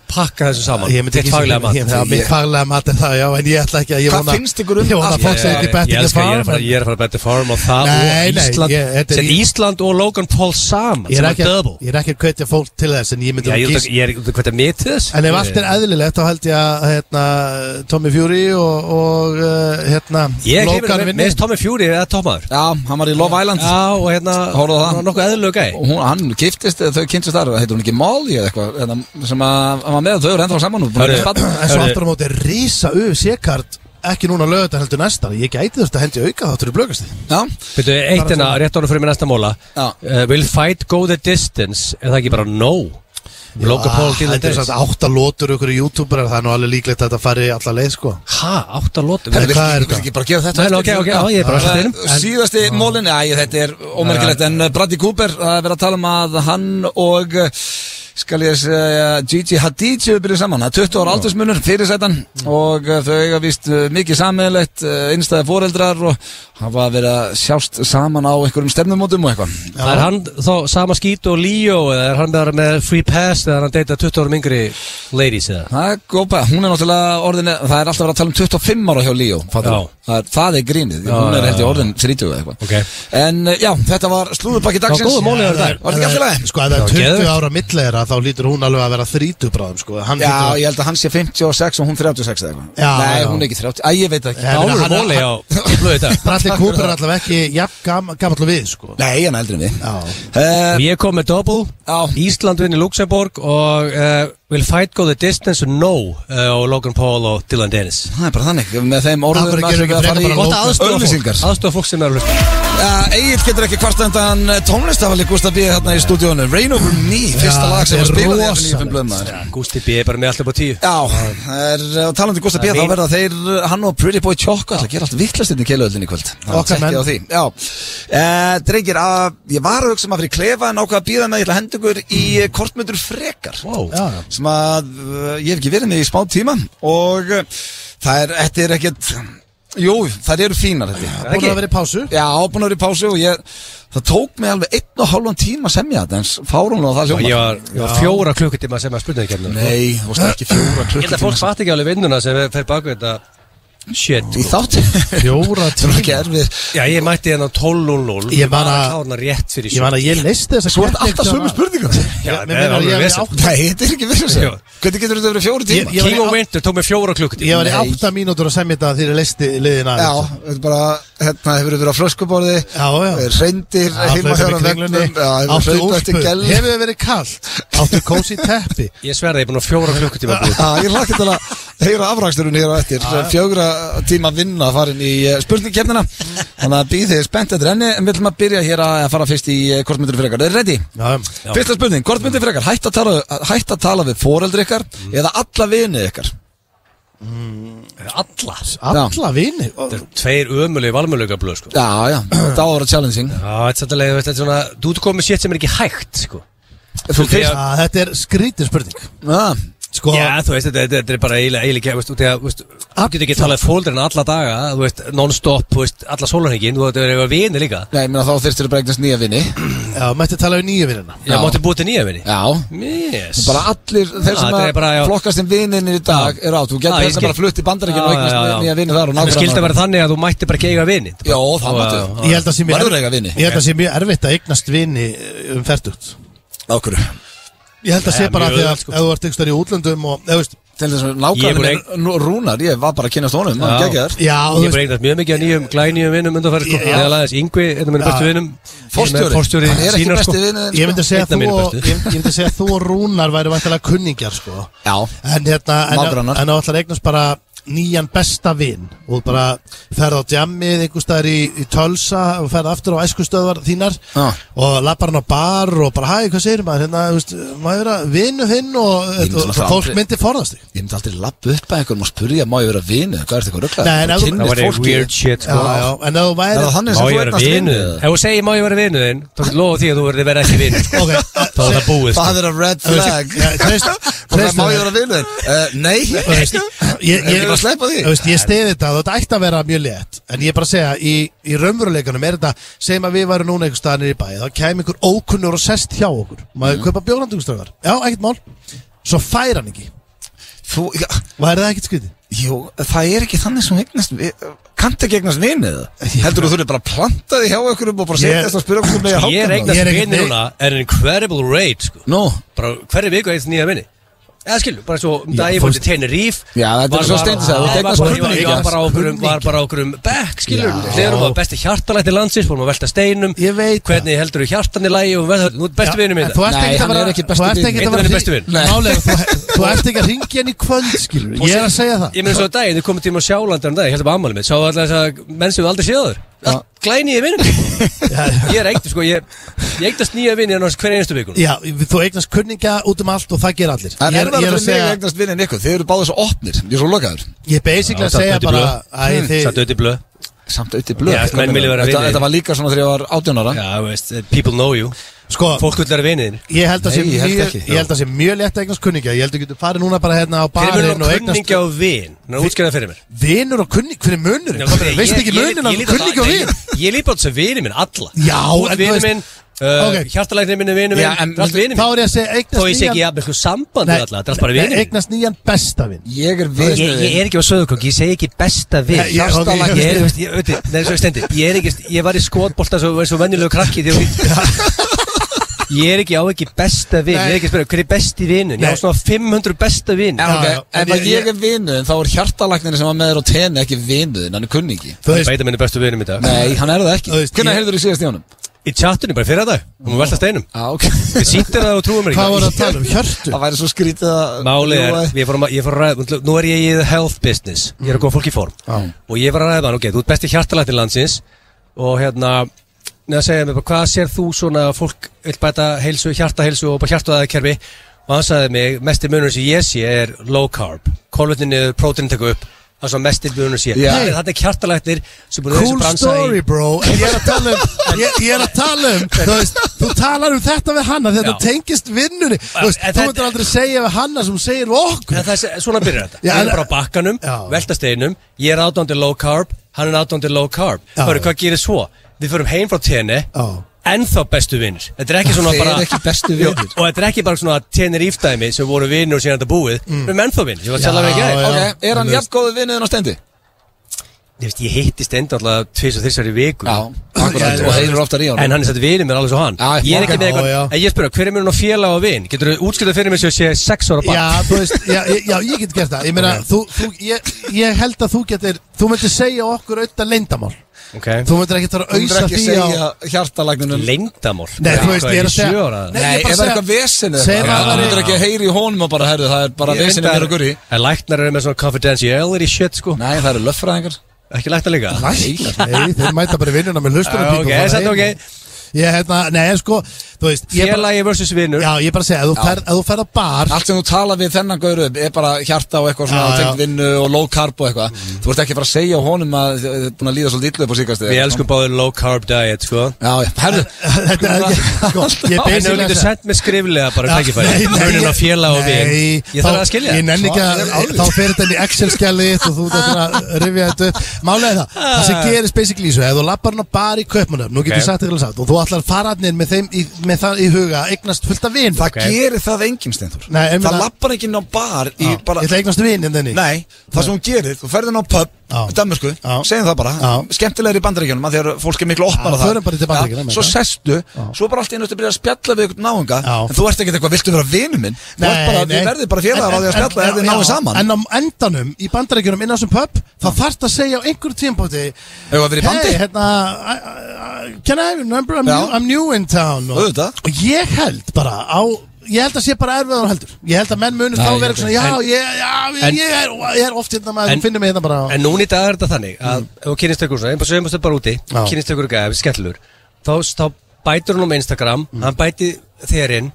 C: pakka þessu saman
B: Ég myndi
C: Þitt
B: ekki
C: faglega mat
B: Já, mitt faglega mat er það, já, en ég ætla ekki að ég
A: Hvað
B: vona-
A: finnst ykkur um
B: Ég vona
A: allt?
B: að fólk sé ekki
C: Ég-
B: betting
C: ég
B: the
C: elska, ég er að
B: farm
C: fara-
B: en-
C: Ég er að fara að betting farm og það
B: Nei, nei,
C: og Ísland
B: ég- þetta er
C: Sett
B: í-
C: Ísland og Logan Paul saman
B: Ég
C: sem
B: er
C: er
B: ekki, að,
C: double
B: ég er ekki að kveitja fólk til þess en ég myndi
C: Já,
B: að
C: ég
B: gís
C: er út að hvað er mitt þess
B: En ef allt er eðlilegt þá held ég að hérna, Tommy Fury og, og uh, hérna,
C: Ég
B: Logan
C: kemur
B: vinni
C: með Tommy Fury eða Tomaður
A: Já, hann var í Love Island
C: Já, og hérna
A: Horfðu á það.
C: hann var Nokkuð eðlög gæði
A: og hún, hann giftist, þau kynntist þar heitir hún ekki Molly eða eitthvað hérna, sem að hann var með þau eru ennþá saman og búin að
C: Hörru,
A: spanna
B: En svo aftur á móti rísa UFC-kart ekki núna lögut að heldur næsta Ég gæti þurft að hendi auka þáttur í blökast
A: Já,
C: Veitu, eitt hérna, rétt ára fyrir mér næsta móla
A: Já.
C: uh, Will fight go the distance Er það ekki bara no? Logan Paul til
B: Þetta er satt átta lótur ykkur youtuberar það er nú alveg líklegt að þetta fari alla leið sko
C: Ha, átta lótum
B: Herri,
A: Þetta
B: hvað er
A: er
B: þetta?
A: ekki bara að gera þetta
C: Nei, ok, ok, já, ég er bara að setja inn.
A: En- Síðasti mólin, já, þetta er ómerkilegt En uh, Bradley Cooper, það er verið að tala um að hann og uh, skal ég segja Gigi Hadid séu byrjuð saman, það er 20 ára aldursmunur fyrir sætan og uh, þau eiga vist mikið sammeðlegt, einstæði foreldrar og hafa verið að sjást saman á einhverjum stefnumótum og eitthvað
C: Það er hann þá sama skít og Leo eða er hann bara með free pass eða er hann deyta 20 árum yngri ladies eða
A: Það er gópa, hún er náttúrulega orðin það er alltaf verið að tala um 25 ára hjá Líó
C: Já.
A: það, er- það er grínið, hún er held ég orðin 30 eða eitthvað
C: Ok.
A: En uh, já, þetta var slúðurbakki dagsins
C: góður móli hjá þér.
A: Var þetta ekki alltaf
B: Sko, ef það
C: Já,
B: er 20
C: geðveikt.
B: ára millera þá lítur hún alveg að vera 30 bráðum sko Hann
A: Já,
B: hlýtur að-
A: ég held að hann sé 56 og hún 36 eða eitthvað
B: Já,
A: Nei,
B: já.
A: hún er ekki 30, æ, ég veit það
B: Já.
A: ekki
B: En
C: Álur
B: hann-
C: móli
A: (laughs)
C: á blöðu þetta
B: Bradley Cooper er allavega ekki jafn gamall og við sko
A: Nei, hann er eldri en við
B: Já.
A: uh,
C: Ég kom með double
A: Já.
C: Ísland vinni Luxemburg og uh, will fight go the distance og no uh, og Logan Paul og Dylan Dennis
A: Það er bara þannig, með þeim
B: Af
A: orðum
B: hverju gerum við ekki frekar bara
A: Gott
B: Logan?
A: aðstofa fólk
C: fólk Aðstofa fólk sem er að hlusta
A: Egil Eh, getur ekki kvartöndan tónlistafali Gustaf B. hérna í stúdíónu Rain Over Me, fyrsta
B: Já,
A: lag sem var
B: þetta er
A: spilað í FN
B: rosalegt.
A: blöðmaður
C: Gusti B er bara með alltaf á tíu
A: Já, það er, og talandi um Gustaf B,
C: Það er
A: þá
C: mín-
A: verða þeir, eh, hann og Pretty Boy Choco ætla að gera allt vittlast inn í keiluöldinni í kvöld Það
B: Okkar
A: tekki
B: menn.
A: á því. Já, e, drengir, að, ég var að hugsa maður fyrir klefa en ákvað að býða með, ég ætla að henda ykkur í eh, kortmyndur frekar
C: Wow.
B: Já, já.
A: sem að eh, ég hef ekki verið með í smá tíma og eh, það er, þetta er ekkert, jú, það eru fínar þetta
B: Búin að vera í pásu
A: Já, búin að vera í pásu og ég, það tók mig alveg einn og hálfan tíma að semja þetta, en fárumlega það
C: Og Ég
A: hljóma
C: var, ég var fjóra klukkutíma sem að spurninga kemna
A: Nei, þú veist ekki fjóra
C: Ég held að
A: klukkutíma
C: fólk fatt ekki alveg vinnuna sem fer baku þetta Shit sko.
A: Í þátt
B: Fjóra
A: Það er ekki erfið
C: Já, ég mætti hérna 12.00
B: Ég man
C: var
B: að-
C: að klána rétt fyrir
B: Ég man að ég leisti þess að
A: Svo er þetta alltaf sömu spurningar
C: Já,
B: Mér
C: það er
B: minnir að
C: alveg
B: ég
C: vesen.
B: hef átt
A: Nei, þetta er ekki verið
C: Já.
A: sér Hvernig getur þetta verið fjóri tíma?
B: Ég-
C: King
B: var í
C: of
B: á-
C: Winter tók mig fjóra klukkutíma
B: Ég var í
A: Nei.
B: átta mínútur að semja þetta þegar ég leisti liðina
A: Já, þetta er bara, hérna, hefur verið á flöskuborði
B: Já, já.
A: Reyndir, heima hjá hann
B: vegnum
A: vegnum hérna Já, hefur
B: Áttu
A: hlauta eftir
B: úlpu,
A: gæl
B: hefur þið verið kallt Áttu kósi teppi
A: Ah,
C: Ég sverði, ég er búin að fjóra klukkutíma búið
A: Já, ég hlakka til að heyra afraksturinn hér á eftir fjögra tíma vinna farin í spurningkefnina þannig að býð þið spennt eftir henni en við ætlum að byrja hér að fara fyrst í eh, hvort myndir frekar, er ready?
B: Já,
A: Fyrsta spurning, hvort myndir frekar hætt að tala, hætt að tala við foreldri ykkar eða alla vinið ykkar? ah.
C: Alla
B: alla vini
C: Þetta er tveir ömulegi valmulegi blöð sko.
A: Já, já, (clears throat) það var challenging
C: Já, þetta er sannlega, þú veist, þetta er svona Þú ert komið shit sem er ekki hægt sko.
A: Þú
C: Þegar-
A: fyrst
B: Já, Þetta er skrítið spurning
A: Já,
B: Sko,
C: Já, þú veist, þetta, þetta er bara eiginlega eiginlega, veist, út í að, veist, þú getur ekki talað fólderinn alla daga, þú veist, non-stop, þú veist, alla sólarhengin, þú veist, þetta er eitthvað vini líka.
A: Nei, ég meina þá þyrstir bara eignast nýja vini
B: já, mætti tala við nýju vinina
C: Já,
A: Já.
C: mátti búið til nýja vini.
A: Já,
C: Yes.
A: bara allir þeir sem
C: þetta er
A: að
C: bara, já.
A: flokkast sem vininir í dag eru átt, þú
C: Já,
A: getur
C: Ah, ég
A: þess að
C: skil.
A: bara flutt í bandaríkinu og
C: Já, já, já.
A: eignast nýja vini þar og
C: Það skildi að
A: nákvæmlega
C: vera þannig að þú mætti bara ekki eiga vini.
A: Jó, það máttu
C: Já,
B: Ég held að sé mjög
A: Verður eiga vini?
B: Ég held að sé mjög erfitt að eignast vini um færtugt
A: Ákvörðu
B: Ég held að
C: Nei,
B: sé bara
C: mjög
B: því
C: auðvelt,
B: að
C: sko.
B: ef þú ert einhverstað í útlöndum og, eða, veist,
A: Til þess að
C: Ég er búin
A: nákvæmlega minn Rúnar, ég var bara að kynast honum, hann
C: Já.
A: geggjaður
B: Já, þú
C: Ég
B: veist,
C: bara eignast mjög mikið að nýjum, glænýjum vinnum undanfæri, sko.
B: Já.
C: Þegar aðeins Yngvi, einn af minni bestu vinnum.
A: Forstjóri,
C: Forstjóri
A: hann er ekki
C: sínar,
A: besti
C: sko.
A: vinið
B: ég myndi að segja
C: Einn af
B: þú
C: mínum
B: og,
C: bestu.
B: ég, ég myndi að segja að þú og Rúnar væri vantilega kunningjar sko.
A: Já,
B: en hérna en, en,
A: Nágrannar.
B: en þú ætlar að eignast bara nýjan besta vin og bara ferð á djammið einhverstaðar í, í tölsa og ferð aftur á æskustöðvar þínar
A: Já.
B: og lappar hann á bar og bara hæ, hvað segir maður hérna, þú veist, maður vera vinu þinn og,
A: Ég myndi
B: og,
A: náttúrulega
B: fólk
A: aldrei-
B: myndi forðast þig
A: ég myndi aldrei lappa upp að einhverjum og spurja Má ég vera vinið, hvað er þetta eitthvað
B: Nei, en
A: rugglega?
B: ef þú-
C: Það
A: Kynnist
C: var eitthvað
A: fólki
C: weird
B: já,
C: shit, sko.
B: já, en ef þú
A: Er
B: væri
A: það þannig
C: Má
A: sem
C: ég
A: þú
C: vera
A: eignast
C: vinnu
A: vinið?
C: þinn? Ef þú segir má ég vera vinnu þinn, þá getur lofa því að þú verður verið ekki vinnu.
B: Ok,
C: Þá er það búið, sko.
A: Það er að red flag
B: Já,
A: (laughs)
B: treyst-
A: Og það
B: treyst-
A: Má ég vera vinið? Eh, Nei, (laughs)
B: veist, ég,
A: Erum við að sleppa því?
B: Þú veist, ég stiði þetta, þetta ætti að vera mjög létt En ég er bara að segja, í, í raunveruleikanum er þetta Segjum að við varum núna einhvers staðanir í bæ Þá kæmi einhver ókunnur og sest hjá okkur
A: Mhm.
B: Maður mm. kaupa bjóranduguströðar Já, ekkert mál Svo fær hann ekki
A: þú, já,
B: Var það ekkert skrítið?
A: Jú, það er ekki þannig sem eignast Kanntu ekki eignast vinið Heldur þú þurfið bara að planta því hjá ykkur og bara setja
B: Ég-
A: þess að spyrja okkur með
C: Ég er
B: Ég er
C: eignast
B: ekkert
C: vinnu
B: nei-
C: núna, er an incredible rate, sko.
A: Nú,
C: bara hverju viku eitt nýja vinni eða skilju, bara svo um dag ég fór til Tenerife
A: Já, þetta er
C: var-
A: svo
C: var-
A: Steindi sagði,
C: var-
A: þetta er
C: var-
A: svo
C: var-
B: kunningja.
C: var bara á okkurum var bara á okkurum bekk, skilju hliðum á besti hjartalætti landsins, fórum að velta steinum
B: Ég veit það.
C: hvernig heldur þú hjartan í lagi og verður- nú er besti vinnu
B: En
C: minn
B: Þú ert
A: Nei,
B: ekki
A: hann
B: að vera
A: er ekki besti
B: þú ert
A: vinur.
B: ekki að
C: Einn
B: vera
C: er
B: hring-
C: besti vinur.
A: Nei.
B: Málega, þú, þú ert ekki að ringja henni í kvöld skilur Ég er að segja það
C: ég minn svo að daginn, þau komum tíma á sjálandi um dag ég held að bara ammálið mitt, sá alltaf þess að menn sem við aldrei séður
A: Já.
C: glæni ég vinnum
B: (laughs)
C: ég er eitt, sko, ég ég eignast nýja vinni annars hver einustu vikun
B: Já, þú eignast kunningja út um allt og það ger allir
A: en
B: Ég
A: er það
B: ég
A: fyrir mig að eignast vinið ykkur Þið eru báðið svo opnir, ég er svo lokaður
B: Ég er basically
C: Já,
B: að
C: samt
B: segja
C: þetta í
B: bara
C: blöð.
B: Æ,
C: Hmm,
B: þið
C: satt auðvitað blöð
A: Samt auðvitað blöð
C: Já,
A: Hvað
C: menn
A: meinar
C: vilja
A: þú?
C: vera
A: þetta,
C: vinir.
A: þetta var líka svona þegar ég var 18 ára
C: Já, þú veist, people know you
B: Sko,
C: fólk vil vera vinniðin
B: Ég held að sé
A: Nei, ég held
B: mjög-
A: ekki.
B: ég held að sé mjög létt að eignast kunningja Ég held að þú getur farið núna bara hérna á
C: Hver er
B: barinn og
C: munur á
B: eignast
C: kunningja og vin? Ná, útskjæða fyrir mér
B: Vinur og kunning, hver er munurinn?
C: Nei,
B: Þú
C: ég-
B: veist
C: ég-
B: ekki
C: ég-
B: munurinn
C: ég
B: af
C: lít á það-
B: kunningi og
C: nei,
B: vin
C: Ég ég lít á þetta sem vinið minn, alla
B: Já,
C: Þú
B: en
C: ert
B: þú
C: vinið
B: veist-
C: minn,
B: Ok.
C: uh, hjartalæknir minn er vinið
A: Já,
C: minn
A: en-
C: Það er allt vinið
B: Þá er
C: minn
B: ég að segja
C: Þó ég
B: eignast
C: sé ekki
B: nýjan
C: jafnvel eitthvað samband
B: Nei,
C: við alla, það er allt bara
B: nei,
C: vinið minn
B: Eignast nýjan besta vin
A: Ég er
C: Ég,
A: vinið
C: ég er ekki á söðukokk, ég segi ekki besta vin
B: Nei, ég- ok, ég-
C: Hjartalæknir- Ég er, veist, ég, veit, nei, svo ég stendi Ég er ekki, ég var í skotbolta svo, svo venjulegu krakki þegar
B: (laughs)
C: við- Ég er ekki á ekki besta vin Ég er ekki að spyrja, hver er besti vinun? Ég á
B: Nei.
C: svona 500 besta vin
A: Já, ok,
B: Já, já,
A: ef
B: en
A: að
B: ég-
A: ég er vinuðin þá er hjartalæknirinn sem var með þér á tenni ekki vinuðin, hann er kunningi
B: Þú veist,
C: Beita minni bestu vinum í dag
A: Nei, hann er það ekki
B: Þú veist,
A: Hvernig
B: ég-
A: heyrður þú síðast í honum?
C: Í chatinu bara fyrir dag, hún var velta steinum
A: Já, (laughs) ok
C: Við sýndir það og trúum mér ekki
B: hvað voru að tala um? Hjörtu?
A: Það væri svo skrítið að
C: Málið
A: Jú,
C: er,
A: að-
C: ég fór, að, ma- ég fór að ræða, nú er ég í the health business, ég er að koma fólki í form
B: Já.
C: og ég var að ræða hann, ok, þú ert besti hjartalættin landsins og hérna, neða að segja mér bara, hvað sér þú svona að fólk vil bæta heilsu, hjartaheilsu og bara hjartaðaðkerfi og hann sagði mig, mestir munur sem ég sé er low carb, kólvetni niður, prótein tekur upp, það er svona mestir munur sem ég
A: Já.
C: yeah. þetta er hjartalættir sem búin að
B: Cool story bro Ég er að tala um Ég, ég er að tala um Þú veist Þú talar um þetta við hanna Þetta
C: Já.
B: tengist vinnunni Þú veist Þú
C: en þetta-
B: myndir aldrei segja við hanna Sem segir við okkur
C: En það er svona byrjar þetta
B: Já,
C: Ég
B: en-
C: er bara á bakkanum,
B: Já.
C: veltasteinum Ég er aðdóndi low carb, hann er aðdóndi low carb
B: Já.
C: Hörru, hvað gerir svo? Við förum heim frá tenni
B: Já.
C: Ennþá bestu vinnir Þetta er ekki svona
A: Þeir
C: bara
A: eru ekki bestu
C: Jú,
A: vinir.
C: Og þetta er ekki bara svona tenir íftæmi sem voru vinnir og síðan þetta búið Við erum ennþá vinnir, ég var að tala við ekki
B: Mm. Já, já.
C: aðeins
A: eh. Ok, er hann jafn góðu vinuðin á stendi?
C: Ég veist, ég hittist enda alltaf tvis og þessari viku
A: Já, akkurat,
B: já,
A: og
B: já.
A: heyrir oftar í honum
C: En hann er satt vinnir mér alveg svo hann
A: Já,
C: Ég er
A: ok.
C: ekki með eitthvað
B: Já, já.
C: En ég spyrir, hver er mér nú félag og vinn? Getur þú útskiptað fyrir mér sem sé 6 ára barn?
B: Já, þú veist, já, ég- já, ég get gert það Ég meina, þú, þú, ég, ég held að þú getur Þú myndir segja okkur auðvitað leyndamál
C: Ok
B: Þú myndir ekki þarf
A: Þú
B: að
A: myndir
B: auðsa
A: ekki
B: því á
A: segja hjartalagnunum
C: Leyndamál
B: Nei, þú veist, ég er að segja-
A: Nei,
B: Nei,
A: Nei ef það
B: ég bara
A: er
B: segja-
A: eitthvað vesin
B: segja
A: eða Það
B: það að-
A: myndir ekki að heyri í honum og bara herðu Það er bara vesin eða guri
C: En læknar eru með svona confidentiality shit sko
A: Nei, það eru löffræðingar
C: Ekki læknar líka
B: Læknar, nei, þeir mæta bara í vinnuna með
A: Ah,
C: Já,
B: hlustunum
C: ok, þetta er ok.
B: Ég, hérna, nei, en sko, þú veist ég bara,
C: Félagi versus vinnur
B: Já, ég bara segja, ef þú ferð- ef þú ferð á bar
A: Allt sem þú tala við þennan gauru er bara hjarta og eitthvað svona
B: Já, Mm. já.
A: tengt vinnu og low carb og eitthvað Þú ert ekki að fara að segja honum að þið þið er búin að líða svolítið illu upp á síkastu
C: Við elskum báðir low carb diet sko
A: Já, já, herðu
B: (laughs) Þetta er ekki, sko, ég
C: En þú
B: basically
C: getur sendt með skriflega bara um tækifæri
B: Nei, nei,
C: Munin á
B: ég-
C: félag og vin
B: Nei,
C: Ég þarf að skilja
B: Ég nenni ekki að, þá fer þetta inn í Excel-skjalið þitt og þú þarf að rifja þetta upp Málega það, það sem gerist basically í þessu Ef þú lappar hann á bar í kaupmanum, nú getur
C: Ah. Ok.
B: okay. sagt ykkur sátt Og þú ætlar að fara hann inn með, þeim, í, með það í huga að Eignast fullt af vin
A: Það
C: Ok.
A: gerir það enginn, Steintur
B: Nei, ég meina-
A: Það lappar ekki inn á bar í
B: Ég
A: bara
B: ætla að eignast vin hérna en þenni
A: Ah. Nei, það sem hún gerir, þú ferðin á pub
B: Já.
A: í Danmörku,
B: Já.
A: segjum það bara
B: Já.
A: skemmtilegri í bandaríkjunum, af því að fólk er miklu opnar
B: Já,
A: á það
B: förum bara til Bandaríkjanna,
A: Já,
B: með
A: Svo
B: það.
A: sestu, svo bara allt í einu ertu að byrja að spjalla við ykkur náunga,
B: Já.
A: en þú ert ekkert eitthvað, viltu vera vinnu minn? Þú ert bara, þið verðið bara félagar á því að spjalla ef þið náðu saman
B: En á endanum, í bandarækjunum innan sem pub þá þarfst að segja á einhverjum tímpóti
A: Hefur það verið í bandi?
B: Hey, hérna, I- I- I- can I have your number? I'm,
A: Já.
B: new, I'm new in town og,
A: Auðvitað.
B: og ég held bara á Ég held að sé bara erfiðar og heldur Ég held að menn munum þá vera
C: ég held
B: eitthvað svona
C: ekki.
B: Já, ég, já,
C: en-
B: ég, er, ég er oft hérna maður
C: en-
B: Finnum mig hérna bara á
C: En núna í dag er þetta þannig að ef þú kynist ykkur svona, einhvern veginn bara úti
B: Já.
C: kynist ykkur gæði, skellur þá, þá bætur hann um Instagram hann bæti þér inn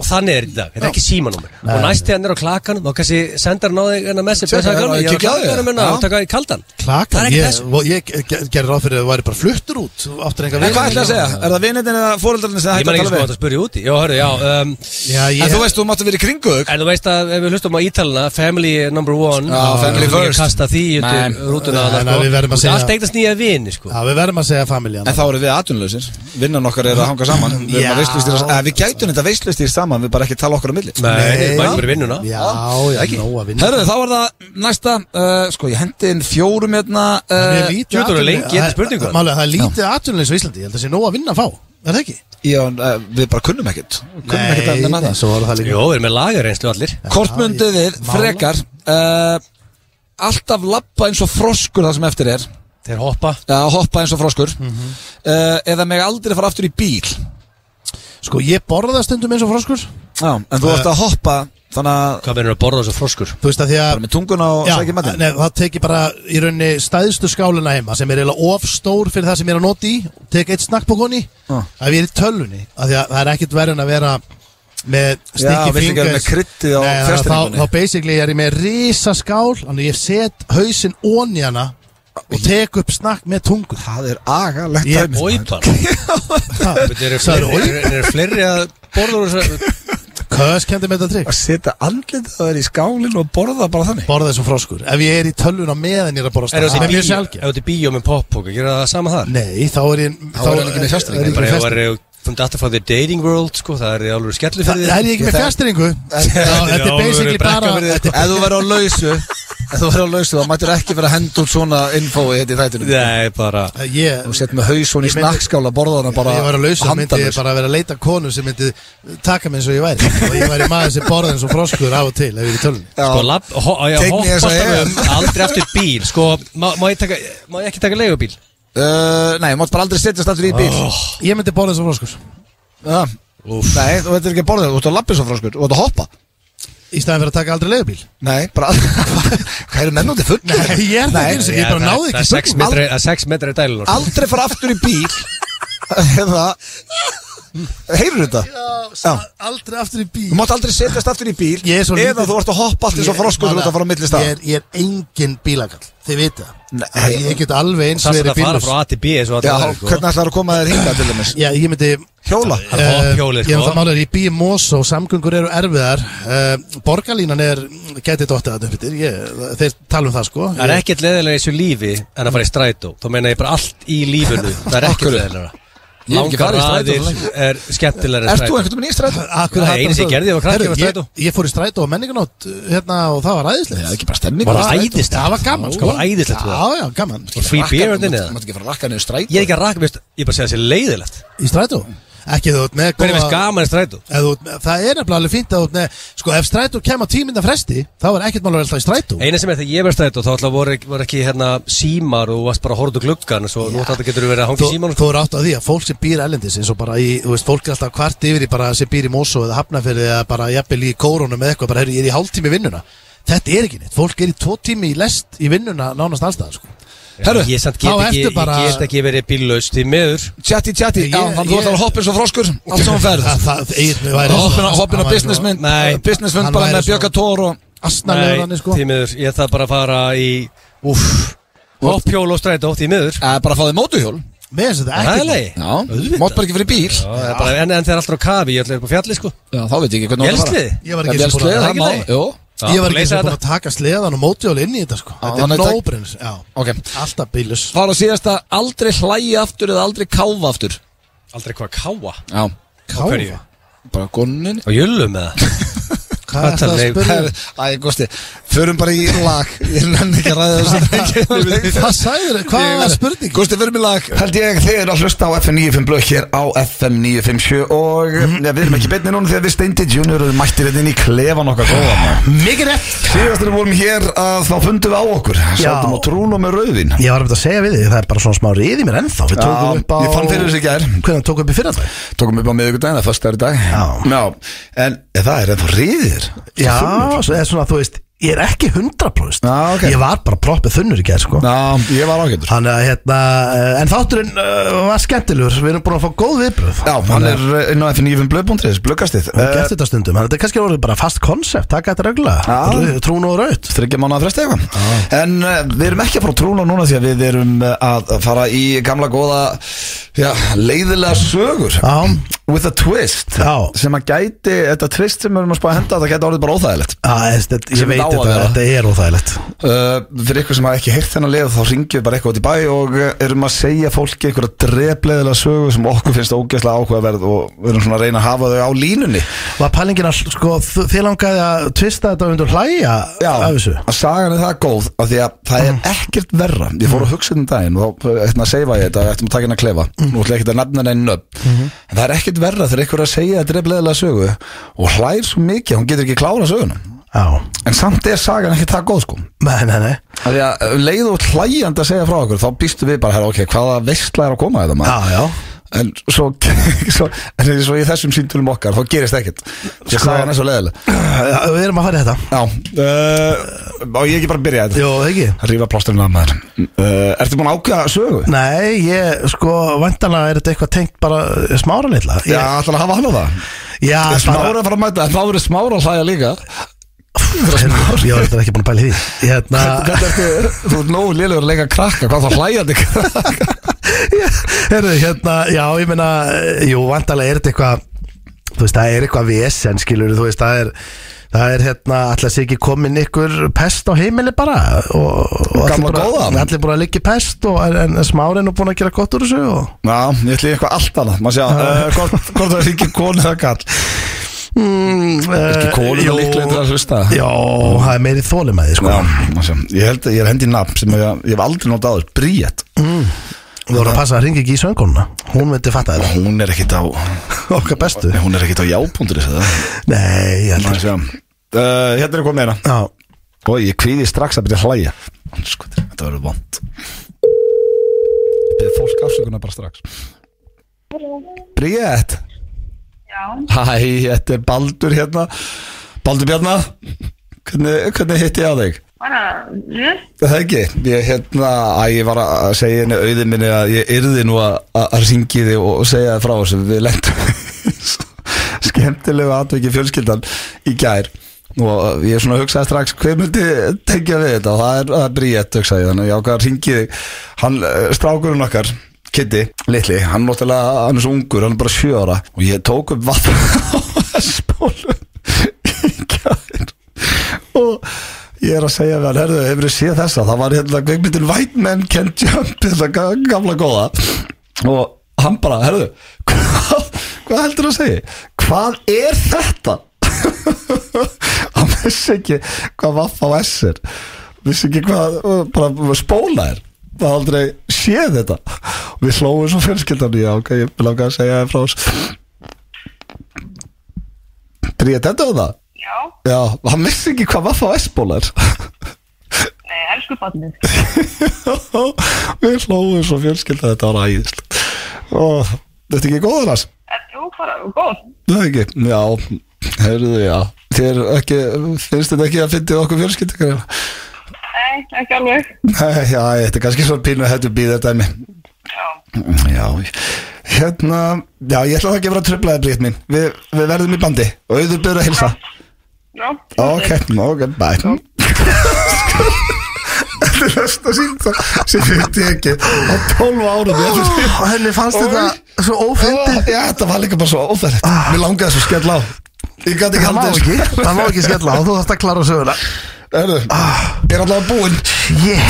C: og þannig er þetta í dag, þetta er ekki símanúmer og næst þegar hann er á klakan, þá kannski sendar hann á þig enna message,
A: Tjekka,
C: þess að
A: já,
C: hann
A: ég
C: ég
A: kíkja
C: er á
A: á þig.
C: klakanum enna
A: Já.
C: og taka í kaldan
B: Klakan,
C: Það er ekki
B: ég,
C: þessu.
B: og ég ger- gerði ráð fyrir að þú væri bara fluttur út þú Áttir enga
A: En
B: vini.
A: hvað ætlaði að segja? Er það vinnindin eða fóreldarinn sem
C: Ég
A: hægt
C: man
A: að
C: ekki sko
A: tala
C: að
A: við?
C: spyrja úti Já, hörru, já um,
B: Já, ég,
A: En þú veist, þú máttu verið í kringu þau
C: En þú veist að ef við hlustum á ítalina Family number one
A: Já,
C: þá
A: family
C: getum við ekki
A: first.
C: Kasta því út
A: Nei.
C: um rútuna
B: Nei, nei,
C: þarna, sko.
B: við verðum að
C: Þú ert
B: segja-
C: Allt eignast nýja vini sko
B: Já, við verðum að segja familjan
A: En þá eru við atvinnlausir, vinnan okkar er að hanga saman Við, erum að
B: Já.
A: veislustýra- eh, við gætum þetta veistlustýr saman, við bara ekki tala okkar á milli
C: Nei, mætum bara í vinnuna
B: Já, já,
A: Ekki?
B: nóg að vinna
A: Herðu, þá er það næsta uh, Sko, ég hendi inn fjórum hérna
B: Það
A: uh,
B: er
C: Jú,
B: lítið
C: þetta voru lengi, þetta er spurning, hvað?
B: Málega, það er lítið atvinnulegs á Íslandi Ég held að sé nóg að vinna að fá Er það ekki?
A: Já, en, uh, við bara kunnum ekkert Kunnum ekkert að nefna
B: nei,
A: það
B: svo var það
C: Jó,
B: líka
C: við erum með lagareynslu allir
A: Hvort mundið þið,
B: Mála.
A: frekar uh, Alltaf lappa eins og froskur það sem eftir er
C: Þeir hoppa
A: Eða hoppa eins og froskur uh, Eða meg aldrei fara aftur í bíl
B: Sko, ég borða stundum eins og froskur
A: Já, en þú
B: Eh.
A: ert að hoppa Þannig að
C: Hvað verður að borða þessu froskur?
B: Þú veist að því
A: bara
B: að
A: með tunguna og
B: Já,
A: sækja matinn
B: nei, það teki bara í rauninni stæðstu skáluna heima sem er eiginlega of stór fyrir það sem ég er að nota í tek eitt snakkbókon í
A: Ah.
B: ef ég er í tölvunni af því að það er ekkit verið en að vera með
A: Já,
B: stikki
A: vilt ekki vera með kryddið á
B: þá,
A: fjarstýringunni.
B: þá basically er ég með risaskál þannig ég set hausinn onni hana og tek upp snakk með
A: (laughs)
B: tungun
A: Það er agalegt
B: Ég-
A: dæmi. sko.
C: Oi
B: (laughs)
C: bara Þeir eru
B: Sagði
C: fleiri- eru- eru fleiri að borða úr þessu
B: Kös kendi með þetta
A: Að
B: trygg
A: setja andlitið það er í skálinn og borða bara þannig
B: Borða þessum froskur Ef ég er í tölvuna meðan ég er að borða
C: Er
B: snakk
C: þetta
B: er
C: í
B: mjög
C: bíó?
B: sjálfgjöf
C: Er þetta í bíó með poppoka? Gera það sama þar?
B: Nei, þá er ég
A: Þá er hann ekki með fjarstýringu.
B: er ég
C: Bara
B: með
C: ef það
B: fjarstýringu.
C: er From data frá the dating world sko Það er í alveg skellu
B: Það
C: fyrir
B: það er ég ekki með
A: Ég-
B: fjastringu
C: Þetta
B: Þetta
C: er
B: er basically
C: alvöru brekka
B: bara
C: fyrir þig,
B: þetta er-
A: Ef þú verður á lausu Ef þú verður á lausu þá mættir ekki vera að henda út svona infói hérna í þættinum
C: Nei, bara
B: Ég
A: Þú sett með haus svona í
B: Ég myndi-
A: snakkskála borðana bara
B: Ég var að lausa, myndi ég
A: handalaus.
B: bara vera að leita konu sem myndi taka mig eins og ég væri og ég væri maður sem borða eins og froskur af og til ef ég er í tölvun
A: Já.
C: Sko, lab, ho, á, já,
A: Take me as
C: hoppast
A: I
C: af
A: am.
C: um aldrei eftir bíl Sko, má, má, ég, taka, má ég ekki taka leigubíl?
A: Uh, Nei, þú mátt bara aldrei setja stættur í bíl
B: Ég myndi borða eins og froskur Ah.
A: Já. Nei, þú veitir ekki að borða það, þú ert að lappa svo froskur Þú ert að hoppa
B: Í staðin fyrir að taka aldrei leiðubíl
A: Nei, bara (laughs) Hvað eru menn út í hérna. full?
B: Nei, ég er það ekki eins og ég bara
C: það-
B: náði
C: það er
B: ekki
C: sex
B: fullum.
C: metri- Það er 6 metri í sko. dælun
A: Aldrei fara aftur í bíl (laughs) Eða Heyrðu þetta? Já.
B: Aldrei aftur í bíl
A: Þú mátt aldrei setjast aftur í bíl
B: Ég er svo
A: Eða
B: lítill-
A: þú ert að hoppa allt eins og
B: Ég-
A: froskur Þú ert að fara á milli stað
B: Ég er, ég er engin bílakall, þið vita
A: Nei.
B: það Ég get alveg eins
C: Það er
B: verið
C: að fara
B: bílus
C: frá A til B eins og allir
A: Já,
C: aðrir, sko.
A: hvernig ætlar að koma þér hinga til dæmis?
B: Já, ég myndi
A: Hjóla
C: Það er
B: Eh,
C: hopphjólið,
B: Ég er
C: sko.
B: það málega, ég bý í Mós og samgöngur eru erfiðar uh, Borgarlínan er, gæti dottið að uppbyttir Þeir tala um það sko
C: Það er ekkert leðilega í þessu lífi en að fara í strætó Þá meina ég bara allt í lífinu
A: (laughs)
C: Það er ekkert
A: Akkurru.
C: leðilega
A: Ég hef ekki farið í
C: Langar
A: strætó
C: aðir
A: svo lengi.
C: er skemmtilega
A: Ert þú einhvern veginn í strætó?
B: Akkur,
C: Það er einu sem ég gerði, ég var krakki, ég var
B: ég,
C: strætó.
B: ég fór í strætó á menninganót uh, hérna, og það var
A: Já,
B: æðislegt
A: ekki bara stemning
C: Var
A: bara
C: það
A: strætó.
C: æðislegt?
B: Það var gaman
C: Það
B: sko
C: var æðislegt, þú
B: Já, já, gaman sko.
C: Free
A: Rakka-
C: beer hérna?
A: þú
C: á
A: mátt-
C: þinni það
A: Þú mátt ekki fara að rakka niður strætó
C: Ég er ekki að raka, veist, ég bara segja þessi leiðilegt
B: Í strætó Ekki þú ert með
C: Hvernig veist gaman er strætó?
B: Ef þú ert með- Það er nefnilega alveg fínt að þú ert með Sko ef strætó kemur á tíminda fresti Þá er ekkert mál að velta í strætó
C: Eina sem er þegar ég verið strætó þá alltaf voru, ekki- voru ekki hérna símar og þú varst bara að horfa út úr gluggan og svo nú þetta getur verið að hanga
B: Þú,
C: í síman
B: þú er átt að því að fólk sem býr erlendis eins og bara í, þú veist, fólk er alltaf kvart yfir í bara sem býr í Mosó eða Hafnafjörði eða bara jafnvel í kórónum eða eitthvað, bara heyrðu, ég er í hálftími í vinnuna. Þetta er ekki neitt, fólk er í tvo tími í lest í vinnuna nánast allstað, sko.
A: Herru,
C: Ég samt
B: þá
C: get ekki,
B: ertu bara-
C: ég get ekki verið bíllaus til miður
A: Tjatti, tjatti,
B: Ég-
A: já, þannig þú
B: ég-
A: ætlar að hoppa eins og froskur Allt sem hún ferð
B: Það, það, það eigin mig væri...
A: Hoppin á- Hoppin á
B: hann væri
A: businessmynd
C: Nei.
A: Businessmynd
B: Hann
A: bara
B: væri
A: með
B: svo-
A: Björka Tór og
B: Asnalegur hann, sko.
C: til miður, ég ætla bara að fara í Úff, hopphjól og strætó til miður
A: Eh, Bara að fá þig mótuhjól
B: Mér finnst þetta
C: Það er
B: ekki.
C: leiði
A: Já, mátt bara ekki fyrir bíl
C: Já, það er bara, en, en þeir eru alltaf á kafi, ég ætla að vera på fjalli sko
A: Já, þá veit ég ekki hvernig á að fara.
C: Jelsliði
B: Ég var ekki
A: Já,
B: eins og búin að-
A: vélslið,
C: það
A: það
C: ekki
A: má,
C: leið?
A: jú
B: Ég var ekki eins og búin að taka sleðan og mótjól inn í þetta, sko. Þetta
A: þannig
B: er
A: að þetta-
B: nóbrins, já.
A: Ok,
B: Alltaf bílus.
A: þá er að síðast að aldrei hlæja aftur eða aldrei káfa aftur
C: Aldrei hvað káa
A: Já,
C: hverju?
B: Káfa.
A: bara gonnin
C: Á jöllum eða
B: Hvað er það að
C: Allavega,
B: spyrja? um?
A: Æ, gósti, förum bara í lag Ég nenni ekki að ræða (laughs) þessu
B: Hvað sagður þau? Hvað var spurning?
A: Gósti, förum í lag
E: Held ég þið eru að hlusta á FM 95 blökk hér á FM 957 og mm. ja, við erum ekki beinni núna þegar við Steindi Junior eru mættir hérna inn í klefan okkar góðan maður.
B: um? Mikið rétt.
E: Síðast þegar við vorum hér að þá fundum við á okkur Sátum á trúnum með rauðin
B: Ég var um að segja við þig, það er bara svona smá rið í mér ennþá Við tókum
E: Já,
B: upp á
E: ég fann fyrir þessu í gær.
B: Hvernig tókum upp í fyrra dag?
E: Tókum upp á miðvikudaginn, það er fyrst í dag
B: Já.
E: En það er ennþá riðir
B: Já, svo eða svona, þú veist, ég er ekki 100%
E: Já, ok.
B: Ég var bara proppið þunnur í gær, sko
E: Já, ég var ágætur
B: Þannig að, hérna, eh, en þátturinn uh, var skemmtilegur Við erum búin að fá góð viðbröð
E: Já, hann er eh, inn á FM 95 blökk.is, blökkastið
B: Við gert þetta stundum, þannig að þetta er kannski orðið bara fast konsept Takk að þetta
E: Já.
B: regla, trún og raut
E: þryggja mánuða fresti eitthvað en uh, við erum ekki að fara að trúna núna því að við erum uh, að fara í gamla góða já, leiðilega sögur
B: Já,
E: with a twist
B: Já.
E: sem að gæti, þetta twist sem við erum að spá að henda það gæti orðið bara óþægilegt
B: Já, þetta, ég
E: Sem
B: veit
E: þetta á að
B: þetta,
E: vera.
B: þetta er óþægilegt
E: uh, fyrir ykkur sem hafa ekki heyrt þennan leið þá ringjum við bara eitthvað út í bæ og uh, erum að segja fólki einhverja drefleiðilega sögur sem okkur finnst ógeðslega áhugaverð og við erum svona að reyna að hafa þau á línunni
B: Var pælingin að, sko, þ- þið langaði að tvista þetta undir hlæja
E: Já,
B: af þessu
E: að sagan er það góð af því að það er ekkert verra ég fór að hugsa um daginn og þá ætlum að segja ég þetta ætlum að taka henni að klefa, nú ætlum ég ekkert að nefna henni nöfn en það er ekkert verra þegar einhver er að segja þetta er bleðilega sögu og hlær svo mikið að hún getur ekki klára söguna
B: Já,
E: en samt er sagan ekki það góð sko
B: nei, nei, nei
E: af því að um leið og hlæjandi að segja frá okkur þá býstu við bara, herra, ok, hvaða veistla er að koma þetta maður
B: Já, já
E: en svo, (laughs) svo, en eins og í þessum síndulum okkar þá gerist ekkert því að
B: Sko-
E: sagan er svo leiðileg
B: Já, Við erum að fara í þetta
E: Já, uh, og ég ekki bara að byrja þetta
B: Jó, ekki
E: að rífa plásturinn af maður uh, Ertu búin að ákveða sögu?
B: Nei, ég, sko, vantanlega er þetta eitthvað tengt bara eh, smára litla
E: Já,
B: Ég-
E: ætlar að hafa hann á það
B: já
E: Smára að fara að mæta, en þá verður smára að hlæja líka
B: Hérna, Ég var þetta ekki búin að pæla í því Hérna
E: Þetta ertu, þú ert nógu lélegur að leika krakka Hvað þá hlæjandi krakka?
B: Herðu, (laughs) hérna, já, ég meina eh, Jú, vantanlega er þetta eitthvað Þú veist, það er eitthvað vesen, skilur Þú veist, það er Það er hérna, allir sé ekki komin ykkur pest á heimili bara og, og
E: Gamla
B: allir bara-
E: góða.
B: Allir búin að liggja í pest og, en, en smárin og búin að gera gott úr þessu og...
E: Já, ég ætli í eitthvað allt annað Má sjá, uh, hvort, hvort það er ekki konu eða kall
B: mm,
E: Ekki konu það líklega til að hlusta
B: Já, það er meiri þólimæði sko
E: Já, má sjá, ég held að ég er hendi í nafn sem ég, ég hef aldrei notað áður, Bríett
B: Þú voru að passa að ringa ekki í söngkonuna Hún myndi fatta þetta
E: Hún er ekkit á
B: Okkar bestu
E: Nei, Hún er ekkit á jábúndur þessu
B: Nei, ég
E: Má
B: heldur
E: sjá, uh, hérna er komið eina
B: Já,
E: Og ég kvíði strax að byrja að hlæja Skotir, þetta verður vond Byrði fólk afsökunar bara strax Bríett
F: Já,
E: Hæ, þetta er Baldur hérna Baldur Bjarna Hvernig, hvernig hitti ég á þig?
F: bara vel.
E: Er Það ekki, ég hérna að ég var að segja henni auðin minni að ég yrði nú að, að- að ringi þig og, og segja þig frá þessu við (laughs) lendum skemmtilegu atveki fjölskyldan í gær og ég svona hugsaði strax hver myndi tengja við þetta og það er, það er bríett hugsaði ég, þannig að ég ákvað að ringi þig hann, eh, strákurinn okkar Kitty, litli, hann náttúrulega hann er svo ungur, hann er bara sjö ára og ég tók upp vatn (laughs) á spólu í gær og ég er að segja við hann, herðu, hefur þið séð þessa það var hérna kveikmyndin White Men Can Jump (laughs) þetta ga- gamla góða og hann bara, herðu (laughs) hvað, hvað heldur að segja hvað er þetta (laughs) hann vissi ekki hvað vaff á S er vissi ekki hvað, bara spóla er hafði aldrei séð þetta og við hlóðum svo fjölskyldan já, ok, ég langa að segja þér frá þess Dríða þetta á það?
F: já,
E: Já, hann vissi ekki hvað Vaffa S-ból er
F: nei, elsku barnið.
E: (laughs) Við hlóðum svo fjölskyldan þetta var æðislega og þetta er ekki góður hans
F: En Jú, bara góð.
E: Það ekki, já, heyrðu, já Þér ekki, finnst þetta ekki að fyndi okkur fjölskyldan?
F: Nei, ekki alveg.
E: Nei, já, þetta er kannski svona pínu að hættu býða þetta dæmi
F: Já,
E: Já, hérna Já, ég ætla það ekki að vera tröflaði brýtt mín Vi, Við verðum í bandi og auður byrður að hilsa
F: já.
E: Ok, ok, bye (laughs) Þetta er versta sínta sem ég teki á 12 ára
B: Og henni fannst þetta svo ófyndið
E: Já, þetta var líka bara svo óþærlegt Mér langaði svo skell á Ég gæti ekki
B: Það má
E: haldið
B: ekki, það má ekki skella á, þú þarfst að klara söguna
E: Erðu, ég er allavega búinn
B: Yeah,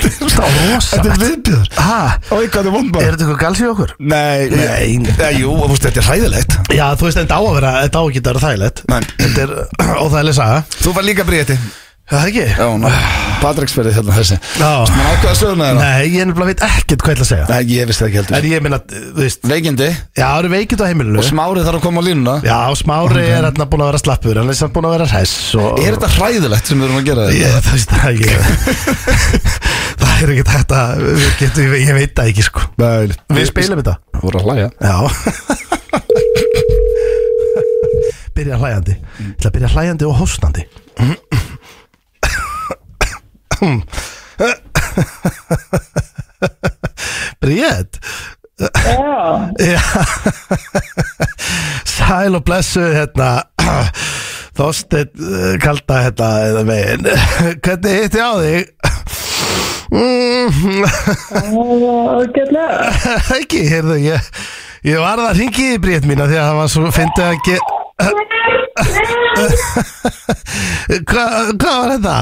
B: þetta var rosa
E: Þetta er viðbjöður
B: Ha,
E: Og ég gæti vond
B: er
E: bara
B: þetta eitthvað gals í okkur?
E: Nei, nei,
B: Nei.
E: nei Jú, þú veist, þetta er hræðilegt
B: Já, þú veist, þetta á að vera, þetta á ekki að vera þægilegt
E: Nei.
B: Þetta er (clears throat) óþægileg saga
E: Þú var líka bríði
B: Það er ekki?
E: Já, ná, Patricksferði hérna þessi
B: Já
E: Man ákveða söguna þeirra
B: Nei, ég nefnilega veit ekkert hvað ég ætla að segja
E: Nei, ég vissi það ekki heldur
B: En ég meina, þú veist,
E: Veikindi
B: já, það eru veikind á heimilinu
E: og smárið þarf að koma á línuna
B: Já, Smári er hérna búin að vera slappur Hann er samt búin að vera hress og...
E: Er þetta hræðilegt sem við erum að gera þetta?
B: Ég, það, veist, það, ég, (laughs) það er ekkert hægt að við getum, Ég veit það ekki sko
E: Nei,
B: Við spilum þetta
E: Þú voru að hlæja
B: Já (laughs) Byrja hlæjandi Ég ætla að byrja hlæjandi og hósnandi Bríett
F: Já,
B: Já Sæl og blessu hérna Þorsteinn eh, kalda hérna eða megin Hvernig hitti á þig? Mm,
F: ágætlega.
B: Ekki, heyrðu ég Ég var það hringið í brétt mína því að það var svo fyndið að ge... Hva, hvað var þetta?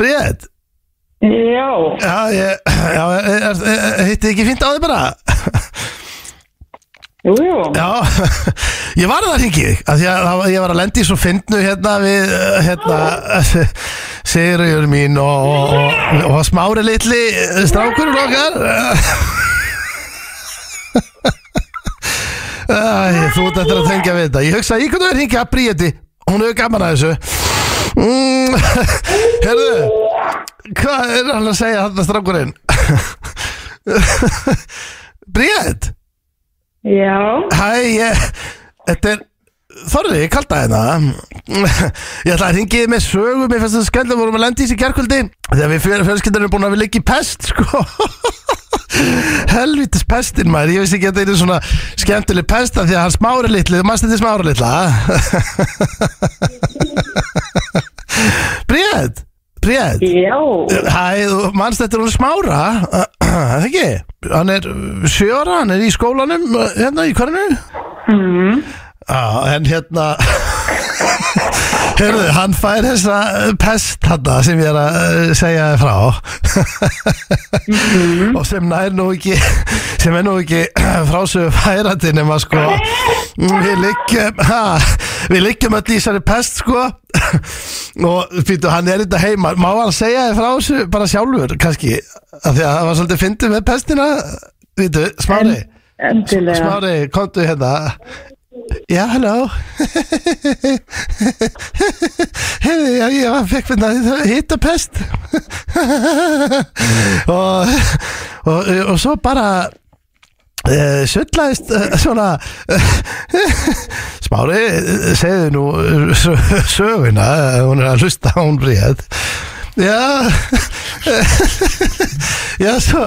B: Brétt?
F: Já,
B: Já, ég, já, er, er, er, hitti ekki fínt á þig bara?
F: jú, jú.
B: Já, (laughs) ég var það hringið að því að það var- ég var að lendi svo fyndnu hérna við eh, hérna (laughs) Sigurður mín og, og, og, og smári litli eh, strákurinn okkar (laughs) Æ, Þú ert eftir að tengja við þetta Ég hugsa að ég kunni að hringja að Bríeti Hún hefur gaman að þessu mm, (laughs) Herðu Hvað er hann að segja hann að strákurinn? (laughs) Bríet
F: Já,
B: Hæ, ég, þetta er Þorri, ég kalda hérna Ég ætla að ringið með sögu Mér finnst það skemmt að vorum að lenda í þessi gærkvöldi Þegar við fyrir fjölskyldunum erum búin að við liggja í pest sko. (laughs) Helvitis pestin maður Ég vissi ekki að þetta er svona skemmtileg pesta Því að hann smári litli, maður stendir smári (laughs) litla Bríð Bríð
F: já,
B: Hæ, þú manst þetta er hún smára (clears throat) Það ekki Hann er sjöra, hann er í skólanum uh, Hérna í hvernu mm. En hérna (laughs) Herðu, hann fær þessa uh, pest þarna sem ég er að uh, segja þér frá og sem nær nú ekki sem er nú ekki (clears throat) frásögu færandi nema sko við liggjum ha, við liggjum öll í þessari pest sko og býtu hann er þetta heima má hann segja þér frá þessu bara sjálfur kannski af því að það var svolítið fyndið með pestina býtu smári
F: endilega.
B: smári komdu hérna já halló hefði já ég var fekk hérna finna hitta pest og, og, og svo bara Uh, Sullaðist uh, svona uh, Smári eh, segðu nú eh, sö- söguna eh, hún er að hlusta á hún bríð Já eh, Já svo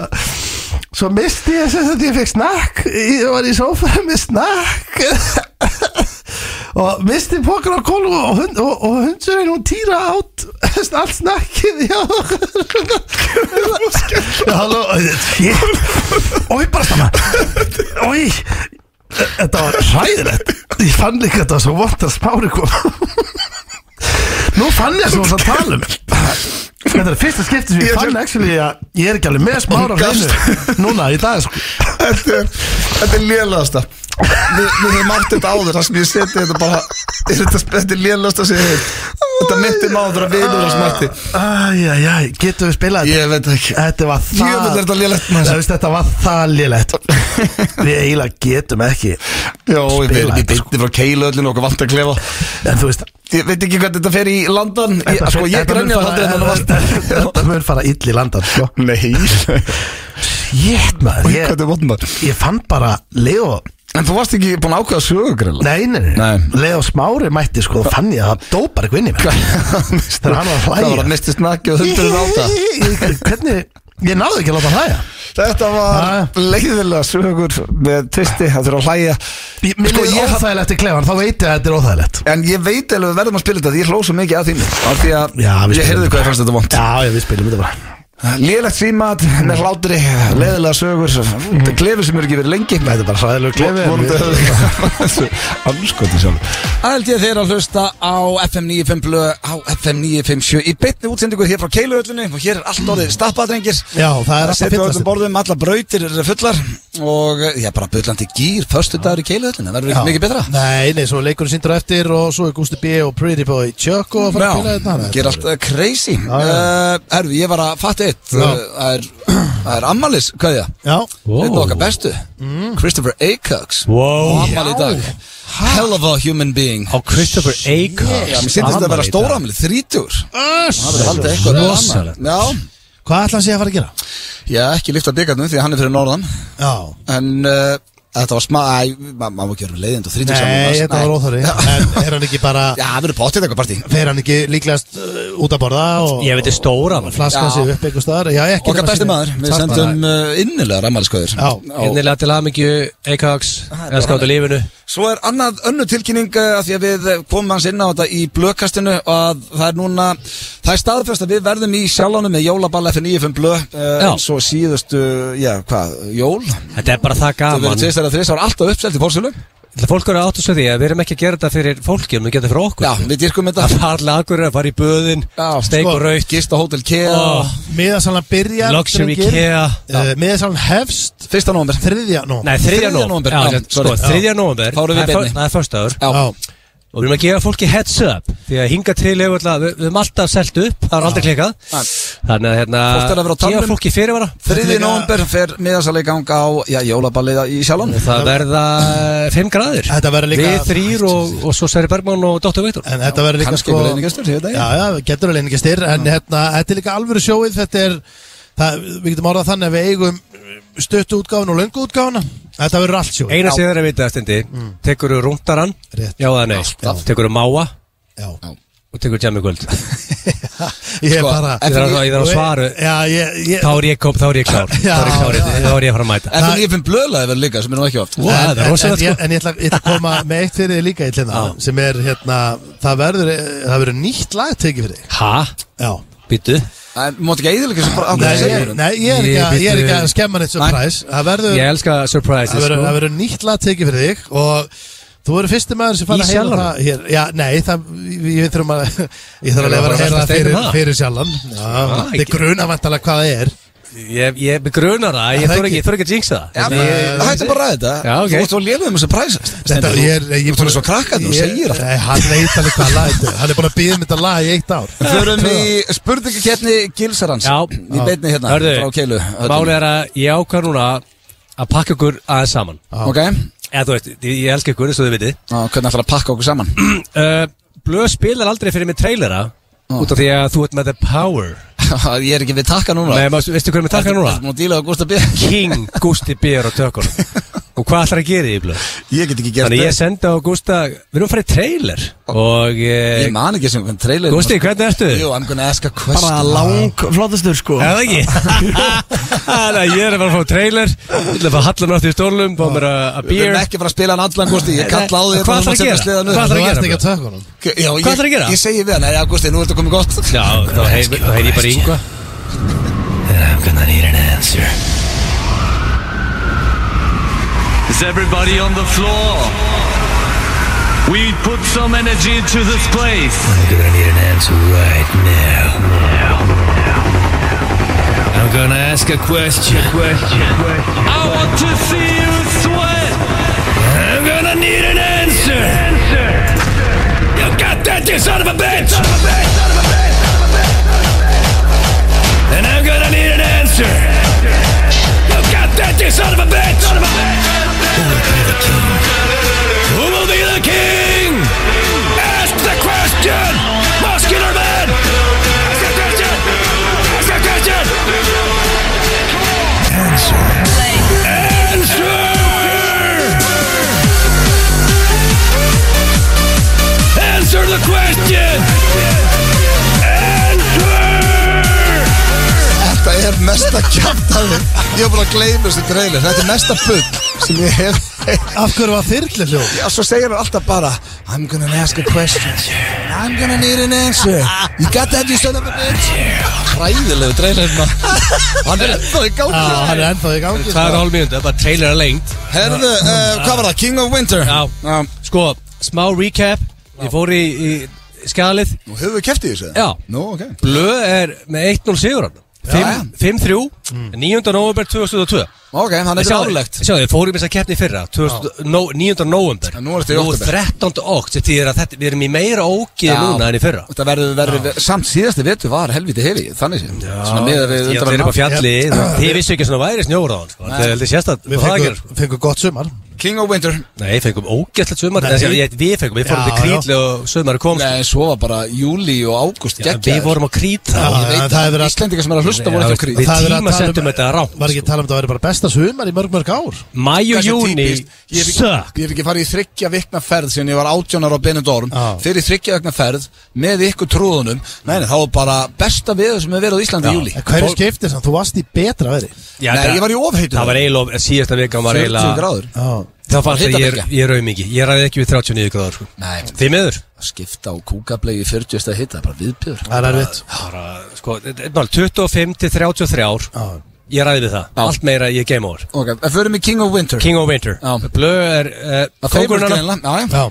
B: svo misti ég sem þetta ég fekk snakk ég var í sófanum með snakk (laughs) og misti pokan á kólu og, hund, og, og hundsurinn hún týra átt (laughs) allt snakkið já (laughs) halló shit Ói, bara stama Ói Þetta var hræðilegt Ég fann líka þetta var (laughs) svo vont að spári kom Nú fann ég svo að tala um Þetta er fyrsta skipti sem ég
E: Ég-
B: fann actually að ég er ekki alveg með smára
E: Hún gafst.
B: hreinu Núna, í dag sko
E: Þetta er, þetta er lélægasta Við við höfum átt þetta áður Það sem ég seti þetta bara er þetta, þetta er lélægasta sem ég hef Þetta myndi máður að vinur að smætti
B: Æjæjæj, getum við spilað þetta?
E: Ég veit það ekki
B: Þetta var það
E: Jöfull er þetta lélegt, maður.
B: Þú veist, Þetta var það
E: (laughs)
B: lélegt Við eiginlega getum ekki
E: Jó, við
B: Spila
E: erum í
B: þetta,
E: byrti frá keilu öllin okkur vant að klefa
B: En þú veist
E: Ég veit ekki hvað þetta fer í landan ég,
B: þetta
E: Sko,
B: fer-
E: ég
B: þetta mun
E: grænja að
B: fara-
E: halda þetta
B: þetta- Þetta mun fara illi landan sko.
E: Nei,
B: Jétt maður
E: hvað
B: ég,
E: þetta er votn maður
B: ég fann bara Leo
E: En þú varst ekki búin að ákveða sögugrill
B: Nei, nei,
E: Nei.
B: Leo Smári mætti sko og fann ég að það dópar eitthvað inn í mér Þegar hann var að hlæja
E: Það var að misti snakki og hundur ráta
B: Hvernig, ég náði ekki að láta hann hlæja
E: Þetta
B: Jæja.
E: var leiðilega sögur með tvisti, það þurfa að hlæja
B: Ég- Mér
E: Sko,
B: sko,
E: ég-
B: er óþægilegt í klefan, þá veit ég að þetta er óþægilegt
E: En ég veit alveg við verðum að spila þetta, því ég hlóð svo mikið að þínu Af því að
B: Já, við
E: ég
B: spilum
E: heyrði
B: þetta.
E: hvað ég fannst þetta vond
B: Já, já, við spilum þetta bara
E: Lélegt símat með hlátri, leiðilega sögur
B: Mm.
E: Klefur sem eru ekki verið lengi
B: Þetta er bara sæðilegu klefi en við-
E: Anskotu sjálf
A: Æld ég þeir að hlusta á FM 95 blö, á FM 957 í beinni útsendingur hér frá Keiluöllunni og hér er allt orðið stappadrengir
B: Já, það er alltaf
A: setja um á öllum
B: fyllast
A: borðum, alla brautir eru fullar og eh, já, bara bullandi gýr förstu dagur í Keiluöllunni, verður ekki mikið betra
B: Nei, nei, svo er leikurinn sindur eftir og svo er Gusti B og Pretty Boy Chuck og að fara að
A: Já,
B: spila hérna. þetta
E: hérna,
A: gera allt eh, crazy
B: já.
A: Eh, Herðu, ég var að fatta eitt
B: Já.
A: eh, Það er, það er ammalis, hvað ég
B: Já,
A: Þetta er okkar bestu
B: Mm.
A: Christopher Acox
C: Wow.
A: Ammali í dag Hell of a human being
C: Á Christopher Acox
A: Mér syndist þetta að vera stóra ammali, þrítur Það er eitthvað annað.
C: Rosalegt.
A: Já,
B: Ah, hvað ætla hann sé að fara að gera?
A: ég hef ekki lyft að byggarnu því að hann er fyrir norðan
B: Já
A: En uh, þetta var smá, æ, ma- maður má ekki vera leiðind og þrítur
B: Nei, þetta var óþari En er hann ekki bara,
A: Já, það verður bóttið eitthvað partí
B: fer hann ekki líklegast uh, út að borða og
C: Ég veit þið stóra hann
B: flaska
A: Já.
B: sig upp einhvers staðar Já, ekki
A: Okkar
B: nema
A: besti
B: sínu-
A: maður, við
B: Takk,
A: sendum uh, innilega rammalskauður
B: Já.
C: Innilega til hamingju Acox Eða skáttu lífinu
A: Svo er annað önnu tilkynning eh, af því að við eh, komum hans inn á þetta í blökastinu að það er núna, það er staðfest að við verðum í sjálfánum með jólaball eftir 9.5 blö eh,
C: Já.
A: eins og síðustu, já, hvað, jól
C: Þetta er bara það
A: Það
C: gaman
A: verður tvistar að þrissar alltaf uppselt í fórsölu
C: Ætla Fólk eru að áttu svo því að við erum ekki að gera þetta fyrir fólki Við getum þetta fyrir okkur
A: Já, við dyrkum
C: Það
A: þetta
C: fara allir akkurir að fara í böðin
A: Já,
C: Steik
B: sko,
C: og raut
A: Gista Hotel Kea
C: Ó.
B: Miðasalan byrjar
C: Luxury
B: drengir.
C: Kea
B: Uh, Miðasalan hefst
A: Fyrsta nómber
B: þriðja nú
C: Nei, 3.
A: Þriðja nóvember, já,
C: nóvember Já, Sko,
A: sorry.
C: 3. nóvember
A: Þá erum við
C: það er
A: beinni.
C: föst- Það er föstaður
A: Já.
B: Já,
C: Og við erum að gefa fólki heads up Því að hinga til hefur alltaf Við við erum alltaf selt upp Það er
B: Ah.
C: aldrei klikkað
A: Nei.
C: Þannig að hérna
A: Fólk er að vera á tánum.
C: Gefa fólki fyrirvara
A: Þriði
B: Líka-
A: nómber fer miðasali gang á já, jólaballið í sjálfánum
C: Það verða 5 gradir
B: Þetta verður líka-
C: Við þrýr og, og svo Sverri Bergman og Dóttur Veitur
B: en þetta verður líka
A: Kannski
B: sko
A: ykkur leiðinni gestur, ég veit það
B: Já,
A: ekki
B: já, getur alveg einhverjum styr En hérna, þetta er líka alvöru sjóið Þetta er, það, við getum orðað þannig að við eigum stöttu útgáfun og löngu útgáfuna Þetta verður allt sjóið
C: Eina sem þeir að vita eftir endi Tekur þú rúndaran
B: Mm. Rétt.
C: Já eða nei
B: Alltaf.
C: Tekur þú máa
B: Já,
C: Og tekur jammi kvöld Þá
B: (laughs) ég er
A: Sko,
B: bara
A: ég
C: þarf að- ég þarf að svara.
B: Já, ég, ég
C: er ég kom, þá er ég klár Þá
B: Já,
C: er ég klár
B: já, já.
C: Þá er ég að fara að mæta
A: Eftir 9.5 blöðlaði verður líka sem er nú ekki oft
C: Wow. það er
B: en, en,
C: rosalegt,
B: en, ég,
C: sko.
B: en ég, ætla, ég ætla að koma með eitt fyrir þig líka í hlina
C: Já.
B: sem er hérna, það verður, eh, það verður nýtt lag tekið fyrir þig
C: Ha?
B: Já,
C: Býtu
A: En Þú mátt ekki eðilega sem bara
B: nei,
A: ákveða segir
C: um
B: ég,
A: hún.
B: nei, ég er ekki að- ég er ekki að skemma neitt surprise Það verður,
C: Ég elska surprises
B: Það verður-
C: sko.
B: það verður nýtt lag tekið fyrir þig og þú verður fyrsti maður sem
C: Í
B: fara að heyra
C: sjallanum?
B: það hér. Já, nei, það, við við þurfum að (laughs) ég þarf að
C: Erum
B: lefa
C: við að
B: að heyra
C: fara að
B: það
C: velta steinum
B: fyrir,
C: það? Ah,
B: fyrir sjallan Já, þetta er
C: ekki.
B: grunavantalega hvað það er
C: Ég, ég grunar það, ég
B: Það
C: þóra
B: ekki.
C: ekki, ég þori ekki að jinxa það
A: Já,
C: Þannig að-
A: Það hætti bara að ræða þetta
C: Já, ok.
A: Þú ert svo lélum um þessu præs
B: Þetta er ég
A: Þú ert svo krakkarnir og segir alltaf.
B: Nei, hann veit alveg hvað lag þetta er Hann er búin að býða um þetta lag í eitt ár
A: Förum í spurningakeppni Gilsarans
C: Já.
A: Í beinni hérna
C: Hörðu,
A: frá Keilu öllum.
C: Málið er að ég ákvað núna að pakka ykkur aðeins saman
A: Ok, á,
C: Eða þú veist, ég, ég elska ykkur eins og þið vitið (clears throat)
A: hvernig ætlar að pakka okkur saman (laughs)
C: uh, Blöð spilar aldrei fyrir mig trailera
A: Ah.
C: Út af því að þú ert með the power
A: Ég er ekki við takka núna
C: Nei, maður, veistu hvernig við takka núna?
A: Nú dílaðu Gústa B
C: King Gusti Bér á
A: (laughs)
C: tökunum Og hvað ætlar að gera í því blöð?
A: Ég get ekki gert
C: Þannig ég
A: það
C: sendi á Gústa, við erum að fara í trailer Og eh,
A: Ég man ekki sem hvernig trailer
C: Gústi, hvernig ertu?
A: Jú, I'm gonna ask a
G: bara
A: question
G: lang flottastur sko
C: Er það
A: (laughs)
C: ekki? Þannig að ég er að fara að fá trailer Ég ætla að fá hallan átti í stólum Fá mér að að
A: Við
C: beer
A: erum ekki að fara að spila hann allan Gústi Ég kalla á um því
C: Hvað ætlarðu að gera? Hvað
B: Þú
C: ætlarðu að
B: varst ekki
C: gera,
B: að taka honum
A: Hvað
C: ætlarðu að gera?
A: Ég segi við hann, já Gústi, nú ertu komið gott
C: Já, þá heyr þá heyr ég bara í yngva
G: I'm gonna need an answer
H: Is everybody on the floor? We put some energy into this place.
G: I'm gonna need an answer right now I'm gonna ask a question
H: I want to see you sweat.
G: I'm gonna need an answer You got that, you son of a bitch And I'm gonna need an answer You got that, you son of a bitch Who will be the king? Who will be the king? Ask the question Muscular man Ask the question Ask the question Answer Answer Answer the question! Answer!
A: Þetta er mesta kjartaði Ég hef búin að gleyma þessu trailer Þetta er mesta bull sem ég hef
B: Af hverju var þyrli hljóð?
A: Já, svo segir hann alltaf bara I'm gonna ask a question and I'm gonna need an answer You got that, you son of a bitch Hræðilegu trailer maður. Hann er ennþá í
B: Já, hann
A: gangi
B: er ennþað í gangi
C: hérna.
B: sko.
C: Það er hálfmjöndu, það er bara trailer að lengt
A: Herðu, uh, hvað var það? King of Winter
C: Já. Sko, smá recap Ég fór í, í skalið
A: Nú hefur við keftið þessu
C: Já.
A: Nú, ok
C: Blöð er með 1-0 sigurann
A: já. Mm.
C: 5-3 9. november 2002
A: Ok, hann er rálegt
C: Sjáðu, við fórum í þess að keppni í fyrra 2000 no, 9. november
A: En nú er þetta í október.
C: 13. okt Þetta er að þetta, við erum í meira ógið núna en í fyrra
A: Þetta verður, verður, samt síðasti vetur var helviti heli Þannig sé Svona miðað við
C: Ég
A: undanfarin
C: er upp á
A: ár.
C: fjalli Þið vissu ekki að svona væri snjóra á hann sko. Það er heldur sérst að
B: Við
C: það að gera,
B: fengum,
C: sko.
B: fengum gott sumar
A: King of Winter
C: Nei, fengum ógæslegt sumar
B: Nei.
C: Nei, ég- Við fengum, við fórum
B: Já,
C: til Krýtli og sumar kom sko.
A: Nei, svo var bara júli og águst
C: Já, Við vorum á Krýtli
B: Já,
A: Ég
B: en
A: veit
B: það er
A: að
B: verið að-
A: Íslendingar sem er að hlusta voru
C: Já,
A: ekki á
C: veist,
A: krít
C: við-
B: Það er verið að tala um-
C: tímasettum þetta rangt, sko.
B: Var ekki að tala um að það væri bara besta sumar í mörg mörg ár
C: Mæju,
A: Hversu
C: júni,
A: típist. Ég hef ekki-
C: sök
A: Ég hef ekki farið í þryggja vikna ferð Siden ég var átjónar á Benidorm
B: Já.
A: Fyrir þryggja vikna ferð Með ykkur trúðunum Nei, nei, það var bara besta veður sem hefur verið á Íslandi í júli
B: En hverju skiptir það? Þú varst í betra veðri
C: Já,
A: Nei,
C: það-
A: ég var í ofheitu
C: Það var eiginlega, eh, síðasta vika var
A: 40
C: eiginlega
A: gráður
B: Já
C: Það fannst
A: Hitta
C: að ég,
A: vika.
C: ég raum ekki Ég ræði ekki við 39 gráður sko.
A: Nei,
C: Því miður
A: að skipta á kúkablegi 40 stað hitta Bara viðbjör
B: Það er erfitt
C: bara, sko, þetta er mál, 25 til 33 ár
B: Já.
C: Ég ræði við það
A: Já.
C: Allt meira ég er game over
A: Ok, en förum í King of Winter
C: King of Winter
A: Já.
C: Blöð er uh,
A: Að þeimur
C: kóngurinn hana-
A: greinlega Já, já
B: Já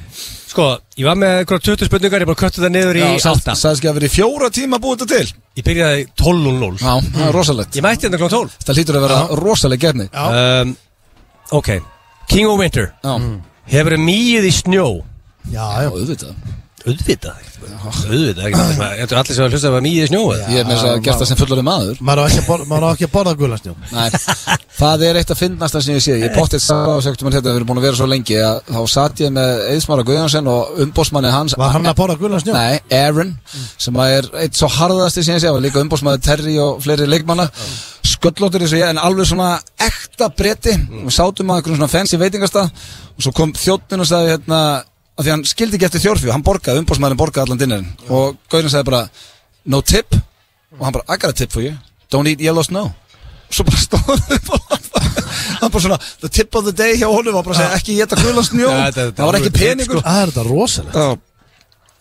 C: Sko, ég var með eitthvað 20 spurningar Ég bara köttu það niður í
A: Já, sagði-
C: 8
A: sagðist ekki að verið í fjóra tíma að búið þetta til
C: Ég byrjaði 12.00
A: Já, það er rosalegt
C: Ég mætti hérna kl. 12
A: Það hlýtur að vera rosaleg gerni
B: Já.
C: um, Ok, King of Winter
A: Já,
C: Hefur mýið í snjó
B: Já,
A: Já,
B: já
A: auðvitað
C: Auðvitað ekkert. Auðvitað ekkert. Ég held að Allir sem var að hlusta að mýið í snjó eða?
A: Ég hef með þess að gert það sem fullari maður
B: Maður á ekki að borða- maður á ekki að borða gulasnjó
A: Nei, það er eitt af fyndnasta sem ég sé Ég pottið sá og sagt um þetta Við erum búin að vera svo lengi að Þá satt ég með Eðsmára Guðjónsson og umbósmanni hans
B: Var hann að borða gulasnjó?
A: Nei, Aaron Sem að er eitt svo harðasti sem ég sé Var líka umbósmanni Terry og fleiri leikmanna Sköllóttur eins og ég En alveg svona ekta bretti Við sátum að einhverjum svona fancy veitingastað Og svo kom þjóttinn og sagði hérna að Því hann skildi ekki eftir þjórfjú Hann borgaði, umbósmannin borgaði allan dinnerinn Og Guðjónsson sagði bara No tip Og hann bara, I got a tip for you Don't eat yellow snow svo bara stóð upp og hann bara svona the tip of the day hjá honum var bara að segja ekki geta gula snjó
C: Ja, þetta- þetta
A: það var ekki
C: alveg tip,
A: peningur
B: Það er þetta rosalega
A: Já,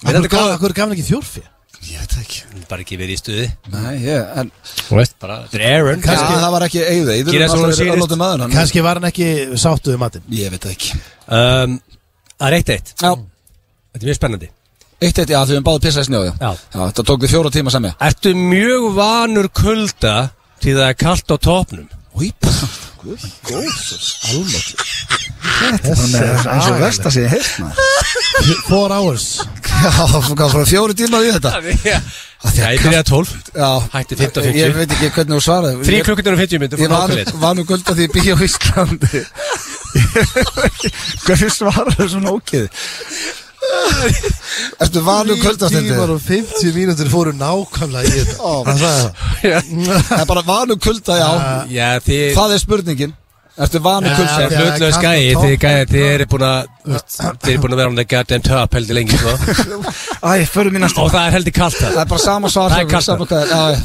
C: Er þetta góð-
B: Akkur gaf hann ekki fjórfi?
A: ég veit það ekki
C: Bara ekki verið í stuði
A: Nei, ég, en
C: Þú veist bara Þetta er Aaron
A: ja, það var ekki eigið það
C: Gera svona
A: alltaf verið
C: sýnist.
A: örlótið maður hann
B: Kanski var hann ekki sáttuð í matinn
A: ég veit það ekki
C: Um, Það er eitt eitt
A: já
C: Þetta er mjög spennandi
A: eitt eitt já því við báðum pissa í snjó já.
C: Já.
A: já þetta tók við fjóra tíma semja
C: Ertu mjög vanur kulda til það er kalt á topnum?
A: úi góð almáttur þetta er bara eins og versta sem ég heilt maður
B: Four hours
A: já hvað frá fjóra tíma í þetta
C: Já,
A: því að
C: ég byrjaði að 12
A: já
C: Hætti 15 og
A: ég
C: 50
A: veit ekki hvernig þú svaraði
C: 3
A: Ég-
C: klukkutur og 50 myndir
A: Ég
C: frá
A: var,
C: nákvæmleitt
A: var nú guld að því ég býja á Íslandi Hverju svarar þessu nókið? Ertu vanur kvöldastundi?
B: Tímar og 50 mínútur fóru nákvæmlega í þetta
A: Ó.
B: Hann sagði það.
A: Það er bara vanur kvölda, já
C: Já, þið
A: Það er spurningin Ertu vanur
B: Ja,
A: kvölda?
B: já.
C: Hlutlega
B: kalt á
C: skæði,
B: toppnum.
C: þið gæði, þið eru búin að Þið eru búin að vera hann að goddamn top heldur lengi sko.
A: Æ, förum í næsta
C: Og það er heldur kalt það
A: Það er bara sama svar
C: Það er kalt.
A: sama hvað er, já, já,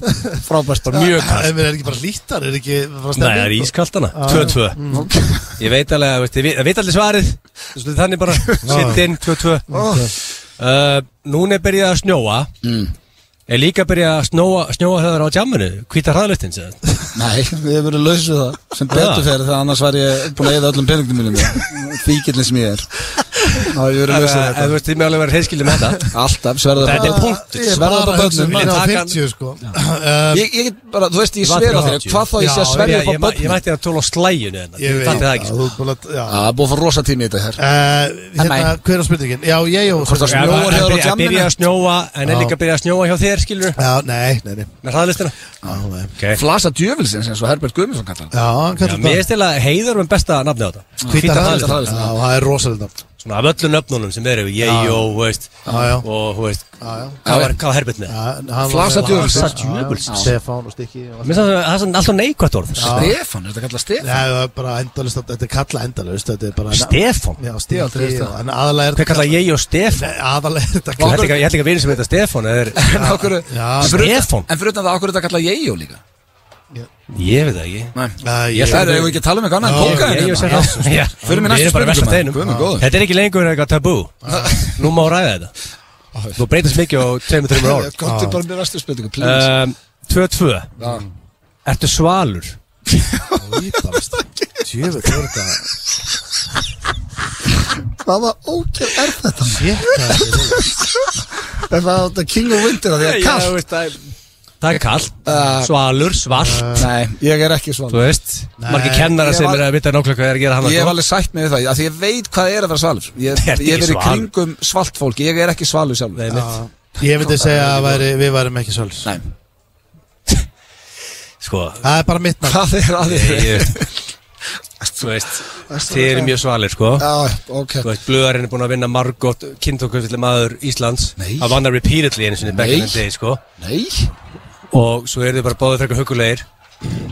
A: Frábært
C: Bara mjög kalt
B: En við erum ekki bara lítar, er ekki bara
C: Nei, það er
B: stemning?
C: ískalt hana, 2-2 Ég veit alveg, að, veist, ég veit- það veit allir svarið Svolítið Þannig bara, sitt inn, 2-2 Uh, Núna er byrjað að snjóa Er líka byrjað að snjóa, snjóa þegar það er á jamminu Hvíta hraðlöftin sem þetta
A: Nei, við hefur verið lausið það Sem betur
C: Já.
A: fyrir það annars var ég búin að eða öllum peningdum mínum Fíkillin sem ég er
E: Ná, ég verið
C: Ef
E: að
C: ef
E: lesa
C: þú
E: þetta
C: veist, þið með alveg verið heilskildið með
E: (laughs)
C: þetta
A: Alltaf, sverða
C: Þetta er punkt
B: Ég er
A: Sverða
B: bara
A: bara
B: að hugsa um
A: börnum,
B: mína á
C: takan-
B: 50 sko um,
A: Ég, ég get bara, þú veist, ég
C: Var
A: sverða þér
C: 30.
A: Hvað þá ég sé að
B: Já,
A: sverja
C: Ég,
A: upp á
C: ég, ég
A: börnum
C: mætti hann tól á slæjunu hennar
B: Ég veit
C: Þannig það ekki
B: að
C: sko.
B: þú er búin að- já.
A: Já, það er búið að fá rosa tími í þetta hér
B: Eh, Hérna,
A: nei.
B: hver er spurningin? Já, ég og
A: Hvort það
C: Ef
A: snjóar
C: að-
A: hjá
C: að
A: þér á
C: byrja- að byrja
A: jamminu?
C: að snjóa En er
B: Já.
C: líka að byrja að snjóa hjá þér, skilur
B: Já, nei, nei, nei
C: Með hraðlistina
B: Já, nei.
A: Flasa djöfilsins eins og Herbert Guðmundsson kallar hann.
B: Já, hann
C: Já,
B: kallar
C: Mér
B: það
C: er stila heiður með besta nafni á þetta
B: Hvítar
C: Hvítar
B: hraðlistar.
A: hraðlistar.
B: Já, það er rosalega nafn.
C: Svona af öllu nöfnunum sem eru Jejó, veist
B: Já, já.
C: Og, þú veist
B: Já, já.
C: Hvað var- hvað var herbert með?
B: Já, hann var-
A: Flasa djöfulsins.
B: Já, já,
C: djöfulsins.
B: Stefán og Stikki og allt.
C: Mér finnst það það er svona alltaf neikvætt orð
A: Ah. Stefán, er þetta kallað
B: Nei,
A: Stefán?
B: það er bara endalist Þetta er kalla endalist Þetta er bara
C: Stefán
A: Ég hef
B: Já,
A: aldrei
B: Stikki
A: heyrt
B: og-
A: það.
B: En aðalega er
C: Hver kallaði Jejó Stefán?
B: Nei, Aðalega er þetta
C: Ég
B: kalla
C: ætla ekki- ég ætla ekki að vinna sem heita Stefán eða er,
A: En okkur,
B: já,
C: Stefán.
A: En fyrir utan það, okkur er þetta kallað Jejó líka
C: Ég veit það ekki
A: Nei,
B: Nei,
A: ég
B: ég-
A: ætla að við ekki að tala um eitthvað annað en
B: Já,
A: kókaðin
C: Jejó
A: hérna.
C: sem það Já.
A: Förum í næstu
C: Ég er bara
A: spurningu,
C: verst af
A: maður.
C: þeinum.
A: Guð minn góður.
C: Þetta er ekki lengur eitthvað tabú Nú má ræða þetta Þú breytist mikið á 2-3 ára
A: Góttu bara með næstu spurningu, please
C: Um, 2-2
A: Já.
C: Ertu svalur?
B: Tjöfull er þetta
A: Hvaða ókjör er þetta?
B: Shit, hvað er þetta?
A: Er það þetta King of Winter að því að
C: Já,
A: kall?
C: veist, það er- Það er kallt,
A: Uh,
C: svalur, svart
E: eh,
A: Nei, ég er ekki svona
C: Þú veist,
B: Nei,
C: margir kennara
A: ég
C: sem
A: var-
C: er að vita nákvæmlega hvað er að gera sko. hann
A: Ég hef alveg sætt mig við það, af því ég veit hvað er að vera svalur Ég
C: Þú ert
A: ég
C: ekki
A: hef verið í
C: svalur.
A: kringum svalt fólki, ég er ekki svalur sjálfur
C: Nei, mitt,
B: Ég myndi segja að væri, við værum ekki svolítið
A: Nei,
C: sko
B: Það er bara mitt nafn
A: hvað er að því?
C: ég-
A: (laughs)
C: Þú veist, þið eru mjög svalir, sko
A: Já, ok
C: Þú veist, blöðarinn er búin að vinna margótt kynntokvöldileg maður Íslands
A: Nei.
C: Hann vann það repeatedly einu sinni back in
A: Nei.
C: the day, sko
A: Nei,
C: Og svo eru þið bara báðið frekar hugulegir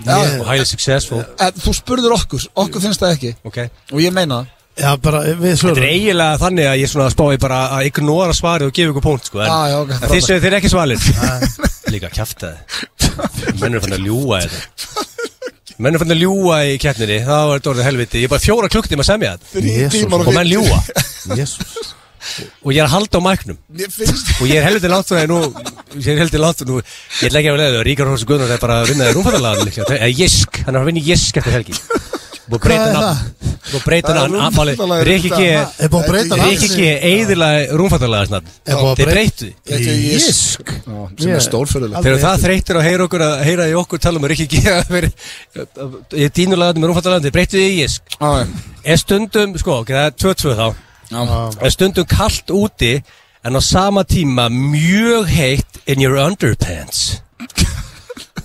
A: já,
C: Og highly successful,
A: En Eh, þú spurður okkur, okkur finnst það ekki
C: ok
A: Og ég meina það
B: Já, bara við
C: Þetta er
B: svörum
C: eiginlega þannig að ég er svona að spái bara að ignora svarið og gefa ykkur punkt sko, en
A: Já, já, ok,
C: en
A: frábært.
C: þið segir þeir eru ekki svalir Líka kjaftaði Menn eru fann að ljúa þetta Menn eru fann að ljúa í keppninni þá er þetta orðið helviti Ég er bara fjóra klukktíma að semja þetta
B: Jésús
C: og menn ljúa
B: Jésús
C: og ég er að halda á mæknum
A: Mér finnst
C: og ég er helviti langt frá því nú ég er helviti langt frá nú ég ætla ekki að vera leiður Ríkar Hórs Guðnar er bara að vinna í rúmfattalagan eða Jisk hann er að vinna í Jisk eftir helgi Búið að breyta
B: Hvað er
C: nafn Búið að breyta
E: Það er
C: nafn Málið,
E: Rúmfatalagið,
C: Ríkki G
B: Er búið að breyta
C: Ríkki
B: nafni?
C: G eðilaði rúmfattalagasnafn
B: Er búið að
C: Þeir
B: breyta-
C: breytu því
A: Þetta er Jisk. Já, sem
B: Ég-
A: er stórfyrirlega
B: Aldrei
C: Þegar það
B: eftir.
C: þreytir að heyra okkur að heyra í okkur tala um Ríkki G að vera- ég er dínulegandi með rúmfattalagan þeir breytu því í Jisk er stundum sko ok, það er 2-2 þá er stundum kallt úti en á sama tíma mjög heitt in your underpants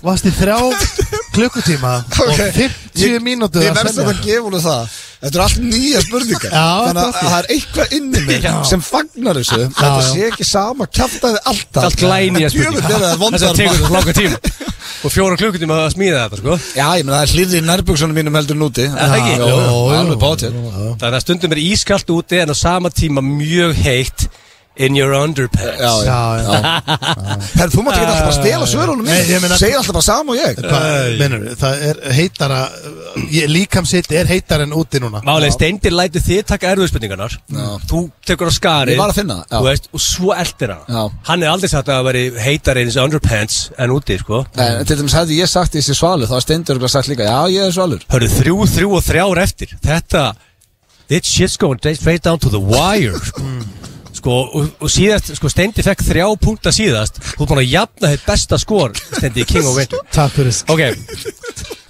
B: Vast í þrjá
A: (laughs)
B: klukkutíma og 50 mínútur
A: Ég verðst að gefa hún það Þetta er allt nýja spurningar
B: Já,
A: Þannig að
B: þetta er
A: það er eitthvað inni mig
B: Já.
A: sem fagnar þessu Þetta sé ekki sama kjaftaði alltaf
C: allt glænýja
A: spurningar Djöfull er
C: (laughs)
A: það
C: þess að
A: vondar
C: tekur
A: maður.
C: þetta langa tíma og fjóra klukkutíma að smíða þetta sko
A: Já, ég meina það er hlýði í nærbuksunum mínum heldur núti
C: það ekki?
A: Jó, alveg bátir
C: þannig að stundum er ískallt úti en á sama tíma mjög heitt in your underpants
A: Já, já
B: Já, já
A: Herð, þú mátt ekki alltaf bara stela svörunum
B: Nei,
A: mín
B: ég meina-
A: Segir alltaf bara sama og ég
B: Hvað mennur við? Það er heitara ég- Líkamsitt er heitar en úti núna
C: Málega, Steindir lætur þið taka erfiðspurningarnar Þú tekur á skari
A: Ég var að finna það, já.
C: veist, Og svo eldir hann
A: Já.
C: Hann er aldrei sagt að það veri heitar eins underpants En úti, sko
A: En Eh, til dæmis hefði ég sagt því þessi svalur Þá er Steindur örugglega sagt líka Já, ég er svalur
C: Hörru, þrjú, þrjú og þrjár eftir Þetta This shit's going straight down to the wire sko. Sko, og, og síðast Sko, Steindi fekk þrjá punkta síðast Þú er búin að jafna þitt besta skor Steindi í King of Winter
B: Takk fyrir
C: Ok,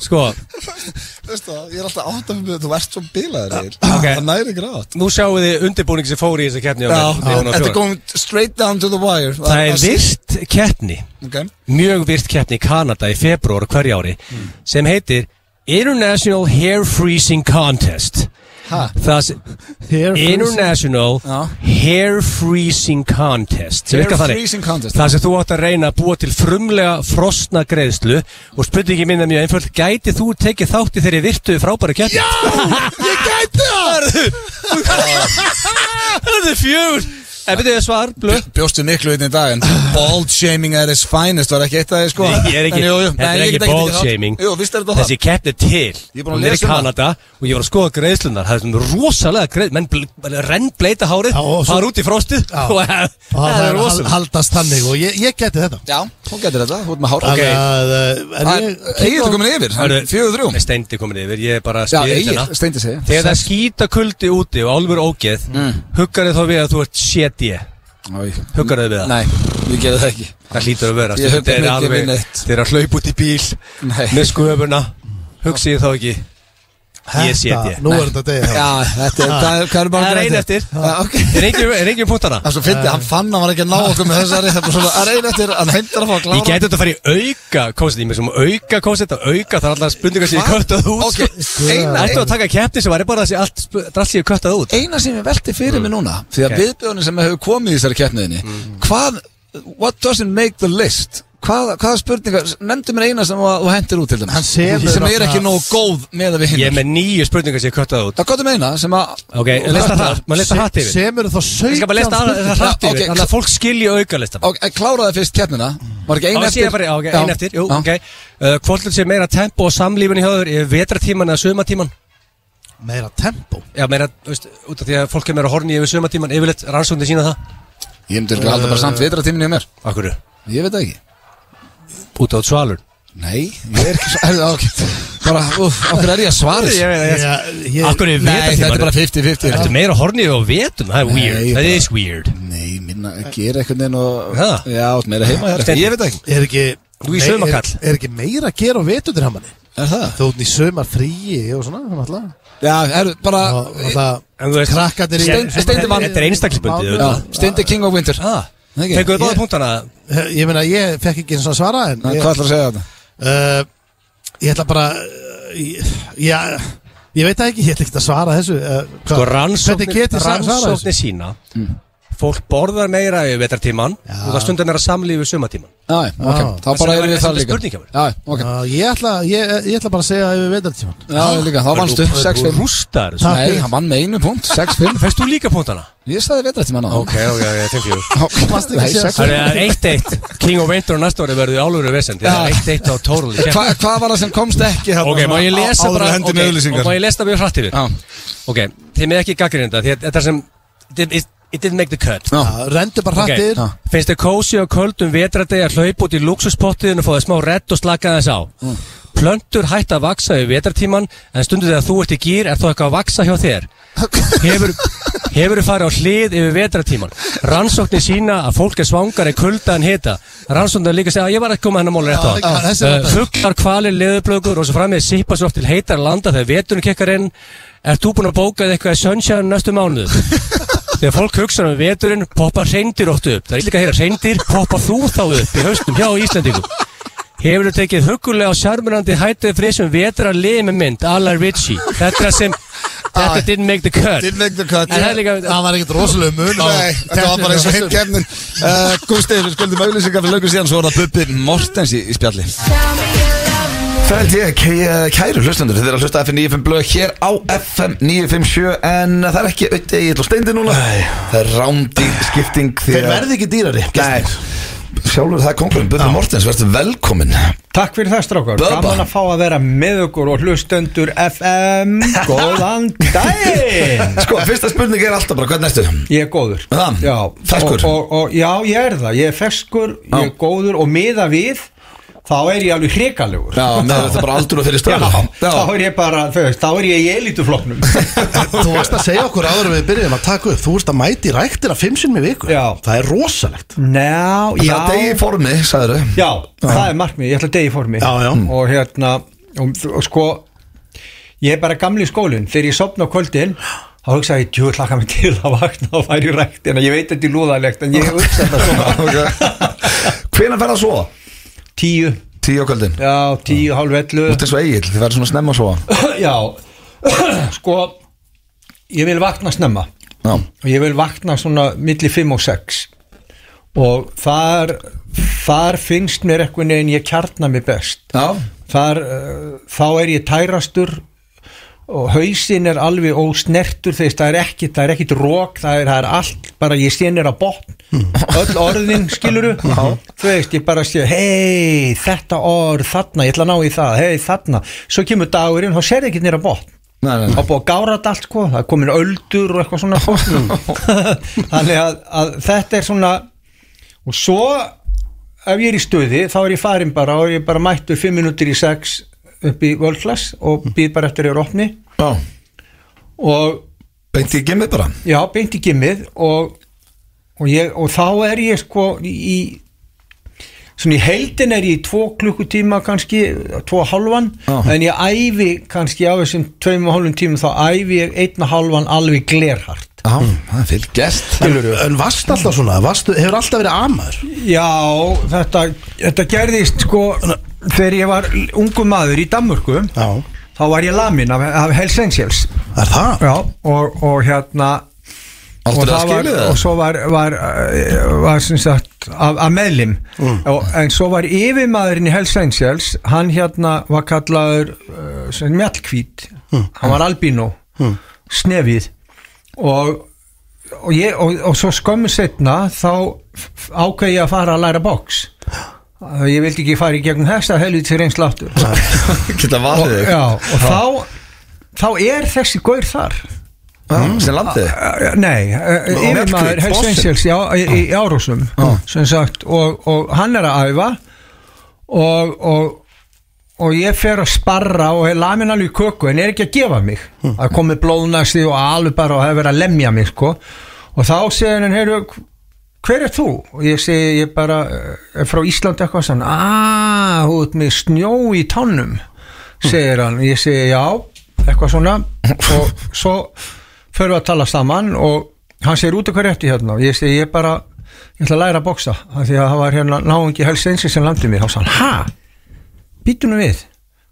C: sko,
A: Veistu það, ég er alltaf átt af mig Þú ert svo bilaður
C: Ok.
A: Það næri grátt
C: nú sjáum við undirbúning sem fór í þessa keppni á
A: Já,
C: Vel- Vel- Vel-
A: þetta er
C: Fjóra.
A: going straight down to the wire
C: Það er virt keppni
A: okay.
C: mjög virt keppni í Kanada í februar hverja ári sem heitir International Hair Freezing Contest
A: Ha?
C: Það sem
B: Hair freezing-
C: International
A: Já.
C: Hair Freezing Contest sem
A: Hair
C: virkar þannig.
A: freezing contest.
C: Það sem þú átt að reyna að búa til frumlega frosna greiðslu og spurningi minna mjög einföld Gæti þú tekið þátt í þeirri virtu frábæru keppni? Já!
A: Ég gæti það
C: Það er þau fjögur Ef við þið svar, blöð
A: Bjóstu miklu inn í dag en Bald shaming at its finest var ekki eitt af því sko
C: Nei, ég er ekki,
A: En jú, jú,
C: þetta
A: nei,
C: er
A: ég
C: ekki
A: get
C: ball
A: tekið þátt.
C: shaming
A: Jú, visst er þetta
C: Þessi keppni til
A: Ég er búin að
C: Hún er í
A: lesa um það.
C: Kanada og ég var að skoða greiðslunar Það er svona rosalega greið Menn bl- bara renn bleita hárið
B: Já, og svo-
C: fara út í frostið (laughs)
B: Og
C: og það
B: það er
C: er
B: hal-
C: rosalega
B: haldast þannig og ég, ég geti þetta
A: það Já, hún getur þetta, hún er með hár
B: Þannig að, eh, en
A: Það
B: ég-
A: er Egil
C: sko-
A: er komin yfir, hann
C: Hörru,
A: er fjögur þrjú
C: Nei, Steindi komin yfir, ég er bara að
A: Já,
C: spyr
A: Egil,
C: hérna.
A: steindi sig
C: Þegar það skýta kuldi úti og álfur ógeð
A: Mm.
C: Huggar þið þá við að þú ert shit ég
A: Nei,
C: Huggar þið við það?
A: ég gerði það ekki
C: Það hlýtur að vera
A: Ég hugga
C: Þeir
A: mig
C: eru
A: ekki við
C: alveg-
A: neitt.
C: þeir eru að hlaupa út í bíl
A: Nei.
C: Með sköfuna Hugsið þið þá ekki Ég sé
B: Þetta-
C: ég.
B: Nú er þetta degi
A: Já, þetta er, það er, hvað er bara
C: Það er ein eftir. (laughs) Er engin- Er engin punktana?
A: Það er svo fyndið, hann fann að hann var ekki að ná okkur með þessari Það er bara svona, það er ein eftir, hann heimtar að fá að
C: Ég
A: klára
C: gæti þetta að fara í auka kóset Ég með svona auka kóset og auka Það er alltaf spurningar sem ég köttað út
A: Ok, eina,
C: Ættu að taka keppni sem var bara þessi allt sp- Allt sem ég köttað út
A: eina sem ég velti fyrir mig núna því að
C: Mm. Ok.
A: okay. viðbjörnum sem hefur komið í þessari keppniðinni hvað, what doesn't make the list hvað, hvaða spurningar, nefndu mér eina sem að- þú hendir út til
B: Hann
A: dæmis
B: selur
A: sem er
B: þarna-
A: ekki nóg góð með að við
C: Ég er
A: hinn
C: með nýju spurningar sem ég köttað út
A: það gott um eina sem að
C: Ok, en lista það Maður lista hatt yfir
B: Sem eru þá
C: Ég skal
B: 17
C: bara lista það
B: spurningar.
C: það hratt
A: Ok.
C: yfir Þannig að fólk skilji aukalistan
A: og eh, kláraði fyrst keppnina var ekki
C: Já,
A: ein
C: ég sé
A: eftir
C: það bara, já, ok,
A: Já.
C: ein eftir, jú,
A: Já.
C: ok uh, Hvort hlut sé meira tempo og samlífin í höður Í vetratíman eða sömatíman
B: Meira tempo
C: Já, meira, þú veist, út af því að fólk er meira horni yfir sömatíman Yfirleitt rannsóndi sína það
A: ég myndi að halda bara samt vitratíminni um mér
C: Akkur,
A: ég veit það ekki
C: út á svalur
A: nei, ég er ekki svo Herðu, ok. bara, úf, okkur er ég að svara þessu?
B: Já, ég-
C: Akkur er
A: nei, þetta er bara
C: vetratíman
A: 50-50
C: Ertu meira hornið á vetum? Það er
A: Nei,
C: weird,
A: ég
C: það
A: bara-
C: is weird
A: nei, minna, gera eitthvað neina
C: Ha?
A: og já, átt meira heima hér.
C: Steinn.
A: ég veit það ekki,
B: Er ekki
C: Þú í
B: Nei,
C: saumakall.
B: er, er ekki meira að gera á vetundir hamanni
A: er það?
B: Þú ert í sömar fríi og svona náttúrulega.
A: já, er bara
B: Og og það
C: En þú veist-
B: Krakkarnir í-
C: Steinn- Steindi vann. Þetta er einstaklingsbundið,
A: Já,
B: Já.
A: Steindi King of Winter
C: ah,
A: Nei, ekki.
C: Fengur við báða
B: Ég-
C: punktana?
B: Ég meina, ég fekk ekki eins og að svara en
A: Hvað
B: ég,
A: ætlar að segja þetta?
B: uh, ég ætla bara uh, ég- Já, ég veit það ekki, (laughs) ég ætla ekki að svara þessu uh, hvað-
C: Sko rannsóknir,
B: Hvernig getið sa- svarað þessu?
C: rannsóknir sína
A: Mm.
C: Fólk borðar meira í vetartíman og það stundar meira samlífi í sömatíman
A: Já, ok,
B: Já.
A: þá bara
C: Þess
A: erum
C: vegna Ah, var
A: við
C: ég
A: það
C: að Ah.
A: líka
C: spurninga mér.
A: Já, ok,
B: Já, ég, ætla, ég, eh, ég ætla bara að segja yfir veitartíman
A: já, líka, þá vannstu 6-5
C: Rústar
B: Takk.
A: Nei, hann vann með einu punkt, 6-5
C: Fæst þú líka punktana?
A: Ég sagði vetra til manna
C: Ok, ok, ok, thank
A: (laughs)
C: you
B: Varstu ekki
A: Nei,
B: að
A: 6-5
B: segja
C: Það er 1-1 King of Winter og næsta ári verður álur og vesend Það
A: Já.
C: er 1-1 á total í
A: Hva,
C: keppni.
A: Hvað var það sem komst ekki hérna
C: Ok, má ég
A: svona
C: lesa
A: á-
C: bara
A: áður en hendinni
C: ok,
A: auglýsingar?
C: og Má ég lesa það mjög hrætt yfir
A: Já,
C: Ok, þið með ekki gaggrinda Því að þetta sem did- It it didn't make the cut
A: já,
B: Rendu bara
C: Ok,
B: hrattir
A: já.
C: finnst þið kósi og köldum vetradegi að hlaupa út í luxuspottiðin og fá þið smá redd og slaka þess á
B: Mm.
C: Plöntur hætt að vaksa í vetratíman en stundur þegar þú ert í gýr er þú eitthvað að vaksa hjá þér Hefur, hefur farið á hlið yfir vetratíman Rannsóknir sína að fólk er svangar í kulda en hita Rannsóknir líka segja að ég var ekki komað hennar máli rétt á Eh,
B: Já, já, þessi er þetta.
C: Fuglar, kvalir, leðublökur og svo framið sýpa svo oft til heitar landa þegar veturinn kekkar inn Er þú búin að bóka þig eitthvað í sunshine næstu mánuð?
B: (laughs)
C: Þegar fólk hugsa um veturinn poppa reyndir oft upp Það er líka að heyra reyndir poppa þú þá upp í haustum hjá Íslandingum Hefur þú tekið hugulega og sjarmirandi hættuði frísum vetra liði með mynd Alla Ritchie Þetta sem
B: Ah,
C: Þetta didn't make the cut
A: Didn't make the cut.
C: En það er líka
B: Það var ekkert rosalega mun á
A: Nei, þetta var bara eins og heim kemnin uh, Gústi, við skuldum auðlýsingar fyrir löngu síðan Svo var það Bubbi Mortens í, í spjalli
E: Það held ég, kæ- eh, kæru hlustendur, þið er að hlusta FM 95 blöð hér á FM 957 en það er ekki auðvitað ég ætla að steindi núna Það er rándýr skipting því
B: Þeir verði ekki dýrari
E: Nei, sjálfur það er konkurinn, Bubbi Mortens, verður velkomin
I: Takk fyrir það strákar,
E: Bubba.
I: gaman að fá að vera með okkur og hlustendur FM Góðan daginn
E: Sko, fyrsta spurning er alltaf bara, hvernig ertu?
I: Ég er góður
E: Það,
I: já,
E: ferskur.
I: og, og, og, Já, ég er það, ég er ferskur, ég er góður og miða við þá er ég alveg
E: (laughs)
I: hrikalegur
E: Já, með þetta bara aldur og þeirri
I: Já,
E: stöðu
I: þá er ég bara, þau veist, þá er ég í elitufloknum
B: Þú varst að segja okkur áður en við byrjum að taka upp Þú varst að mæti ræktina fimm sinn með viku
I: Já.
B: Það er rosalegt
I: Ná,
E: Það er degi
I: já,
E: í formi, (laughs) sagður
I: já, það er markmið, ég ætla að deyja í formi
B: Já, já.
I: Og hérna, og, og sko, ég er bara gamli í skólinn Þegar ég sopna á kvöldin, þá hugsa ég, djú, hlaka mig til að vakna og færi í ræktina Ég veit þetta er lúðalegt, en ég hugsa
B: (laughs)
I: þetta svona
E: Hvenær fer það svo?
I: Tíu,
E: Tíu á kvöldin Þú
I: já, tíu, hálf ellu
B: (laughs)
E: ert eins og eigil, þið verður svona snemma svo
I: Já, sko, ég vil vakna snemma
E: Já,
I: og ég vil vakna svona milli 5 og 6 og þar, þar finnst mér eitthvað neginn ég kjarnar mig best
E: já,
I: þar, uh, þá er ég tærastur og hausin er alveg ósnertur þess, það er ekkit, það er ekkit rók það er, það er allt, bara ég sé nýra botn
E: Hmm.
I: öll orðin skiluru þú veist, ég bara sé, hei þetta orð, þarna, ég ætla að ná í það hei, þarna, svo kemur dagurinn þá sér ekki nýra botn
E: Nei, nei,
I: það er búið að gára þetta allt sko, það er komin öldur og eitthvað svona
E: (laughs)
I: þannig að, að þetta er svona og svo ef ég er í stöði þá er ég farin bara og ég bara mættur 5 minútur í 6 upp í World Class og býð bara eftir að ég er opni
E: Já.
I: og
E: Beint í gemið bara
I: já, beint í gimmið og, og, ég, og þá er ég sko í svona í heldin er ég í tvo klukkutíma kannski, tvo og halvan
E: Já.
I: en ég æfi kannski á þessum tveim og halvun tíma þá æfi ég einn og halvan alveg glerhart
E: Já, Hmm, það er fyrir gest
B: En, en varst alltaf svona, varstu, hefur alltaf verið amaður
I: Já, þetta, þetta gerðist sko þegar ég var ungu maður í Danmörku
B: Já,
I: þá var ég lamin af, af Hells Angels
B: er það?
I: Já, og, og hérna
E: Áttu
I: og,
E: það
I: það var,
E: skilið
I: og
E: það?
I: svo var, var, eh, var sem sagt að, að meðlim og, en svo var yfirmaðurinn í Hells Angels hann hérna var kallaður uh, sem mjallkvít hann var albino, snefið og og, ég, og, og svo skömmu setna þá ákveði ég að fara að læra box ég vildi ekki fara í gegnum þessa helvið til reynsla aftur
E: Geta
I: og,
E: valið þig
I: já, og þá, þá er þessi gaur þar
E: Já, mm, sem landið
I: Uh, Nei, uh,
E: Og
I: yfirmaður
E: verkföll,
I: Hells
E: bossinn.
I: Angels í, á- í, í Árúsum sem sagt og, og hann er að æfa og, og, og ég fer að sparra og er lamin alveg í köku en er ekki að gefa mig að komi blóðnasti og alveg bara og hefur verið að lemja mig sko og þá segir hann, heyrðu, hver er þú? og ég segi, ég bara eh, er frá Íslandi eitthvað sann aaa, þú ert með snjó í tannum segir hann, ég segi já eitthvað svona og svo förum við að tala saman og hann segir út okkur rétti hérna og ég segi ég bara, ég ætla að læra að boksa af því að það var hérna náungi helst einsins sem landið mig, þá sagði hann, ha? býtunum við,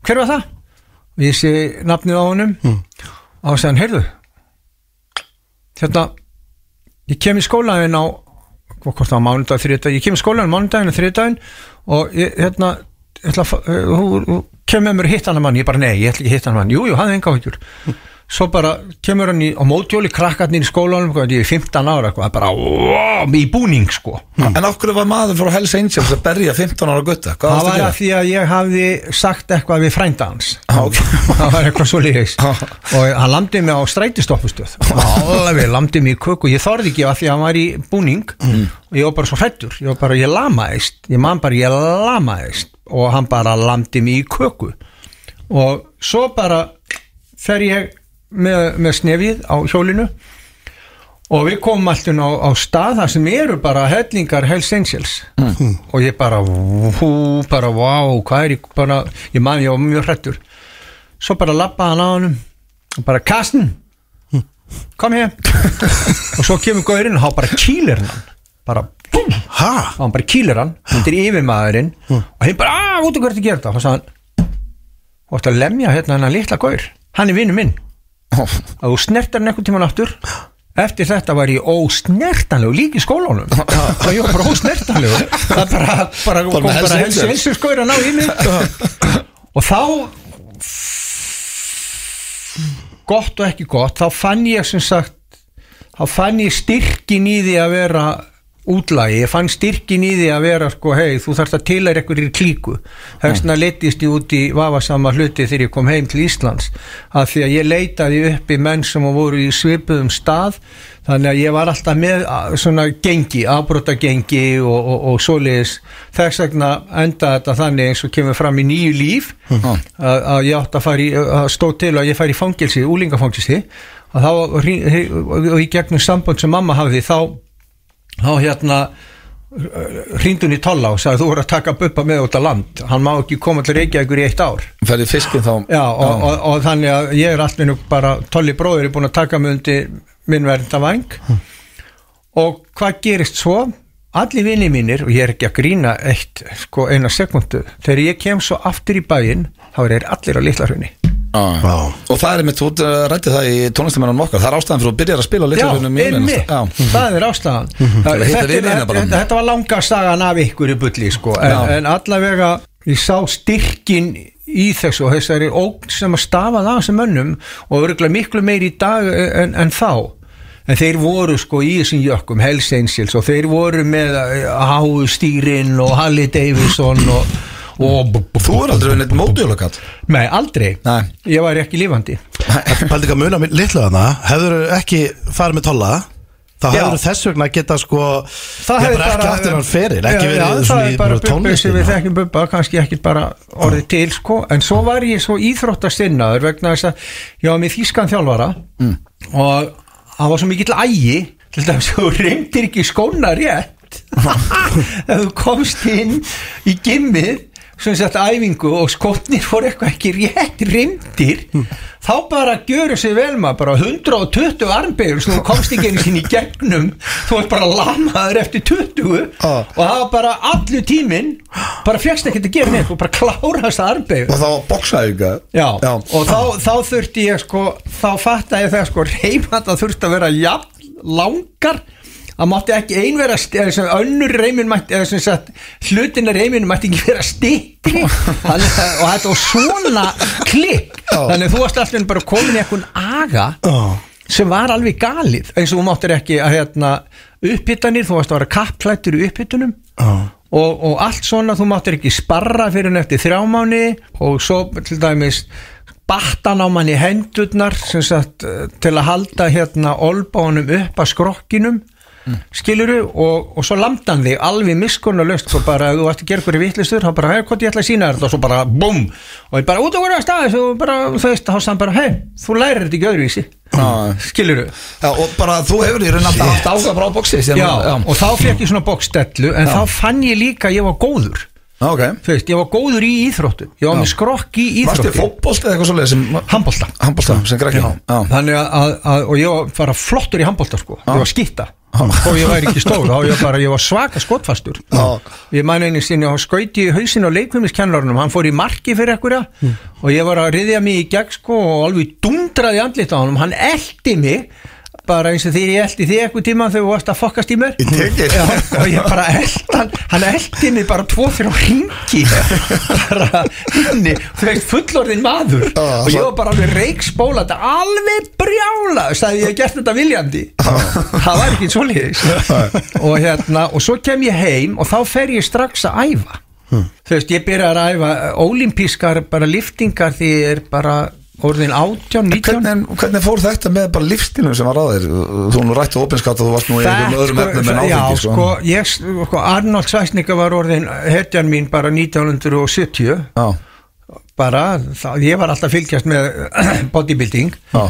I: hver var það? og ég sé nafnið á honum mm. og hann sagði, heyrðu þetta ég kem í skólaðin á hvað hvort það var mánudag, þriðdag, ég kem í skólaðin mánudaginn og þriðdaginn og ég, hérna ég ætla, að fa- eh, hú, hú, kem með mér hitt hann mann, ég bara nei, ég ætla ekki að hitt hann mann jú, jú, hann er enga áhyggjur svo bara kemur hann í, á mótjóli krakkarnir í skólanum hvað, ég er 15 ára, hvað, bara wow, í búning sko
E: En okkur var maður frá Hells Angels að berja 15 ára gutta Hvað varst að
I: það var
E: gera?
I: að því að ég hafði sagt eitthvað við frænda hans
E: Já, ok.
I: (laughs) það var eitthvað svo lífis og hann lamdi mig á strætistoppustöð alveg lamdi mig í köku ég þorði ekki að því að hann var í búning
E: Mm.
I: og ég var bara svo hrættur ég var bara, ég lamaðist ég man bara, ég lamaðist og hann bara lamdi mig í köku og svo bara fer ég með, með snefið á hjólinu og við komum alltaf á, á stað þar sem eru bara hellingar Hells Angels og ég bara, hú, bara, vá, hvað er ég bara, ég man, ég var mjög hrættur svo bara lappa hann á hann og bara, Kastin kom hér og svo kemur gaurinn og hann bara kýlir hann bara, búm,
B: Ha?
I: og hann bara kýlir hann þetta er yfirmaðurinn og hinn bara, að, út og hvert að gera þetta og sagði hann, þú ætti að lemja hérna hennar litla gaur hann er vinnu minn að þú snertar hann einhvern tíman aftur eftir þetta var ég ósnertanlegu líka í skólanum og ég var bara ósnertanlegu það bara, bara
E: með
I: kom bara
E: helstu
I: helst
E: heilsu.
I: helstu skoður að ná í mig og þá gott og ekki gott þá fann ég sem sagt þá fann ég styrkin í því að vera útlagi, ég fann styrkin í því að vera sko, hei, þú þarft að tilæra ykkur í klíku, þessna leittist ég út í vafasama hluti þegar ég kom heim til Íslands, af því að ég leitaði uppi menn sem voru í svipuðum stað, þannig að ég var alltaf með a- svona gengi, afbrota gengi og, og, og svoleiðis þess vegna enda þetta þannig eins og kemur fram í nýju líf að, að ég átt að fara í, að stó til að ég færi í fangelsi, úlingafangelsi að þá hring- hring- og í gegnum samband sem mamma hafði þá þá hérna hrindun í tolla og sagði þú voru að taka buppa með út að land, hann má ekki koma til Reykjavíkur í eitt ár
E: Ferði fiskinn þá
I: Já, og, og, og þannig að ég er allir bara tolli bróður er búin að taka mig undir minn verndavæng og hvað gerist svo allir vinni mínir, og ég er ekki að grína eitt, sko, eina sekundu þegar ég kem svo aftur í bæinn þá er þeir allir á litlarhunni
E: Já.
B: Vá.
E: Ah. Og það er mitt, þú uh, rætti það í tónlistamennanum okkar Það er ástæðan fyrir að þú byrjar að spila á
I: Já,
E: litlarunum í Unionist.
I: einmitt, það er ástæðan
E: að hitta
I: þetta,
E: vinina
I: þetta,
E: hérna bara.
I: þetta, þetta var langa sagan af ykkur í bulli sko, en,
E: Já.
I: en allavega ég sá styrkin í þessu og þessari ógn sem að stafa það sem mönnum og örgulega miklu meiri í dag en, en þá en þeir voru sko í þessum jökkum Hells Angels og þeir voru með Háu Stýrin og Halli Davidson og, og
E: Þú er aldrei neitt mótjólakall
I: Nei, aldrei,
E: Nei.
I: ég var ekki lífandi
B: Paldi ekki að muna litla þarna Hefur ekki farið með tolla Þá
I: Já.
B: hefur þess vegna geta sko Það hefur ekki aftur hann feril Ekki
I: Já, já,
B: verið
I: það
B: svona í
I: er
B: hérna.
I: bara
B: bara
I: bubbi sem
B: tónlistin
I: við þekkjum bubba kannski ekki bara orðið til sko en svo var ég svo íþróttasinnaður vegna þess að ég var með þýskan þjálfara
B: Mm.
I: og það var svo mikill ægi til dæmis (laughs) að þú reyndir ekki
B: (laughs)
I: skóna rétt ef þú komst inn í gimmið sem sett æfingu og skotnir voru eitthvað ekki rétt rimdir þá bara gjöru sig vel maður bara 120 armbeigur sem þú komst ekki einu sinni í gegnum þú ert bara lamaður eftir 20
B: Ah.
I: og það var bara allu tíminn bara fegst ekki að gera neitt og bara klárast armbeigur
E: Og þá boksaði ykkur
I: Já,
E: Já.
I: og þá, þá þurfti ég sko, þá fattaði ég það sko, reymanda þurfti að vera jafn langar, það mátti ekki ein vera, st- eða sem önnur reymin mætti, eða sem sagt, hlutin af reyminu mætti ekki vera stittri, þannig að, og þetta var svona klikk, þannig að þú varst alltaf bara komin í eitthvað aga, sem var alveg galið, eins og þú máttir ekki að hérna, upphittanir, þú varst að vera kapplættur í upphittunum, og, og allt svona, þú máttir ekki sparra fyrir hann eftir þrjá mánu og svo til dæmis battan á manni hendurnar sem sagt eh, til að halda hérna olbánum upp að skrokkinum mm. skiluru og, og svo lamdan þig alveg miskunnulöst svo bara ef þú ætti að gera hverju vitlistur þá bara hei hvort ég ætla að sína þér þetta og svo bara búm og ég bara út og voru að staði svo bara þú veist þá sann bara hei þú lærir þetta ekki öðruvísi
E: Já.
I: skiluru
E: Já, og bara þú hefur í raun alltaf haft áhuga bara á boksi síðan-
I: já, og þá fekk ég svona bókstellu en þá fann ég líka að ég var góður
E: Já, Ah, ok
I: þú veist, ég var góður í íþróttu ég var með skrokk í
E: Varstu
I: íþróttu
E: fótbolt eða eitthvað svoleiðis sem
I: handbólta
E: Handbólta, sem grækki Já, já.
I: þannig að, að, að, og ég var bara flottur í handbólta sko, ég var skýtta
E: Já.
I: og ég væri ekki stór, þá ég bara, ég var svaka skotfastur
E: Já.
I: ég man einu sinni og skauti í hausin á leikfimiskennlarunum, hann fór í marki fyrir ekkurja
E: Mm.
I: og ég var að riðja mig í gegn sko og alveg dundraði andlit á honum, hann eldi mig bara eins og þegar ég eldi þig eitthvað tíma þegar þú varst að fokkast í mér
E: Í tekið.
I: Já, og ég bara eld hann hann eldi mig bara tvo fyrir á ringi bara inni þú veist fullorðin maður
E: Já,
I: og ég var bara alveg reikspóla þetta alveg brjála sagði ég hef gert þetta viljandi það var ekki svoleiðis og hérna og svo kem ég heim og þá fer ég strax að æfa þú veist ég byrjar að æfa ólimpískar bara liftingar því ég er bara orðin 18, 19
E: (laughs) Hvernig, hvernig fór þetta með bara lífstílum sem var á þér Þú nú rættu opinskátt og þú varst nú í einhverjum öðrum efnum en
I: já,
E: áfengi
I: sko, ég, sko, Arnold Svæsnika var orðin hetjan mín bara 1970
E: Já,
I: bara, það, ég var alltaf að fylgjast með (clears throat) bodybuilding
E: já,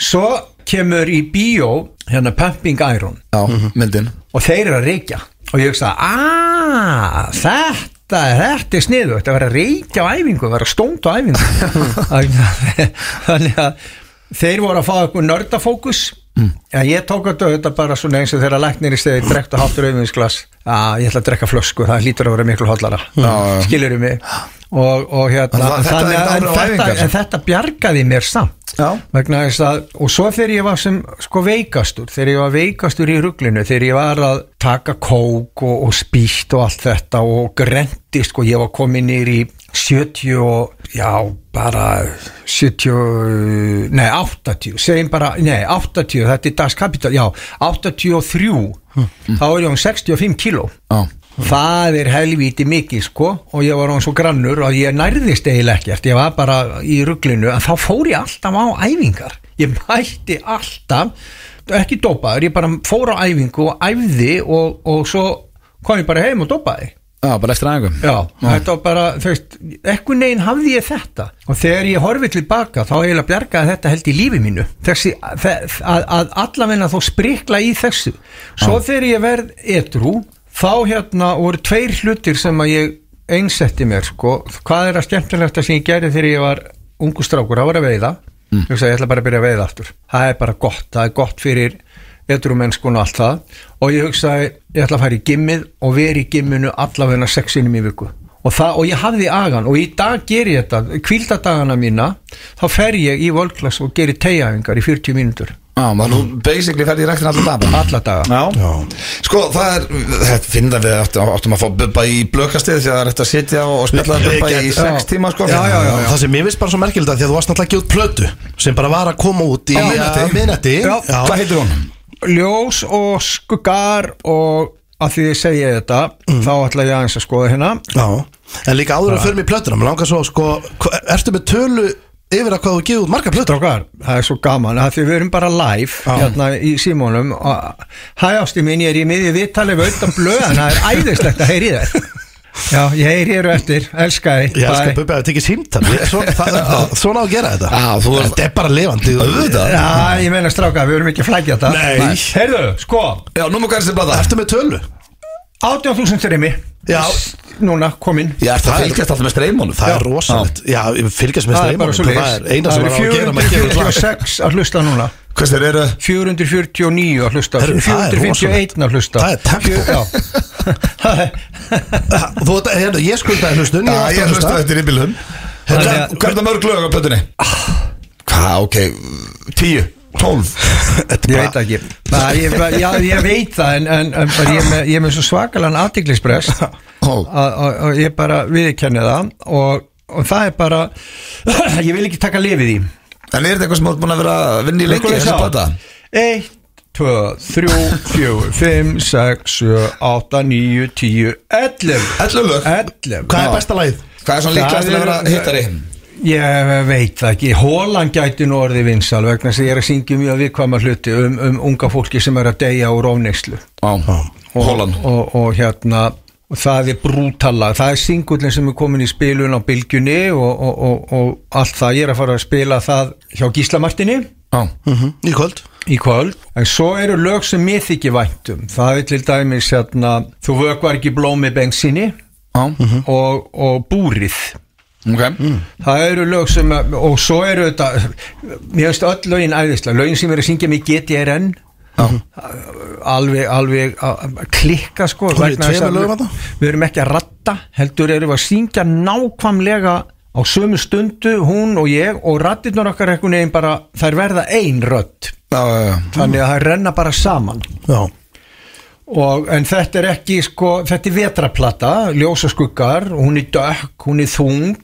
I: svo kemur í bíó hérna Pumping Iron
E: já, myndin
I: og þeir eru að reykja og ég hugsa, aaa, þetta þetta er sniðu, þetta var að reykja á æfingu, var að stónda á
E: (laughs)
I: æfingu þannig að þeir voru að fá eitthvað nördafókus mm. ég tók að þetta bara svona eins og þeirra læknir í stegi drekkt og háttur auðvinsglas að ég ætla að drekka flösku, það hlýtur að vera miklu hóllara,
E: já, já.
I: skilur mig og, og hérna
E: Þannig að þetta
I: þannig að-
E: er dáður
I: en
E: á
I: þetta-
E: æfingar, sko.
I: en þetta bjargaði mér samt
E: Já.
I: vegna þess að, og svo þegar ég var sem sko veikastur, þegar ég var veikastur í rugglinu, þegar ég var að taka kók og, og spýtt og allt þetta og grendi, sko, ég var komin nýr í 70 og já, bara 70 nei, 80, segjum bara nei, 80, þetta er Das Kapital já, 83 þá er ég um 65 kíló
E: Hm. Já.
I: Það er helvíti mikið sko og ég var án svo grannur og ég nærðist eiginlega ekkert, ég var bara í rugglinu en þá fór ég alltaf á æfingar ég mætti alltaf ekki dopaður, ég bara fór á æfingu og æfði og, og svo kom ég bara heim og dopaði
E: Já, bara eftir aðeins
I: Já, þetta var bara, þú veist, ekkur neginn hafði ég þetta og þegar ég horfi tilbaka þá eiginlega bjargaði þetta held í lífi mínu þessi, að, að, að allavegna þó sprikla í þessu svo þegar ég verð edrú þá hérna voru tveir hlutir sem að ég einsetti mér sko, hvað er að skemmtilegta sem ég gerði þegar ég var ungu strákur, það var að veiða mm. ég, ég ætla bara að byrja að veiða aftur það er bara gott, það er gott fyrir edru mennskun og sko allt það og ég hugsaði, ég ætla að fara í gimmið og veri í gimminu allavegna sexinum í viku og, það, og ég hafði agan og í dag ger ég þetta, kvíldadagana mína þá fer ég í völklas og geri tegjafingar í 40 mínútur
E: Já, maður nú basically ferði í rektin alla daga
I: alla daga
E: Já. Sko, það er, þetta finna við áttum, áttum að fá bubba í blökastið því að það er eftir að sitja og, og spilla
B: Við- við
E: bubba í
B: gætum-
E: sex
I: Já.
E: tíma sko.
I: Já, já, já, já.
B: Það sem ég veist bara svo merkilegt að því að þú varst náttúrulega ekki út plötu sem bara var að koma út í uh,
E: Á miðnætti.
B: minnati
I: Já.
E: Hvað heitir hún?
I: ljós og skuggar og að því ég segi þetta þá ætla ég aðeins að skoða hérna
B: Já, en líka áður að fyrir mig plötuna Mér langar svo, sko, hva- ertu með tölu yfir að hvað þú gefið út marga plötur?
I: Strákar, það er svo gaman að því við erum bara live hérna í símónum og hæ ástu mín, ég er í miðju viðtalið við auðvitað blöðan, það er æðislegt að heyri þér Já, ég heyri þér á eftir, elska þig
B: Ég elskar
I: Bye.
B: Bubbi að þetta ekki símtal
E: (laughs)
B: Ég- Svona það- það- svona á að gera þetta
E: Já, þú er-
B: Þetta er bara levandi
E: Auðvitað.
I: Já, ég meina strákar, við erum ekki að flækja þetta
B: Nei.
I: Heyrðu, sko,
E: Já, nú má hvað er þessi blada?
B: Ertu með tölu?
I: 18.000 þrimi
B: Já.
I: Núna, komin
E: Ég ert að fylgjast alltaf með streymónu
B: Það er rosalegt Já, ég fylgjast með
I: Það er bara
B: streymanum
I: svo
B: Það er eina sem er á
I: Það
B: að gera
I: eru
B: maður gefur
E: (laughs)
B: lag
I: 446 að hlusta núna
E: Hvers þeir eru?
I: 449 að hlusta
B: Herru, það er
I: 451 að hlusta
B: Það er tempo.
I: Fjö- já. Það er-
B: (laughs)
I: (laughs)
B: Þú veit að, hérna, ég skuldaði hlustun
E: Já, ég hlusta
B: þetta
E: þetta í bílum Hvað
I: Þannig að-
E: hvað er það mörg lög á plötunni? Hvað, ok, tíu, tólf
I: Ég veit það ekki það, ég, já, ég veit það en, en, en bara, ég er með- ég er með svo svakalan aðtiklispress
E: Ó.
I: og ég bara viðkenni það og, og það er bara (clears throat) ég vil ekki taka lifið í
E: En er þetta eitthvað sem þú ert búin að vera að vinna í lengi
I: Skulum
E: þessi
I: sjá.
E: blada?
I: Eitt, tvö, þrjú, fjögur, fimm, sex, sjö, átta, níu, tíu, ellef
E: Ellu lög
I: Ellef
B: Hvað er
E: Já.
B: besta lagið?
E: Hvað er svona líklegast til að vera hittari?
I: Ég veit það ekki, Hólan gæti nú orðið vinsal vegna þess að ég er að syngja mjög viðkvæma hluti um, um unga fólki sem er að deyja úr ofneyslu
E: Já,
I: og,
E: Holland
I: og, og hérna og það er brútala, það er singullin sem er komin í spilun á bylgjunni og, og, og, og allt það, ég er að fara að spila það hjá Gíslamartinni
E: Já,
B: Mhm, Í kvöld
I: í kvöld en svo eru lög sem mér þykir væntum það er til dæmis hérna þú vökvar ekki blómi bengsinni
E: já,
I: og, og búrið
E: ok
I: það eru lög sem og svo eru þetta mér veist öll lögin æðislega lögin sem eru að syngja mig GTRN alveg, alveg a- a- klikka sko
B: Hún er í
I: vegna þess að
B: tveimur lögum
I: við,
B: þarna?
I: við erum ekki að ratta heldur erum við að syngja nákvæmlega á sömu stundu hún og ég og rattirnar okkar ekkur neginn bara þær verða ein rödd
E: Já, já, já
I: þannig að það renna bara saman
B: Já
I: og, en þetta er ekki sko, þetta er vetraplata ljósaskuggar, hún er dökk hún er þung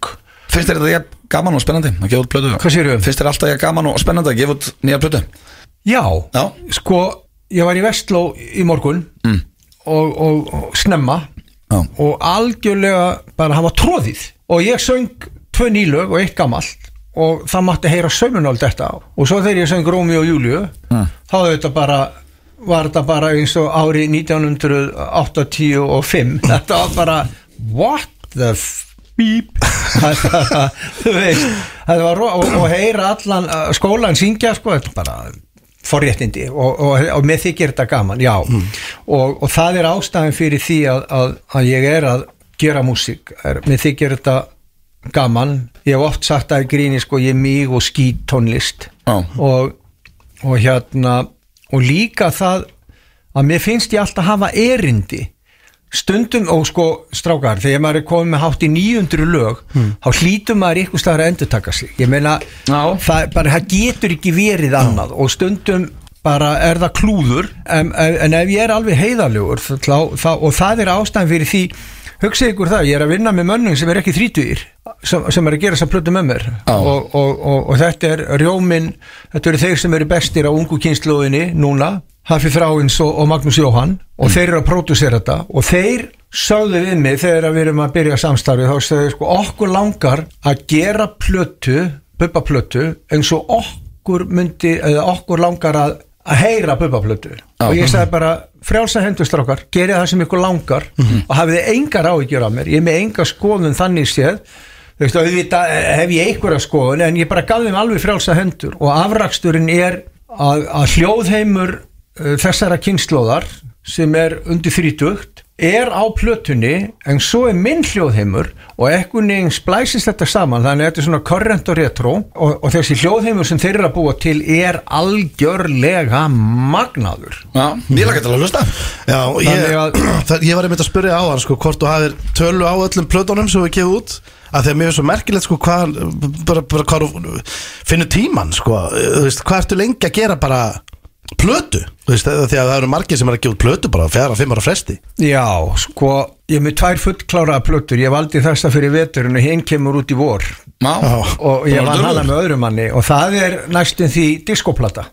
E: Finnst þér þetta ég gaman og spennandi að gefa út plötu?
B: um?
I: Hvað sérðu?
E: Finnst þér alltaf ég gaman og spennandi að gefa út nýja plötu? Já.
I: já, sko, ég var í Vestló í morgun mm. og, og, og snemma
E: Já.
I: og algjörlega bara hafa tróðið og ég söng tvö nýlög og eitt gamalt og það mátti heyra sömunöld þetta á og svo þegar ég söng Rómi og Júliu þá þetta bara var þetta bara eins og ári 1985 (laughs) þetta var bara what the f beep (laughs) þú veist þetta var ro- og, og heyra allan uh, skólan syngja sko þetta er bara forréttindi og, og, og með þykir þetta gaman, já og, og það er ástæðan fyrir því að, að, að ég er að gera músík er, með þykir þetta gaman ég hef oft sagt að í gríni sko ég er mig og skýt tónlist
E: Já.
I: og, og hérna og líka það að mér finnst ég alltaf hafa erindi stundum og sko strákar þegar maður er komið með hátt í 900 lög þá hlýtur maður ykkur staðar að endurtaka sig ég meina
E: Já.
I: það, bara, það getur ekki verið annað og stundum bara er það klúður en, en ef ég er alveg heiðarlegur þá, þá, og það er ástæðan fyrir því hugsið ykkur það, ég er að vinna með mönnum sem er ekki þrítugir sem, sem er að gera þess að plötu með mér
E: Já.
I: og, og, og, og þetta er rjómin þetta eru þeir sem eru bestir á ungu kynsluðinni núna, Hafi Þráins og, og Magnús Jóhann og þeir eru að pródúsera þetta og þeir sögðu við mig þegar að við erum að byrja samstarfið þá segðu sko okkur langar að gera plötu, bubbaplötu eins og okkur myndi eða okkur langar að, að heyra bubbaplötu og ég sagði bara frjálsa hendustrákar, gerið það sem ykkur langar og hafið þið engar áhyggjur af mér ég er með enga skoðun þannig séð Þú veist, auðvitað eh, hef ég einhverja skoðun en ég bara gaf þeim alveg frjálsa hendur og afraksturinn er að, að hljóðheimur uh, þessara kynnslóðar sem er undir þrítugt er á plötunni en svo er minn hljóðheimur og ekkur neginn splæsist þetta saman þannig að þetta er svona korrent og retro og, og þessi hljóðheimur sem þeir eru að búa til er algjörlega magnaður
E: Já, ég lakka til að hlusta
B: Já, og ég, (clears throat)
I: Þannig að-
B: það, ég var einmitt að spyrja á hann sko, hvort þú hafir tölu á öllum plötunum sem við gefið út að því að mér er svo merkilegt sko hvað bara, bara hvað þú finnur tíman sko, þú veist, hvað ertu lengi að gera bara plötu, þú veist, af því að það eru margir sem er að gefa út plötu bara á fjara, fimm ára fresti
I: Já, sko, ég er með tvær fullkláraða plötur, ég valdi þessa fyrir vetur en hinn kemur út í vor
A: Má
I: og ég vann hana með öðrum manni og það er næstum því diskoplata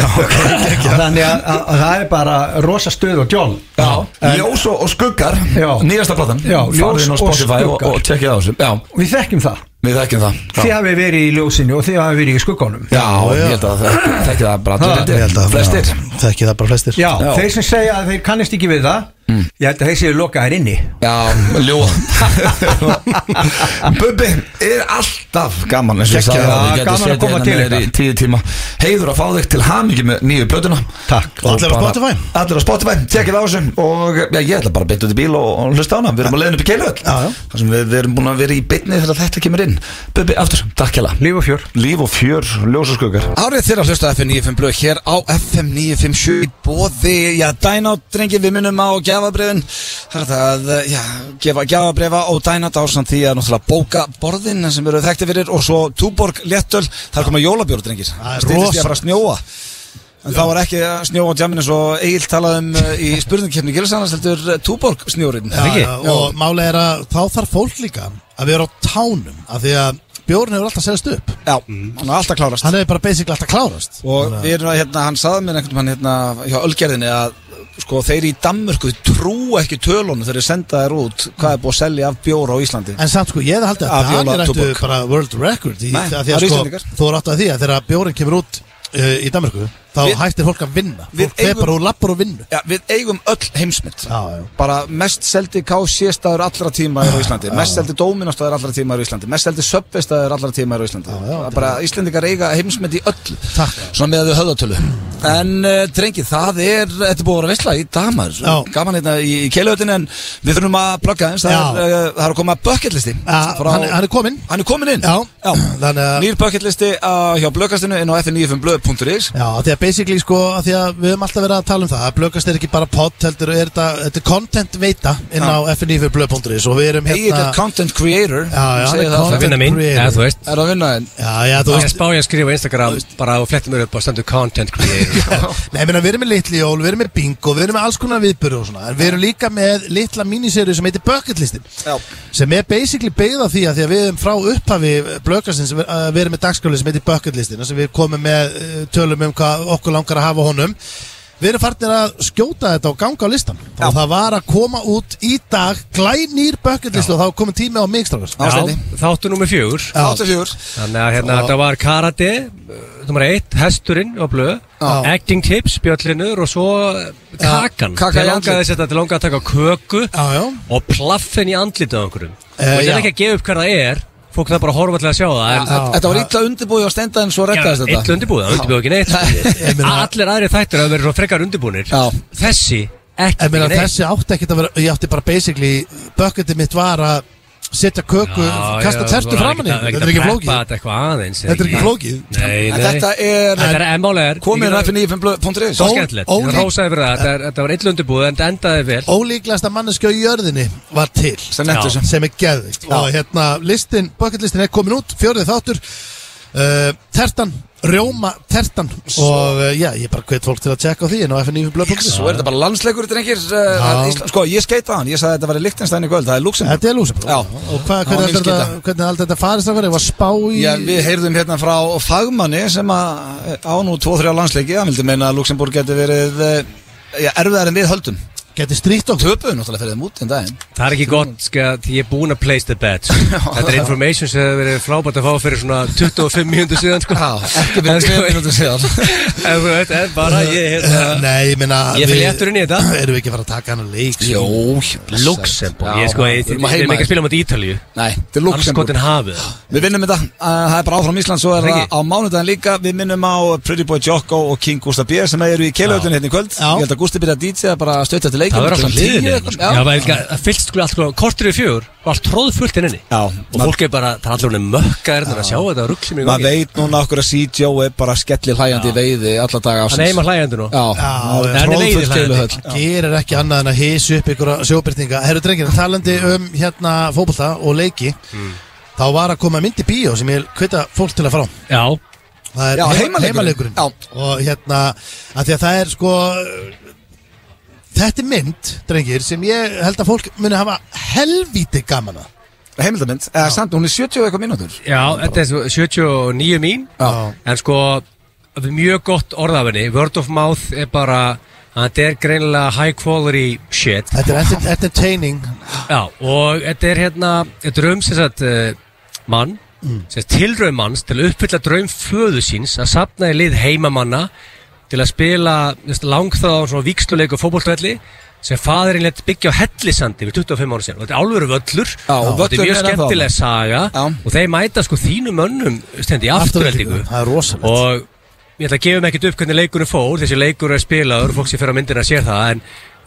I: þannig að, að, að það er bara rosa stuð og djól
E: Já, ljós og, og skuggar
I: Já.
E: Nýjasta platan
I: Já,
E: Farið
I: ljós
E: inn á
I: og
E: Spotify og,
I: skuggar.
E: og tjekkið á þessu Já,
I: við þekkjum það
E: við þekkjum það
I: þið hafi verið í ljósinu og þið hafi verið í skugganum
E: Já, ég held að það þekkið það bara
I: Ha,
E: allir, Flestir
B: Þekki það bara flestir
I: Já,
E: Já.
I: þeir sem segja að þeir kannist ekki við það Ég held að þeir séu lokaðir inni
E: Já, ljó um, (laughs) Bubbi er alltaf gaman eins og ég
I: Geggjað.
E: sagði að
I: Já,
E: ég gæti
I: gaman að
E: setið
I: koma
E: hérna
I: til
E: niður í
I: ykkar.
E: tíu tíma Heiður að fá þig til hamingi með nýju plötuna
I: Takk
E: Og
B: Allir á
E: bara-
B: Spotify.
E: Allir á Spotify, tekið á þessu og já, ég ætla bara að bytta út í bíl og, og hlusta á hana Við erum að leiðin upp í keilu
B: Já, já.
E: Þar sem við, við erum búin að vera í bytni þegar þetta kemur inn Bubbi, aftur, takk hella
I: Líf og fjör
E: Líf og fjör, ljós og skuggar
A: Árið þeirra hlusta FM 95 blöð hér á FM 957 í bóði, já, Dynout, drengi, við minnum á gjafabrifin Það er það, að, eh, já, gefa gjafabrifa og Dynout ásamt því að náttúrulega bóka borðin sem eru þekkti fyrir og svo Túborg léttöl, það er komað jólabjór, drengir
B: Það er
A: Stýrist
B: rosa.
A: ég bara að snjóa En það var ekki að snjóa á djaminu svo Egil talaði um eh, í spurningkeppni Gilsannars heldur eh, Túborg snjórinn
B: Já, já, og málega er að þá þarf fólk líka að vera á tánum af því að bjórn hefur alltaf selst upp
A: Já, hann er alltaf klárast
B: hann hefur bara basically alltaf klárast
A: og við erum að hérna, hann saði mér einhvern veginn hérna hjá Ölgerðinni að sko þeir í Danmörku þeir trú ekki tölunum þegar þeir senda þær út hvað er búið að selja af bjóra á Íslandi
B: En samt sko, ég hefði haldið
A: Af
B: að Danir
A: jóla-
B: ættu
A: tóbak.
B: bara world record í,
A: Nei,
B: Nei, því
A: það
B: að
A: eru
B: sko,
A: Íslendingar.
B: þú er átt að því að þegar bjórin kemur út uh, í Danmarku, þá
A: Við-
B: hættir fólk að vinna
A: Við
B: fólk fer
A: eigum-
B: bara úr lappur og vinnu
A: Já, við eigum öll heimsmynd
B: Já, já.
A: bara mest seldi KC staður allra tíma er á Íslandi, mest seldi Dominos staður allra tíma er á Íslandi, mest seldi Subway staður allra tíma er á Íslandi,
B: Já, já,
A: Það er bara Íslandingar eiga heimsmynd í öll
B: Takk.
A: svona með að við höfðatölu en uh, drengi, það er, þetta er búið að vera veistla í damar,
B: Já.
A: gaman hérna í, í keiluhötin en við þurfum að plugga eins það, er,
B: Já.
A: uh, það er að koma bucketlisti
B: Já, Ah, hann, hann er kominn
A: Hann er komin inn
B: Já. Þannig að-
A: Nýr bucketlisti uh, hjá blökastinu inn á f95blöð.is
B: Já, af því að basically sko, af því að við höfum alltaf verið að tala um það að blökast er ekki bara pott, heldur er þetta, þetta er content veita inn á fnifurblöð.is og við erum
A: Egil er
B: hérna
A: content creator
B: Já, já,
A: Segir
B: hann er
A: það
C: Það
A: alltaf.
B: content-
C: finna mín,
B: creator.
C: eða þú veist
A: Er að vinna þinn
B: Já, já, þú
C: Ég
B: veist
C: spá ég að skrifa á Instagram bara og flettum mér upp og stendur content creator
B: Nei, ég meina, við erum með litli jól, við erum með bingo, við erum með alls konar viðbyrðu og svona En við erum líka með litla míniserju sem heitir Bucket Listin
A: Já.
B: Sem er basically beigð á því að því að við erum frá upphafi blökastins Við að við erum með dagskáli sem heitir Bucket Listin þar sem við komum með eh, tölum um hvað okkur langar að hafa á honum Við erum farnir að skjóta þetta og ganga á listan
A: Já.
B: Og það var að koma út í dag glænýr Bucket List og þá komum tími á mig strákar
A: Ástændi
C: Þáttu nummer fjögur
B: Já.
A: 84
C: Þannig að hérna, þetta var karate eh, Númer eitt, hesturinn og blöð
B: Já.
C: Acting tips, bjöllinur og svo eh, kakan
A: Kaka í
C: Þetta
A: andlit.
C: langaði að setja- þetta langaði að taka köku
B: Já, já
C: og plaffin í andlitið á einhverjum
B: Eh,
C: Og þetta
B: já.
C: er ekki að gefa upp hver það er Fólk þarf bara að horfa til að sjá það en-
B: Já.
A: Þetta var illa undirbúið á stenda en svo
C: Já,
A: reddaðist
C: Eitt
A: þetta
C: undirbúið, það undirbúið ekki
B: (laughs)
C: neitt
B: meina-
C: Allir aðri þættir hafa verið svona frekar undirbúinir
A: Já.
C: Þessi ekki
B: En meina
C: neitt
B: þessi átti ekkert að vera, ég átti bara basically, bucketið mitt var að setja köku,
C: Já,
B: kasta
C: já,
B: tertu
C: það var
B: fram hann í,
C: ekkert að-
B: þetta er ekki
C: að
B: flókið.
C: preppa Þetta er eitthvað aðeins
B: Þetta er ekki flókið.
A: En
C: Nei, nei
A: Þetta er
C: Þetta er emmálegar
A: Komið á f95blöð.is
C: Svo skemmtilegt,
B: Ó-
C: ég
B: ólík-
C: rósaði fyrir það, þetta er- þetta var illa undirbúið en þetta endaði vel
B: Ólíklegasta manneskja í jörðinni var til,
A: Sem nefntu
C: Já.
A: sem
B: sem er geðvikt. Og hérna, listin, bucketlistin er komin út, fjórið þáttur, uh, tertan, rjóma tertan og uh, já, ég bara hvet fólk til að tjekka á því en á fnifblöð.is.
A: Svo er þetta bara landsleikur drengir eh, að Ísland- Sko, ég skeita hann Ég sagði að þetta var í Lichtenstein í kvöld Það er Luxemburg
B: Þetta er lúsum.
A: Já.
B: Og hvað,
A: Já,
B: hvernig
A: mín
B: heldur þetta,
A: skylda.
B: hvernig heldur þetta farist það verið? Var spá í...
A: Já, við heyrðum hérna frá fagmanni sem að eh, á nú 2-3 landsleiki hann vildi meina að Luxemburg geti verið eh, já, erfiðar en við höldum
B: Geti strýtt okkur?
A: Töpuðu náttúrulega fyrir þeim út en daginn
C: Það er ekki gott, sko, því ég er búin að place the
A: (laughs)
C: bet sko. Þetta er information sem hefur verið frábært að fá fyrir svona 25 mínútur síðan sko.
A: Já, ekki (laughs)
C: En,
A: fyrir
C: sko,
A: 3 minútur síðan
C: (laughs) En þú veit, en bara ég hérna,
B: Eh, Nei, ég meina
C: Ég fer
B: við-
C: léttur inn í þetta.
B: (clears throat) Erum við ekki að fara að taka hann að leik sko?
A: Jó,
C: Luxemburg, ég sko, ég-
A: Við
C: við erum ekki að spila mot Ítalíu
A: Nei, þetta er Luxemburg
C: Anskotin hafið það.
A: Við vinnum þetta, uh, það er bara áfram Ísland Svo er
C: Ekki?
A: það á mánudaginn líka Við minnum á Pretty Boy Jocko og King Gustaf B sem eru í keilautunni hérna í kvöld
B: Já.
A: Ég held að Gustaf byrja að DJ bara hérna, sko. að stauta til leikjum
C: Það var
A: klukkan
C: alltaf
A: 10
C: liðinni
A: eitthvað,
C: Já, það var ekki að fyllt sko alltaf Kortur í fjögur var tróðfullt inn inni
E: Já,
C: Og fólk er bara, það er allir hún mökkaðir Þannig að sjá þetta rugg sem ég
A: maður veit núna okkur að CJ er bara skellir hlæjandi í veiði alla daga
C: Hann er heima hlægjandi nú
A: Já,
B: Já,
A: það
C: hann er
A: er
C: leiðir
A: tróðfull
C: hlægjandi.
A: keiluhöll
B: Hann gerir ekki annað en að hísu upp ykkur sjóbyrtinga Herru drengir, talandi um hérna fótbolta og leiki
C: Mm.
B: Þá var að koma mynd í bíó sem ég hvita fólk til að fara á
C: Já,
B: Það er
A: Já,
B: heima-
A: heimaleikurinn.
B: heimaleikurinn Og hérna, að því að það er sko Þetta er mynd, drengir, sem ég held að fólk muni hafa helvíti gaman að
A: Heimildamind, eða Eh, samt, hún er 70 og eitthvað mínútur
C: já, þetta er svo 79 mín
A: Já.
C: En sko, mjög gott orðafinni Word of mouth er bara Þetta er greinilega high quality shit
B: Þetta er
C: (laughs)
B: enter- entertaining
C: Já, og þetta er hérna Þetta er um sem sagt uh, mann sem sagt tilraun manns til að uppfylla draum föðu síns að sapna í lið heimamanna til að spila langþáðan svona viksluleik og fótboltvelli sem faðurinn lett byggja á Hellisandi fyrir 25 ára síðan og þetta er álveru völlur
A: Já,
C: og þetta er
A: völlurinn
C: mjög
A: er ennþá
C: skemmtileg saga
A: Já.
C: og þeir mæta sko þínu mönnum stendi í afturveldingu
B: Það er rosalegt
C: og ég ætla að gefa mig ekkert upp hvernig leikurinn fór þessi leikur er spilaður og fólk sem fer á myndina sér það en,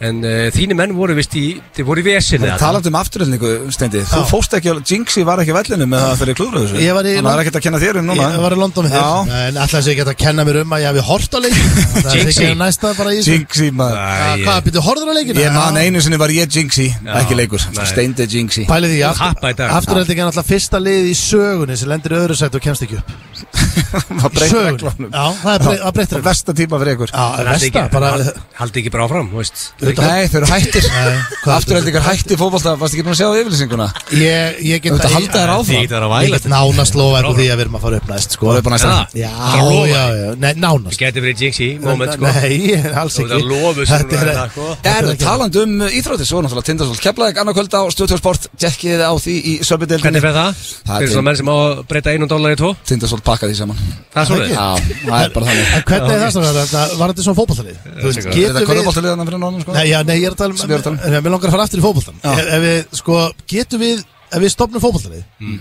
C: en uh, þínu menn voru vist í þeir voru í vesinu
A: Það talaði um afturhildningu, Steindi Þú
B: Já.
A: fóst ekki, Jinxi var ekki á vellinum með það fyrir klúður þessu
B: Ég var í
A: Þannig að það er ekkert að kenna þér um núna
B: Ég var í London með
A: Já.
B: þér En alltaf þess að ég geta að kenna mér um að ég hafi hort á leikin Það er
C: Jinxi.
B: ekki næsta bara í þessu.
A: Jinxi, maður
B: Að Hvað, byrju horður á leikinu?
A: Ég man
B: Já.
A: einu sinni var ég Jinxi, ekki leikur
C: nei.
A: Steindi Jinxi
B: Pælið því,
C: happa í dag.
B: afturhalding er alltaf fyrsta lið í sögunni sem lendir í öðru sætt og kemst ekki upp
A: Það
B: Í
A: breytir
B: sögunni,
A: reglunum
B: já, það er brey- það breytir reglunum.
A: Vesta tíma fyrir ykkur
B: Já, versta, bara
C: Haldi ekki bara áfram, þú veist
A: Nei, þau eru hættir
B: hvað-
A: Afturhildningar hætti fótbolta, varst ekki búin að sjá yfirlýsinguna
B: Ég, ég get
A: Þú ert að halda þér áfram.
C: Því það er að
B: Ég
C: væla
B: get nánast lofa upp því að við erum að fara upp næst sko.
A: Voru upp á næsta?
C: Já.
B: Já,
C: Bara lofa því.
B: já, já, nei,
C: Það
B: nánast
C: getur verið jinxi, moment sko
B: Nei, (laughs) alls
C: Þú
B: ekki
C: ert að lofa þessu
B: Þetta er-
C: núna, sko.
B: þetta
A: Er
B: er
A: það
B: ekki-
A: talandi um íþróttir, svo er náttúrulega Tindasól Keflæk, annarkvöld á Stöðtjórsport, tjekkið á því í söpudeldinni
C: Hvernig fer það?
A: Það
C: Það
A: er
C: er svona menn sem á að breyta einum dólar í tvo
A: Tindasól pakka því saman
C: Það er svona
A: Já, það er bara þannig
B: En hvernig er það sem var þetta? Var þetta svona fótballtalið? Þú veist,
C: Þetta
A: Er þetta
B: getum við
A: körfuboltaliðana fyrir norðan, sko?
B: Nei, já, nei, ég er að tala
A: Sem ég er að tala
B: um
A: um.
B: en Mér langar að fara aftur í fótboltan
A: Já.
B: ef, ef við, sko, getum við Ef við stopnum fótboltalið
A: Mm.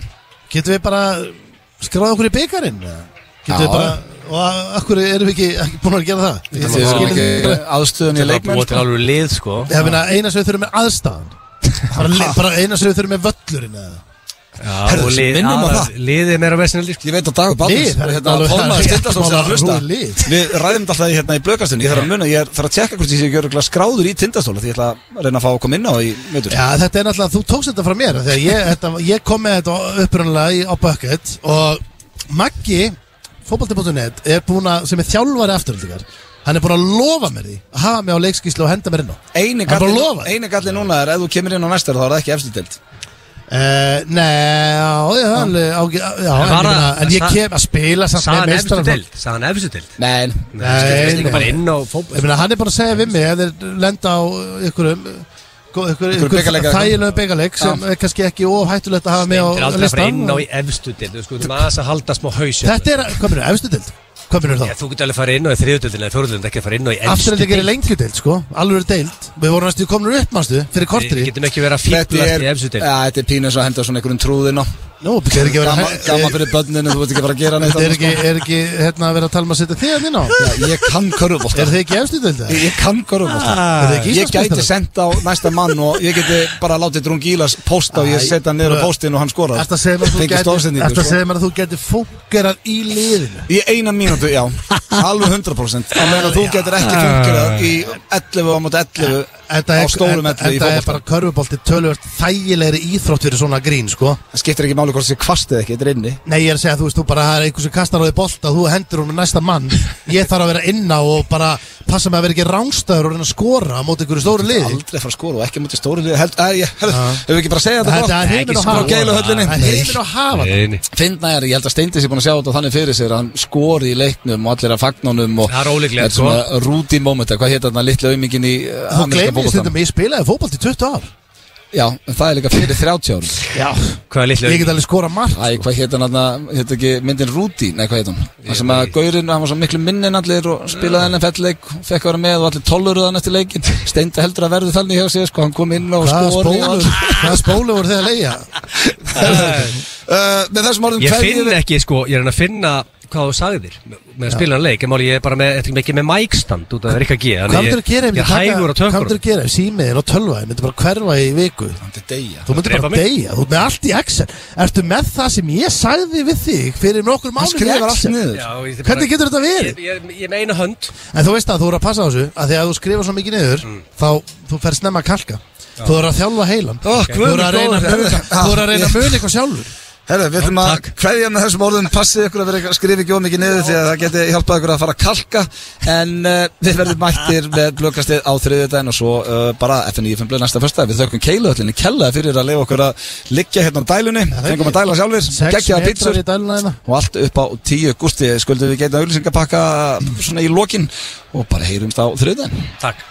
B: Getum við bara skráða okkur í byggarinn Getum
A: Já.
B: við bara Og að- af hverju erum við ekki, ekki búin að gera það Ég-
A: Þið
B: ég
A: erum
B: skil
A: ekki
B: ekki-
A: aðstöðun í
C: Það er
A: leikmenn
C: búið til
A: sko.
C: alveg lið sko
B: Ég meina, eina sem við þurfum er aðstæðan
A: (laughs)
B: bara, li- bara eina sem við þurfum er völlurinn eða.
C: Já,
A: Herðu,
C: og lið-
A: minnum á
C: aðal-
A: það.
C: Liðið meira vesinaldi sko
A: Ég veit að Dagur Baldins
B: Lið, það er
A: hérna,
B: alveg-
A: formaður
B: (laughs)
A: Tindastóls er að hlusta
B: Rúið lið.
A: Við ræðum þetta alltaf í, hérna í blökastunni Ég þarf að muna, ég þarf að tjekka hvort ég sé ekki örugglega skráður í Tindastóla Því ég ætla að reyna að fá að koma inn á í mötur
B: Já, þetta er náttúrulega, þú tókst þetta frá mér Þegar ég, þetta, ég kom með þetta upprunalega í, á Bucket Og Maggi, fótbolti.net Er búin að, sem er þjálfari afturöldingar Hann er búin að lofa mér því Að hafa mig á leikskíslu og henda mér inn á
A: Einu
B: Hann er bara að
A: galli-
B: lofa
A: eini galli núna er ef þú kemur inn á næstar þá er það ekki efstu deild
B: Uh, nei, já, já, alveg, á, já, já, en,
C: var
B: ég meina,
C: það-
B: en ég
C: sa-
B: kem að spila samt
C: Sagan efstu
B: meistaraflokk.
C: dild Sagan efstu dild
A: Nei,
B: Nei, nei.
C: Bara inn á fótbol
B: Ég meina, hann er bara að segja við mig ef þeir lenda á ykkurum ykkur, ykkur, ykkur
A: bikarleik eða
B: þægilegum byggaleg sem er kannski ekki of hættulegt að hafa með
C: Það er
B: á
C: aldrei að fara
B: listan
C: inn á í efstu dild Þú sko, þú maður að halda smá haus
B: Þetta er, hvað minnur, efstu dild Hvað minnur
C: Já,
B: það?
C: Þú getur alveg að fara inn á í þriðutildin eða fjóruðildin ekki að fara inn á í efstu
B: Afturlega
C: deild.
B: gerir lengju dild, sko, alveg dild Við vorum næstu komnur upp, manstu, fyrir
C: Við
B: korteri
C: getum ekki verið að
A: þetta
C: fíblast
A: er,
C: í
A: ja,
C: efstu dild
A: þetta er pínu eins og að henda svona einhverjum trúðin á
B: Nú, þetta er ekki verið
A: Gama, gama
B: að
A: fyrir börninu, þú veit ekki bara að gera neitt
B: Þetta er
A: annað,
B: ekki, er ekki, hérna, verið að tala um að setja þig hann inn á
A: sko. Ég kann körfubólta
B: Er þið ekki efstu dild?
A: Ég ég kann
B: Er þið
A: körfubólta
B: ekki
A: Ah. Ég gæti
B: Íslandsmeistari?
A: sendt á næsta mann og ég geti bara látið Drungílas posta og ég
B: Æ,
A: setja hann niður á
B: bro.
A: postin og hann skorar
B: Þetta segir mér að þú
A: Fengi
B: gæti-
A: stoðsendingu,
B: ertu að
A: sko.
B: segja mér að þú getur fókerað í liðinu
A: Í eina mínútu,
B: (laughs)
A: já, alveg 100% Á meðan þú getur ekki fungerað í 11 á móti 11
B: Þetta
A: á
B: er,
A: stórum 11 í
B: þetta er bara
A: fólkbólta
B: körfubolti tölvöld þægilegri íþrótt fyrir svona grín sko.
A: Það skiptir ekki máli hvort þessi kvastið ekki, þetta er inni
B: Nei ég er að segja þú veist þú bara það er einhver sem kastar á því bolta þú hendur hún með næsta mann ég þarf að vera inna og bara passa mig að vera ekki rángstöður og reyna að skora á móti einhverju stóru lið
A: Aldrei fara að skora og ekki mútið stóru lið Held, að, ég, held, hefur ekki bara að segja þetta
B: Þetta er heimin og
A: Frá
B: hafa
A: geiluhöllinni
B: Það er heimin og hafa það.
C: Nei, nei.
A: Fyndna er, ég held að Steindi sé búin að sjá þetta þannig fyrir sér að hann skori í leiknum og allir að fagnunum og
C: Það er ólíklegt,
A: þetta svona rúti moment hvað hétt þarna litla auðmingin í uh,
B: Þú
A: ameríska
B: gleymir
A: fótboltanum?
B: stundum ég spilaði fótbolt í 20 ár
A: Já, en það er líka fyrir 30 árum
B: Já
C: Hvað er litlu
B: Ég get alveg skora margt
A: Æ, hvað hétt hann þarna, hétt ekki myndin Rúti, nei hvað hétt hann Það sem að Gaurinn, hann var svo miklu minni en allir og spilaði henni fellleik, fekk að vera með og allir tolluruðan eftir leikin Steindi heldur að verði þannig hjá sér, sko, hann kom inn og
B: Hvaða
A: skori og
B: spólur
A: allt.
B: Hvaða spólur voru þið að leia
A: uh, Með þessum orðum
C: Ég
A: kveðjum
C: finn
A: við-
C: ekki sko, ég er hann að finna hvað hvað þú sagðir með að spila hann leik, en máli ég er bara með, þetta er ekki með mækstand út af það er ekki að gera
B: Hvað myndir að gera ef
C: Ég er hægur á
B: Hvað myndir
C: tökur
B: að gera ef símiðin og tölvaðin myndi bara hverfa í viku
J: Þetta er deyja
B: Þú myndir
C: drepa
B: bara
C: mig.
B: deyja, þú ert með allt í Excel Ertu með það sem ég sagði við þig fyrir nokkur
J: Hann
B: mánuð í
J: skrifar allt
B: Excel
J: niður
B: Hvernig getur þetta verið?
C: Ég, ég, ég meina hönd
B: En þú veist að þú eru að passa á þessu að því að þú skrifar svo mikið niður
C: Mm.
B: þá þú fer snemma að kalka þú eru að þjálfa heilan
J: Ó,
B: þú eru að reyna að
J: góður. (laughs)
B: muna þú eru að reyna að muna eitthvað sjálfur
A: Herra, við ætlum að hverja með þessum orðum passið ykkur að vera skrifa ekki of mikið niður því að það geti hjálpað ykkur að fara að kalka en uh, við verðum mættir með blökkastið á þriðjudaginn og svo uh, bara FNÍFM blöð næsta fyrsta við þökkum keiluhöllinni kella fyrir að leiða okkur að liggja hérna á dælunni fengum að dæla sjálfur,
B: sex
A: geggja
B: metrar
A: pítsur
B: í dæluna hérna
A: og allt upp á tíu gústi skuldum við geita auðlýsingapakka svona í lokin og bara heyrumst á þriðjudaginn
C: Takk